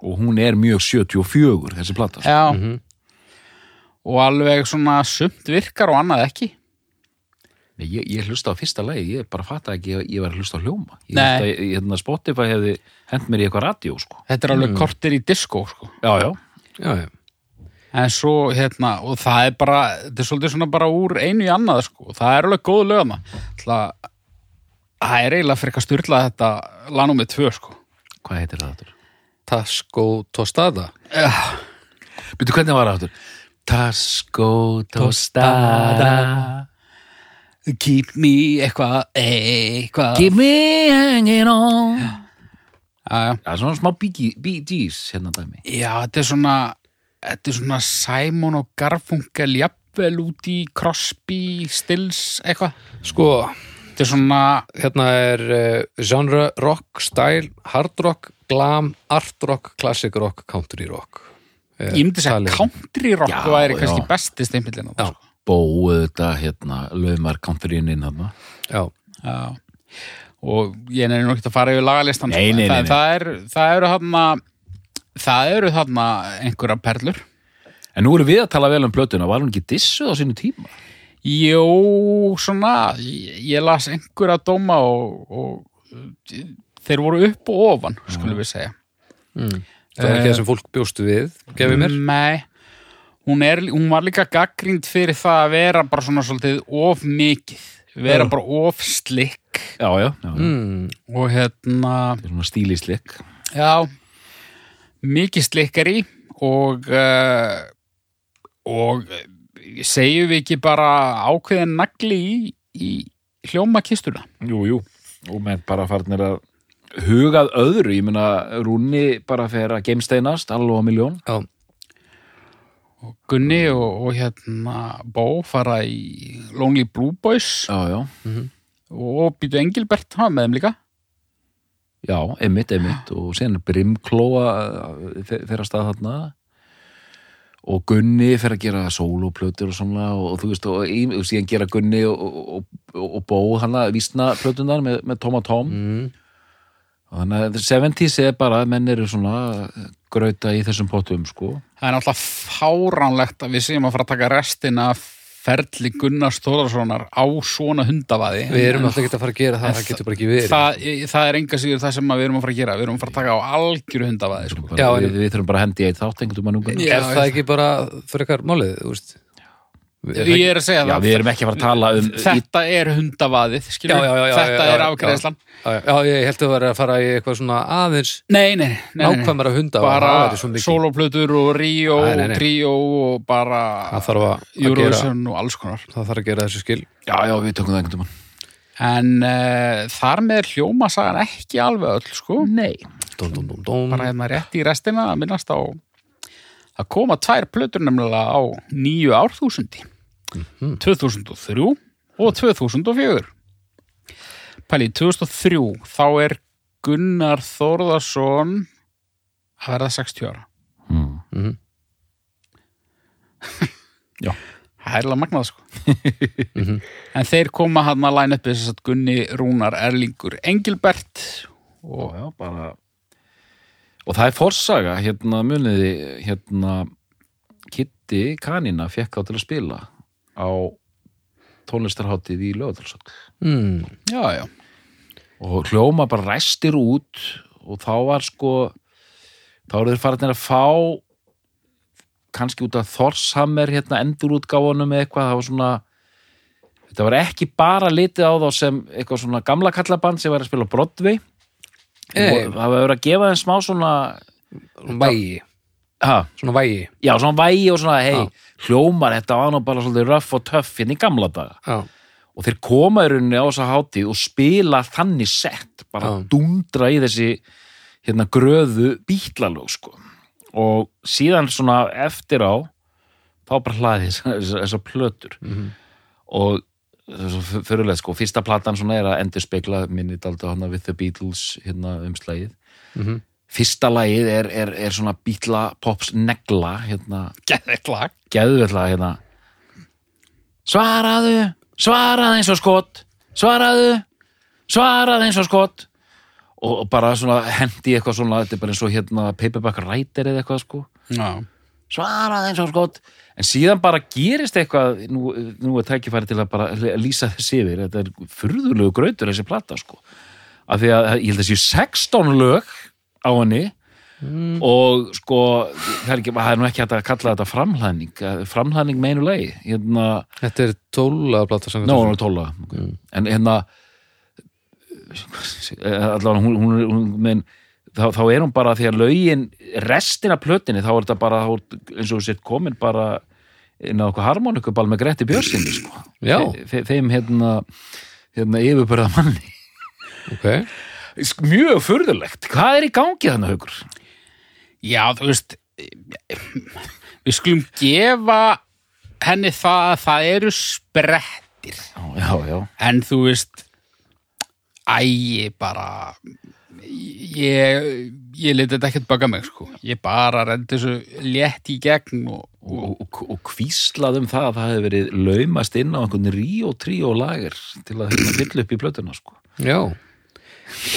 Speaker 2: og hún er mjög 74 þessi plata sko.
Speaker 3: Já Og alveg svona sumt virkar og annað ekki
Speaker 2: Nei, ég, ég hlusta á fyrsta lagi, ég bara fatta ekki að ég var að hlusta á hljóma ég,
Speaker 3: Nei.
Speaker 2: held að ég, hérna, Spotify hefði hent mér í eitthvað radio sko.
Speaker 3: Þetta er alveg kortir í diskó sko.
Speaker 2: já, já,
Speaker 1: já, já.
Speaker 3: En svo, hérna, og það er bara, þetta er svolítið svona bara úr einu í annað, sko. Það er alveg góð lögna. Það, það er eiginlega fyrir eitthvað styrlað þetta lanum með tvö, sko.
Speaker 2: hvað heitir það aftur?
Speaker 1: Tasco Tostada
Speaker 2: Býttu, hvernig var það aftur? Tasco Tostada
Speaker 3: Keep me eitthvað, eitthvað.
Speaker 2: Give me hanging on
Speaker 3: Já, já.
Speaker 2: Það er svona smá Bee Bee Gees hérna dæmi
Speaker 3: já, þetta er svona, þetta er svona Simon og Garfunkel jafnvel út í Crosby, Stills, eitthvað.
Speaker 1: sko,
Speaker 3: Þetta er svona,
Speaker 1: hérna er uh, genre rock, style, hard rock glam, art rock, classic rock country rock Eh,
Speaker 3: ég myndi segja
Speaker 1: talið.
Speaker 3: country rock
Speaker 2: Já,
Speaker 3: væri
Speaker 2: já.
Speaker 3: kannski besti steimpillin á það,
Speaker 1: Já.
Speaker 3: sko.
Speaker 2: Bóðu þetta hérna laumar kanturinn hérna
Speaker 1: já,
Speaker 3: Já. og ég nefnir nú ekkert að fara yfir lagalistan
Speaker 2: Nei,
Speaker 3: sko,
Speaker 2: nei, nei,
Speaker 3: en
Speaker 2: nei.
Speaker 3: Það, það, er, það eru þarna það eru þarna einhverja perlur
Speaker 2: En nú erum við að tala vel um plötuna, var hún ekki dissuð á sínu tíma?
Speaker 3: Jó, svona ég, ég las einhverja dóma og, og þeir voru upp og ofan, skulum við segja
Speaker 1: það var ekki það sem fólk bjóstu við gefið
Speaker 3: Mm.
Speaker 1: mér,
Speaker 3: Nei hún, er, hún var líka gaggrind fyrir það að vera bara svona svolítið of mikið vera bara of slikk
Speaker 2: Já, já, já, já.
Speaker 3: og hérna
Speaker 2: þetta er svona stílisleik.
Speaker 3: Já, mikið slikkar í og uh, og eh, segjum við ekki bara ákveðin nagli í, í hljóma kistuna
Speaker 2: Jú, jú, og menn bara farnir að hugað öðru, ég meina Rúni bara fer að geimsteinast alveg á miljón.
Speaker 1: já,
Speaker 3: Gunni og, og hérna Bó fara í Lonely Blue Boys
Speaker 2: Já, já,
Speaker 3: og býtu Engilbert hafa með þeim líka
Speaker 2: já, emitt, emitt og síðan er Brimklóa uh, þe- þeirra stað þarna og Gunni fer að gera sóloplötur og svona og, og þú veist, og, í- og síðan gera Gunni og, og, og, og Bó hana vísna plötunar með, með Tom og Tom
Speaker 1: Mm.
Speaker 2: Þannig að 70s er bara að menn eru svona grauta í þessum pottum sko.
Speaker 3: Það er náttúrulega fáránlegt að við séum að fara að taka restina af ferli Gunnars Þóðarssonar á svona hundavaði.
Speaker 1: Við erum alltaf ekki að fara að gera það, það getur bara ekki verið.
Speaker 3: það, það er enga síður það sem að við erum að fara að gera. Við erum að fara að taka á algjöru hundavaði, sko.
Speaker 2: Bara,
Speaker 1: Já, en-
Speaker 2: við, við þurfum bara að hendi eitt þátt einhvern mann ungar.
Speaker 3: Já,
Speaker 1: er það ekki bara fyrir eitthvað málið, þú veist? Er það
Speaker 3: Ég er að segja
Speaker 2: Já,
Speaker 3: það.
Speaker 2: við erum ekki að fara að tala um
Speaker 3: Þetta er hundavaðið,
Speaker 1: Já,
Speaker 3: skilur.
Speaker 1: já, já, já,
Speaker 3: Þetta
Speaker 1: já,
Speaker 3: er
Speaker 1: já,
Speaker 3: afgreðslan.
Speaker 1: Já, já, já, ég held að vera að fara í eitthvað svona aðeins
Speaker 3: Nei, nei, nei, nei. nei.
Speaker 1: nákvæmara hunda
Speaker 3: Bara
Speaker 1: það væri svo mikið.
Speaker 3: soloplötur og Rio
Speaker 1: Nei, nei, nei.
Speaker 3: og Trio og bara
Speaker 1: það þarf að, að gera,
Speaker 3: Eurovision og alls konar.
Speaker 1: það þarf að gera þessu skil
Speaker 2: Já, já, við tökum það einhvern mann.
Speaker 3: En uh, þar með er hljómasagan ekki alveg öll, sko. Nei.
Speaker 1: dum, dum, dum, dum.
Speaker 3: bara hérna rétt í restina að minnast á að koma tvær plötur nefnilega á nýju árþúsundi Mhm. 2003 og 2004 Pæli, 2003 þá er Gunnar Þórðarsson að verða 60 ára
Speaker 2: Mm.
Speaker 3: Það er alveg magnað *laughs* sko En þeir koma hann að læna upp þess að Gunni Rúnar Erlingur Engilbert
Speaker 2: og, já, bara... og það er forsaga hérna muniði hérna Kitty Kanina fekk á til að spila á tónlistarháttið í Lögadalsöld
Speaker 1: mm.
Speaker 3: Já, já,
Speaker 2: og hljóma bara ræstir út og þá var sko þá eru þeir farinir að fá kannski út af Thorshammer hérna endurútgáfunum eða eitthvað það var svona þetta var ekki bara litið á þá sem eitthvað svona gamla kallaband sem var að spila á Broadway
Speaker 1: Nei.
Speaker 2: og það var verið að gefa þeim smá svona
Speaker 1: vægi,
Speaker 2: ha,
Speaker 1: svona vægi
Speaker 2: já svona vægi og svona hei,
Speaker 1: Já.
Speaker 2: hljómar þetta var nú bara svolítið röff og töff hérna í gamla daga
Speaker 1: já,
Speaker 2: og þeir koma í rauninni á þessa hátíð og spila þannig sett bara
Speaker 1: Já.
Speaker 2: dundra í þessi hérna gröðu bítlalög sko. og síðan svona eftir á þá bara hlaði þessar þessa þessar plötur
Speaker 1: Mhm.
Speaker 2: og fyrirlega sko, fyrsta platan svona er að endur spekla minni daldi hana við The Beatles hérna umslægið
Speaker 1: Mhm.
Speaker 2: fyrsta lagið er, er, er svona bítla pops negla hérna
Speaker 3: geðið klag
Speaker 2: geðvella hérna svaraðu, svaraðu eins og skot svaraðu svaraðu eins og skot og og bara svona hendi eitthvað svona þetta er bara eins og hérna paperback writer eða eitthvað sko
Speaker 3: Já,
Speaker 2: svaraðu eins og skot en síðan bara gerist eitthvað nú, nú er tækifæri til að bara l- lýsa þessi yfir þetta er furðulegu grautur þessi plata sko af því að ég held að séu 16 lög á henni og sko það er, ekki, það er nú ekki hægt að kalla þetta framhlaðning eh, framhlaðning meinu lagi hérna,
Speaker 1: þetta er tóla blata
Speaker 2: ná hún er 12 okay. en hérna eh, allavega hún, hún, hún menn Þá, þá er hún bara því að lögin restina plötinni, þá er þetta bara þá, er- eins og þú sett komin bara inn á okkur harmonikuball með Gretti Björnsinni sko.
Speaker 1: Já.
Speaker 2: Þe- þe- þeim hérna hérna yfirbörða manni
Speaker 1: ok,
Speaker 2: mjög furðulegt, hvað er í gangi þannig haukur?
Speaker 3: Já, þú veist við skulum gefa henni það að það eru sprettir
Speaker 2: Já, já, já,
Speaker 3: en þú veist ægi bara ég ég leti þetta ekkert baka mig sko ég bara rendi þessu létt í gegn og, og
Speaker 2: og, og, og kvíslað um það að það hefði verið laumast inn á einhvern Rio Trio lager til að hérna fylla upp í plötuna sko.
Speaker 1: já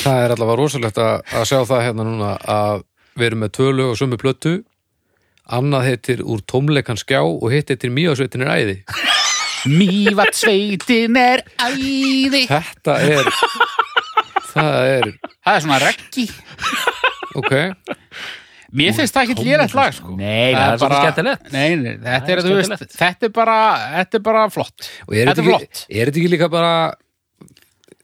Speaker 1: það er allavega rosalegt að, að sjá það hérna núna að við erum með tölu og sömu plötu annað heitir úr tómleikan skjá og hitt heitir mýjásveitin er æði
Speaker 3: mývat sveitin er æði
Speaker 1: þetta er
Speaker 3: *laughs*
Speaker 1: það er,
Speaker 3: það er svona reggi
Speaker 1: *laughs* ok
Speaker 3: mér finnst það ekkert lélegt lag sko
Speaker 2: Nei, það er svolítið skemmtilegt.
Speaker 3: nei, nei, þetta,
Speaker 2: Það
Speaker 3: er,
Speaker 2: er
Speaker 3: þú veist,
Speaker 2: skemmtilegt.
Speaker 3: þetta, er bara, þetta er bara flott
Speaker 1: og er
Speaker 3: Þetta
Speaker 1: þetta
Speaker 3: er
Speaker 1: ekki,
Speaker 3: flott.
Speaker 1: er þetta ekki líka bara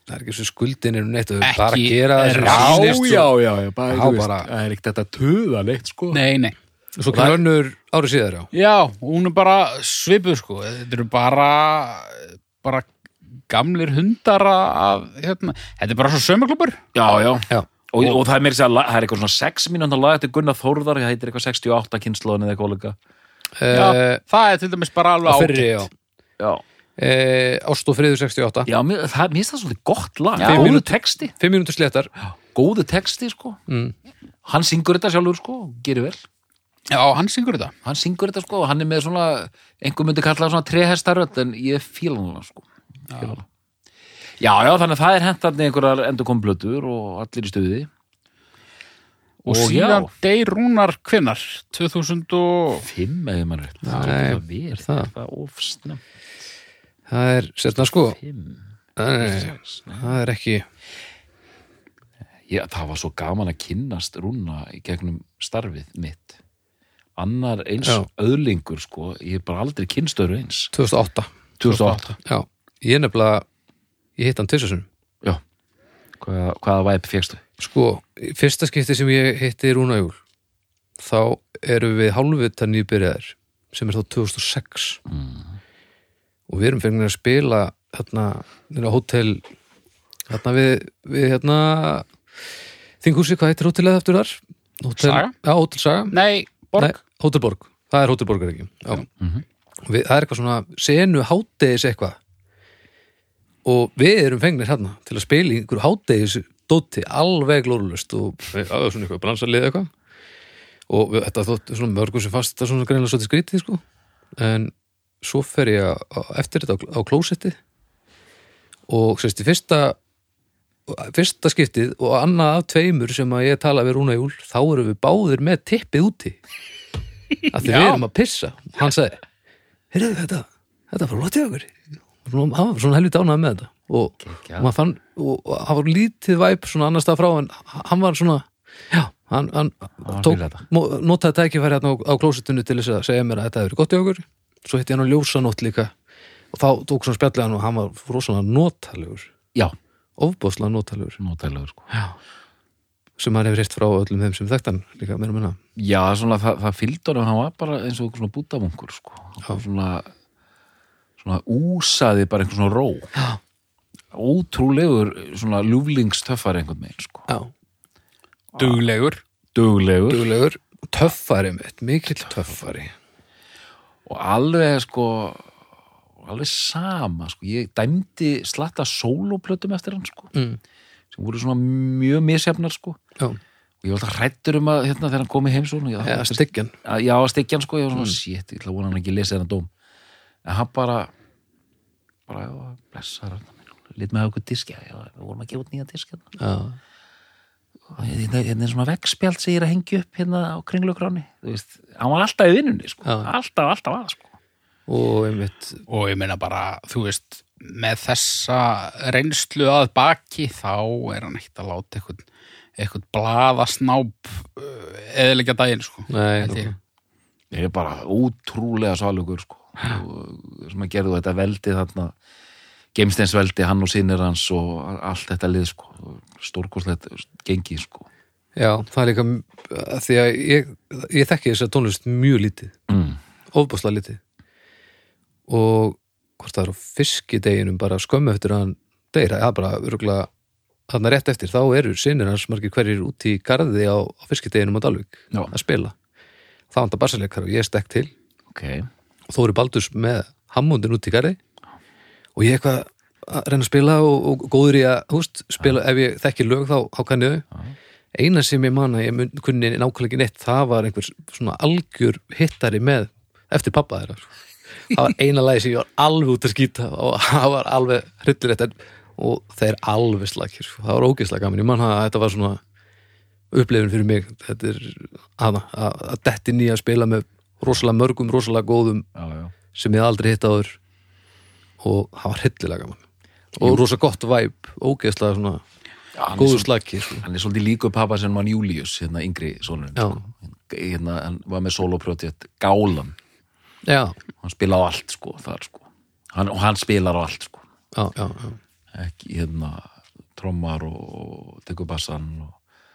Speaker 1: það er ekki svo skuldin er um neitt að við bara
Speaker 3: Ekki
Speaker 1: gera það sem
Speaker 3: ráð.
Speaker 1: sýnist sko. og-
Speaker 2: já, já, bara,
Speaker 1: Já,
Speaker 2: þú veist,
Speaker 1: bara-
Speaker 2: það sko. er ekkert þetta töða neitt sko.
Speaker 3: nei, nei
Speaker 1: og svo kemur önnur árið síðar á
Speaker 3: Já, hún er bara svipuð sko Þetta eru bara bara gamlir hundar af, hérna, þetta er bara svo sömaklubur
Speaker 2: Já, já,
Speaker 1: já,
Speaker 2: Og, og það er mér að la- það er eitthvað svona 6 mínúnda lag eftir Gunnar Þórðar, það heitir eitthvað 68 kynnslóðin eða eitthvað líka.
Speaker 1: uh,
Speaker 3: Eh, það er til dæmis bara alveg
Speaker 1: fyrri já
Speaker 2: Já,
Speaker 1: uh, Ást og friður 68
Speaker 2: já mér, það, mér finnst það svolítið gott lag,
Speaker 3: Já.
Speaker 2: góðu
Speaker 1: Mínútur-
Speaker 2: texti,
Speaker 1: 5 mínútur sléttar
Speaker 2: góðu texti sko.
Speaker 1: Mm.
Speaker 2: Hann syngur þetta sjálfur sko, og gerir vel.
Speaker 3: Já, hann syngur þetta
Speaker 2: hann syngur þetta sko og hann er með svona einhver myndi kalla það svona trehestaröld en ég fíla hann sko já. já, já, þannig að það er hentarni einhverjar endur komblötur og allir í stuði
Speaker 3: og
Speaker 2: Og
Speaker 3: síðan
Speaker 2: já.
Speaker 3: deyr Rúnar kvinnar 2000 og
Speaker 2: Fimm eða mann rétt. Það
Speaker 1: Nei,
Speaker 2: er verið,
Speaker 1: er það?
Speaker 2: það er það ofsnum.
Speaker 1: það er, sérna sko
Speaker 2: Fimm.
Speaker 1: það er, það er ekki
Speaker 2: Já, það var svo gaman að kynnast rúna í gegnum starfið mitt. Annar eins
Speaker 1: Já.
Speaker 2: öðlingur, sko, ég er bara aldrei kynnstöru eins.
Speaker 1: 2008,
Speaker 2: 2008.
Speaker 1: já ég nefnilega, ég hitt hann tilsessum
Speaker 2: Já. Hvaða, hvaða væp fegstu?
Speaker 1: sko, í fyrsta skipti sem ég hitti Rúna Júl þá erum við hálfvita nýbyrjaðir sem er þá 2006 og við erum fengnir að spila þarna, þarna hótel þarna við, við hérna þinghúsi, hvað heitir hótelið eftir þar? Hótel,
Speaker 3: Saga?
Speaker 1: Já, Hótel Saga
Speaker 3: nei, Borg
Speaker 1: Nei, Hótelborg, það er Hótelborgar ekki Já. við, Það er eitthvað svona senu háttegis eitthvað og við erum fengnir hérna til að spila í einhverju háttegis dóti alveg glórulust og já, það var svona eitthvað bransarlið eitthvað og við, þetta þótt svona mörgum sem fast þetta svona greinlega svolítið skrítið sko en svo fer ég á, á- eftir þetta á, á klósettið og sérst í fyrsta fyrsta skiptið og annað af tveimur sem að ég tala við Rúna Júl þá erum við báðir með tippið úti að því við
Speaker 3: Já.
Speaker 1: erum að pissa og hann sagði, heyrðu þetta þetta var lotið okkur Nú, hann var svona helviti ánægð með þetta og, og, maður fann, og, og hann var lítið væp svona annars það frá en hann var svona já, hann, hann,
Speaker 2: var að
Speaker 1: tók,
Speaker 2: skilja þetta.
Speaker 1: mó- notaði tækifæri hérna á, á klósitinu til þess að segja mér að þetta hefur verið gott í okkur svo hitti ég hann á ljósanótt líka og þá tók svona spjallið hann og hann var rosalega notalegur
Speaker 2: Já,
Speaker 1: ofbóðslega notalegur
Speaker 2: notælega, sko.
Speaker 1: já. sem hann hefur hitt frá öllum þeim sem þekkt hann líka meira og minna
Speaker 2: Já, svona, það, það fylgdi honum, hann var bara eins og einhver svona bútamungur, sko.
Speaker 1: Já.
Speaker 2: Svona, svona úsaði bara einhver svona ró.
Speaker 1: já,
Speaker 2: Ótrúlegur, svona ljúflingstöffar einhvern veginn, sko.
Speaker 1: já.
Speaker 3: duglegur
Speaker 2: Duglegur.
Speaker 1: duglegur, töffari mitt mikill töffari
Speaker 2: og alveg sko alveg sama sko. ég dæmdi slatta sóloplötum eftir hann sko.
Speaker 1: mm.
Speaker 2: sem voru svona mjög misjafnar sko.
Speaker 1: já,
Speaker 2: og ég var alltaf hrættur um að hérna þegar hann kom í heimsókn og ég,
Speaker 1: ja, styggjan
Speaker 2: að- já, að styggja hann sko, ég var svona mm. shit, ég ætla að vona hann ekki lesi þennan dóm en hann bara bara, já, blessar hann lit með okkur diskja, já, við vorum að gefa út hérna. nýja diskja
Speaker 1: já,
Speaker 2: og hérna hérna er svona veggspjald sem ég er að hengja upp hérna á kringlugráni, þú veist hann var alltaf í vinnunni, sko,
Speaker 1: Já.
Speaker 2: alltaf, alltaf að, sko.
Speaker 1: og einmitt
Speaker 3: og ég meina bara, þú veist með þessa reynslu að baki þá er hann ekkert að láta eitthvað, eitthvað blaðasnáp eðilega daginn sko.
Speaker 1: nei,
Speaker 3: Held ég.
Speaker 2: Ég er bara ótrúlega salugur sko. og eh, sem að gerðu þetta veldi þarna geimsteins veldi, hann og sinir hans og allt þetta lið sko. stórkoslegt gengi sko.
Speaker 1: já, það er líka að því að ég, ég þekki þess að tónlist mjög lítið
Speaker 2: mm.
Speaker 1: ofbúslega lítið og hvort það er á fiskideginum bara skömmu eftir að hann deyr það er bara örgulega þarna rétt eftir þá eru sinir hans margir hverjir út í garði á, á fiskideginum á Dalvík
Speaker 2: Já.
Speaker 1: að spila þá hann það barsaleikar og ég stekk til
Speaker 2: ok,
Speaker 1: og þó eru Baldurs með hammundin út í garði og ég eitthvað að reyna að spila og, og góður í að húst, spila ef ég þekki lög þá, þá kann ég þau eina sem ég man að ég mun, kunni nákvæmlega ekki neitt það var einhver svona algjör hittari með eftir pappa þeirra sko. það var eina lagi sem ég var alveg út að skýta og það var alveg hryllir þetta og þeir alveg slakir sko. það var ógeðslega gaman, ég man að þetta var svona upplifin fyrir mig þetta er hana, að, að detti nýja að spila með rosalega mörgum, rosalega góðum
Speaker 2: já, já
Speaker 1: sem ég hafði aldrei hitt áður og það var hryllilega gaman og rosa gott væp, ógeðslega svona
Speaker 2: Já, hann, er
Speaker 1: góðu
Speaker 2: svolítið,
Speaker 1: slagki sko.
Speaker 2: hann er svolítið líku pappa sem mann Július, hérna yngri sonurinn
Speaker 1: Já.
Speaker 2: sko. hérna, hann var með soloprojekt Gálan,
Speaker 1: já,
Speaker 2: hann spila á allt sko, þar, sko. Hann, og hann spilar á allt sko.
Speaker 1: já, já, já,
Speaker 2: ekki hérna trommar og, og tekur bassan og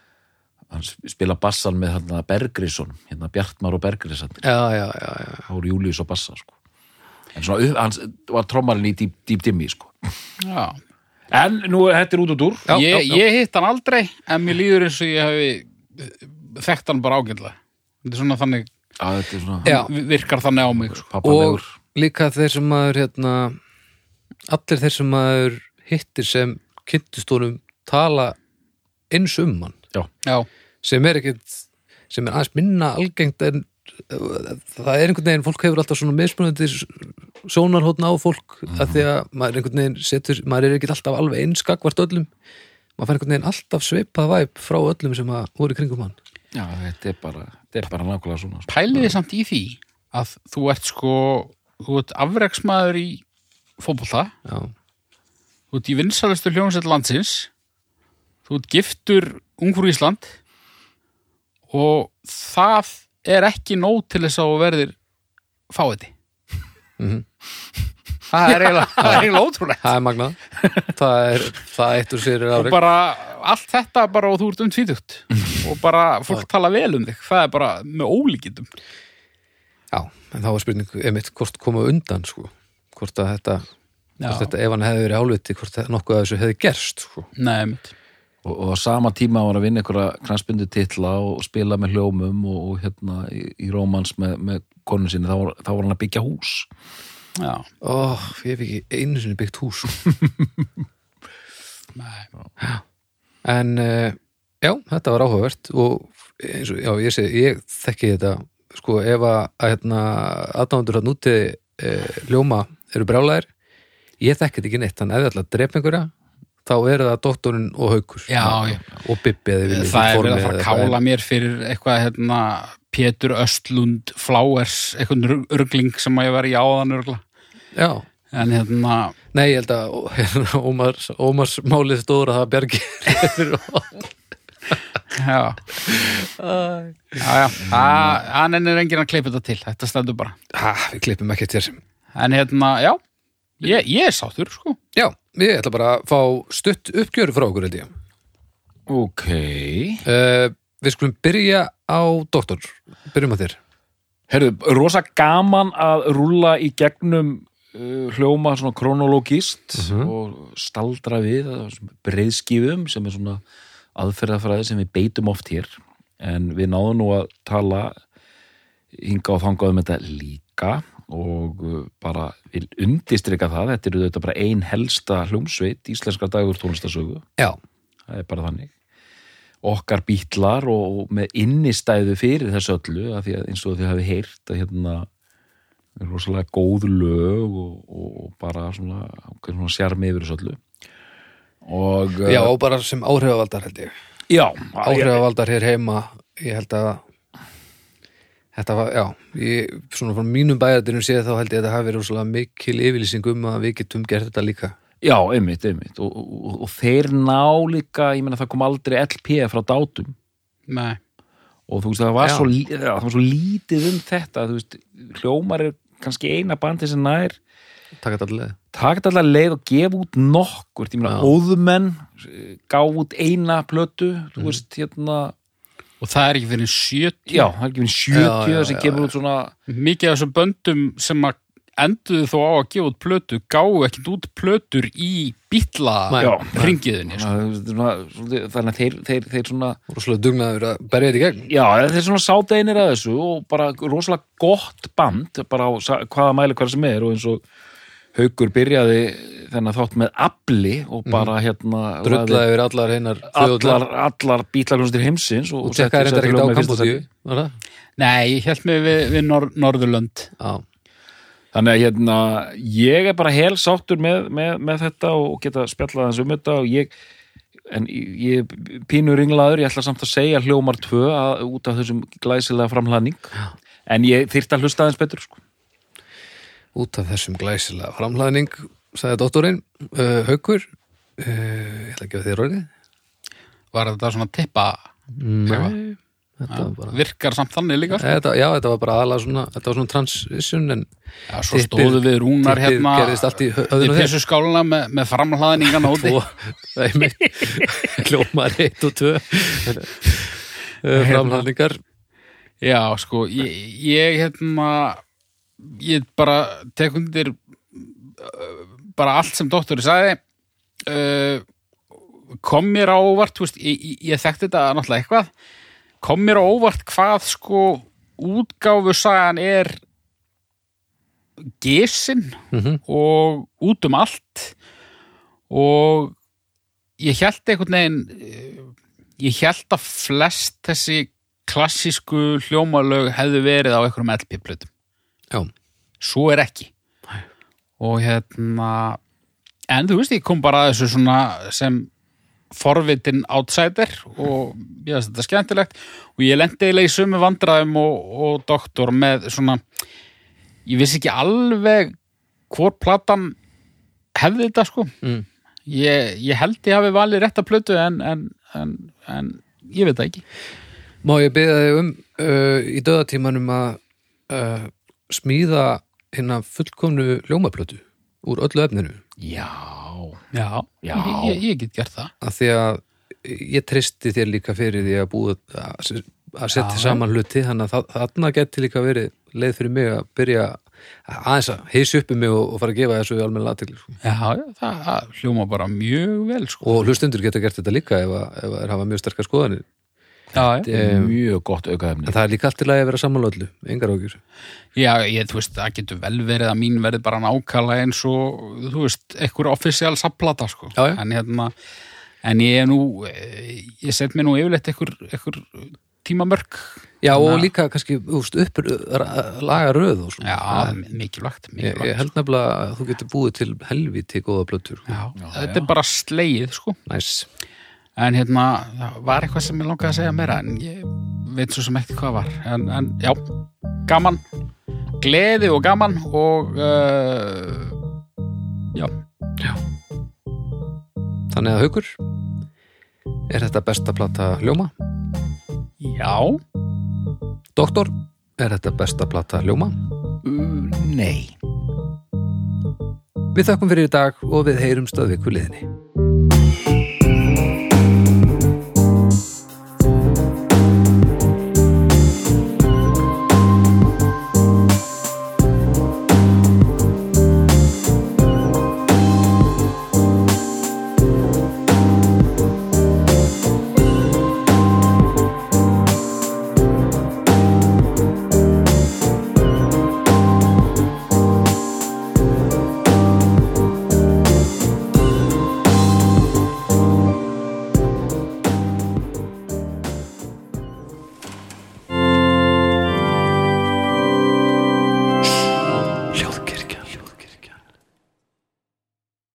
Speaker 2: hann spila bassan með hérna Bergrisson, hérna Bjartmar og Bergrisson,
Speaker 1: já, já, já, já.
Speaker 2: þá eru Július og bassa sko. en svona, upp- hann var trommarinn í dýp, dýp dimmi sko.
Speaker 3: Já.
Speaker 2: en nú, er- þetta er út og dúr
Speaker 1: Já,
Speaker 3: ég,
Speaker 1: já, já.
Speaker 3: ég hitt hann aldrei en mér líður eins og ég hafi eh, þekkt hann bara ágætlega þetta er svona þannig,
Speaker 2: að þetta er svona
Speaker 1: Já.
Speaker 3: virkar þannig á mig sko.
Speaker 1: og
Speaker 2: pappalegur
Speaker 1: líka þeir sem maður hérna, allir þeir sem maður hittir sem kynntustónum tala eins um hann
Speaker 3: já,
Speaker 1: sem er ekkit sem er aðeins minna algengt en uh, það er einhvern veginn, fólk hefur alltaf svona mismunandi s- sjónarhóttn á fólk mm að því að maður einhvern veginn setur maður er ekkit alltaf alveg einskakvart öllum maður fær einhvern veginn alltaf svipað væp frá öllum sem að voru í kringum hann
Speaker 2: Já, þetta er bara, þetta er bara nákvæmlega svona. sko.
Speaker 3: pæliði samt í því að þú ert sko þú ert afreksmaður í fótbolta
Speaker 1: já,
Speaker 3: þú ert í vinsalistu hljómsveit landsins þú ert giftur ungur Ísland og það er ekki nóg til þess að þú verðir fáiði
Speaker 1: Mhm.
Speaker 3: það er
Speaker 1: *laughs*
Speaker 3: eiginlega, það er eiginlega ótrúlegt
Speaker 1: það er magnað *laughs* það er, það eitt úr sér er
Speaker 3: og
Speaker 1: afreg
Speaker 3: bara allt þetta bara og þú ert um tvítugt og bara fólk tala vel um þig það er bara með ólíkindum
Speaker 1: já, en þá var spurning einmitt hvort koma undan sko, hvort að þetta, hvort þetta ef hann hefði verið álviti, hvort að nokkuð af þessu hefði gerst sko.
Speaker 3: Nei, einmitt.
Speaker 2: Og, og á sama tíma var að vinna einhverja kransbyndu titla og spila með hljómum og, og hérna í, í rómans með, með konu sinni, þá var, þá var hann að byggja hús.
Speaker 3: já,
Speaker 1: ó, ég hef ekki einu sinni byggt hús sko.
Speaker 3: nei.
Speaker 1: en uh, já, þetta var áhugavert og eins og, já, ég segi, ég þekki þetta sko, ef að, að hérna, aðdándur hann úti uh, ljóma eru brjálæðir ég þekki þetta ekki neitt, þannig að ef þið ætla að drepa einhverja þá eru það doktorinn og haukur
Speaker 3: Já, já.
Speaker 1: og bibbi eða vilja
Speaker 3: það er verið að fara að kála mér fyrir eitthvað hérna Pétur Östlund Flowers, eitthvað rugg- ruggling sem að ég var í áðan örgla
Speaker 1: já,
Speaker 3: en hérna,
Speaker 1: nei, ég held að ó, hérna, Ómars, Ómars málið stóður að það bjargir *laughs*
Speaker 3: já já, já, það- hann ennir enginn að kleipa þetta til, þetta stendur bara
Speaker 1: ha, við klippum ekki til
Speaker 3: en hérna, já, ég, ég er sáttur sko,
Speaker 1: já, ég ætla bara að fá stutt uppgjöru frá okkur held ég
Speaker 2: Ok.
Speaker 1: Uh, við skulum byrja á doktor, byrjum á þér
Speaker 2: Herðu, rosa gaman að rúlla í gegnum uh, hljóma svona kronologist og staldra við að þessum breiðskífum sem er svona aðferðafræði sem við beitum oft hér en við náðum nú að tala hinga og þangað um þetta líka og uh, bara vil undistrika það, þetta eru þetta bara ein helsta hljómsveit íslenskar dagur tónlistasögu
Speaker 1: já,
Speaker 2: það er bara þannig okkar bítlar og og með innistæðu fyrir þessu öllu af því að eins og þið hafi heyrt að hérna er rosalega góð lög og, og, og bara svona, ákveðin svona sjarmi yfir þessu öllu og
Speaker 1: já og bara sem áhrifavaldar held ég
Speaker 2: Eh. já,
Speaker 1: áhrifavaldar hér heima ég held að þetta var, já ég, svona frá mínum bæjardirum séð þá held ég að þetta hafi verið svona mikil yfirlýsing um að við getum gert þetta líka
Speaker 2: já, einmitt, einmitt og, og, og, og þeir ná líka, ég meina það kom aldrei LP frá dátum
Speaker 3: nei,
Speaker 2: og þú veist það var,
Speaker 1: Já.
Speaker 2: svo, lí- það var svo lítið um þetta þú veist, hljómar er kannski eina bandi sem nær
Speaker 1: takk að allir
Speaker 2: taka þetta allar leið og gefa út nokkur ég meina
Speaker 1: Já.
Speaker 2: óðumenn eh, gaf út eina plötu
Speaker 1: Mhm.
Speaker 2: þú veist hérna
Speaker 3: og það er ekki fyrir 70
Speaker 2: já, það er ekki finn
Speaker 1: Já,
Speaker 2: 70
Speaker 1: já,
Speaker 2: sem
Speaker 1: já,
Speaker 2: kemur út svona
Speaker 3: mikið af þessum böndum sem að enduðu þó á að gefa út plötu gáu ekkert út plötur í bítla
Speaker 1: Nei.
Speaker 2: já,
Speaker 3: ringiðinni sko.
Speaker 2: svona, svona, svona, þannig að þeir, þeir, þeir svona
Speaker 1: og svona dugnaður að berja þetta í gegn
Speaker 2: já, þeir svona sáteinir að þessu og bara rosalega gott band bara á sa- hvaða mæli hver sem er og eins og Haukur byrjaði þennan þátt með afli og bara hérna lagði
Speaker 1: Mhm. drullaði yfir allar hinnar
Speaker 2: allar,
Speaker 1: þjóðlar
Speaker 2: allar bítlarjónstir heimsins og,
Speaker 1: og tjekkaði
Speaker 2: setti-
Speaker 1: þetta
Speaker 2: setti
Speaker 1: ekkert á
Speaker 2: lög með fyrsta
Speaker 1: Kambodíu
Speaker 2: sæti.
Speaker 1: var það?
Speaker 3: nei, ég held mig við, við Nor Norðurlönd
Speaker 1: já,
Speaker 2: Þannig að hérna, ég er bara hel sáttur með, með, með þetta og geta spjallað hans um þetta og ég, en ég er pínur ringlaður, ég ætla samt að segja hljómar tvö að, út af þessum glæsilega framhlaðning, en ég þyrfti að hlusta aðeins betur, sko.
Speaker 1: út af þessum glæsilega framhlaðning sagði doktorinn, uh, haukur uh, ég ætla að gefa þér orðið
Speaker 3: var þetta svona tippa
Speaker 1: Nei, þetta var bara
Speaker 3: virkar samt þannig líka sko.
Speaker 1: þetta, Já, þetta var bara aðalega svona þetta var svona transition en
Speaker 3: já, svo
Speaker 1: Tippið-
Speaker 3: stóðu við rúnar
Speaker 1: tippið
Speaker 3: hérna
Speaker 1: gerðist allt í hö-
Speaker 3: í
Speaker 1: höfðinu á þér
Speaker 3: pissu skáluna með, með framhlaðningan úti
Speaker 1: og einmitt, hljómar 1 og Eh, 2 framhaldningar
Speaker 3: já sko ég, ég hérna ég bara tek undir ö, bara allt sem doktori sagði uh, kom mér á óvart þú veist, ég, ég- ég þekkti þetta náttúrulega eitthvað kom mér á óvart hvað sko útgáfu sagan er gesin
Speaker 1: Mhm.
Speaker 3: og út um allt og ég held einhvern veginn eh, ég held að flest þessi klassísku hljómalög hefðu verið á einhverjum LP-plötum
Speaker 1: Já,
Speaker 3: svo er ekki og hérna en þú veist ég kom bara að þessu svona sem forvitin outsider og ég veist þetta er skemmtilegt og ég lendi eiginlega í sömu vandræðum og, og doktor með svona ég vissi ekki alveg hvort platan hefði þetta sko
Speaker 1: Mm.
Speaker 3: ég, ég held ég hafi valið rétt að plötu en, en, en, en ég veit það ekki
Speaker 1: Má ég byrja þig um uh, í döðatímanum að uh, smíða hérna fullkomnu ljómaplötu úr öllu efninu
Speaker 2: Já,
Speaker 3: Já,
Speaker 2: Já.
Speaker 3: Ég, ég, ég get gert það
Speaker 1: að því að ég tristi þér líka fyrir því að búa að, að setja
Speaker 3: Já.
Speaker 1: saman hluti þannig að þa- þarna geti líka verið leið fyrir mig að byrja að- aðeins að heysi uppi mig og, og fara að gefa þessu almenn latikli sko.
Speaker 3: Já, já, það, það hljóma bara mjög vel sko.
Speaker 1: og hlustundur geta gert þetta líka ef, að, ef að þeir hafa mjög sterkar skoðanir
Speaker 3: já, já.
Speaker 1: Eh,
Speaker 2: mjög gott aukaðefni
Speaker 1: en það er líka allt í lagi að vera samanlega öllu, engar ákjur
Speaker 3: já, ég, þú veist, það getur vel verið að mín verði bara nákala eins og þú veist, ekkur offisíal sapplata sko.
Speaker 1: Já, já.
Speaker 3: en hérna en ég er nú, eh, ég set mér nú yfirleitt ekkur, ekkur tímamörk
Speaker 1: Já og
Speaker 3: Þannig að-
Speaker 1: líka kannski úst, upp laga röð og svona
Speaker 3: já, það er mikilvægt,
Speaker 1: Ég,
Speaker 3: mikilvægt
Speaker 1: ég held nefnilega að þú getur búið til helviti góða blöttur.
Speaker 3: já,
Speaker 2: Já,
Speaker 3: þetta
Speaker 2: já.
Speaker 3: er bara slegið sko.
Speaker 1: Næs.
Speaker 3: en hérna, það var eitthvað sem ég langaði að segja meira en ég veit svo sem ekkert hvað var en, en já, gaman gleði og gaman og uh, já,
Speaker 1: Þannig að haukur, er þetta besta plata hljóma?
Speaker 3: já
Speaker 1: Doktor, er þetta besta plata hljóma?
Speaker 2: Nei
Speaker 1: Við þakkum fyrir í dag og við heyrumst að viku liðinni.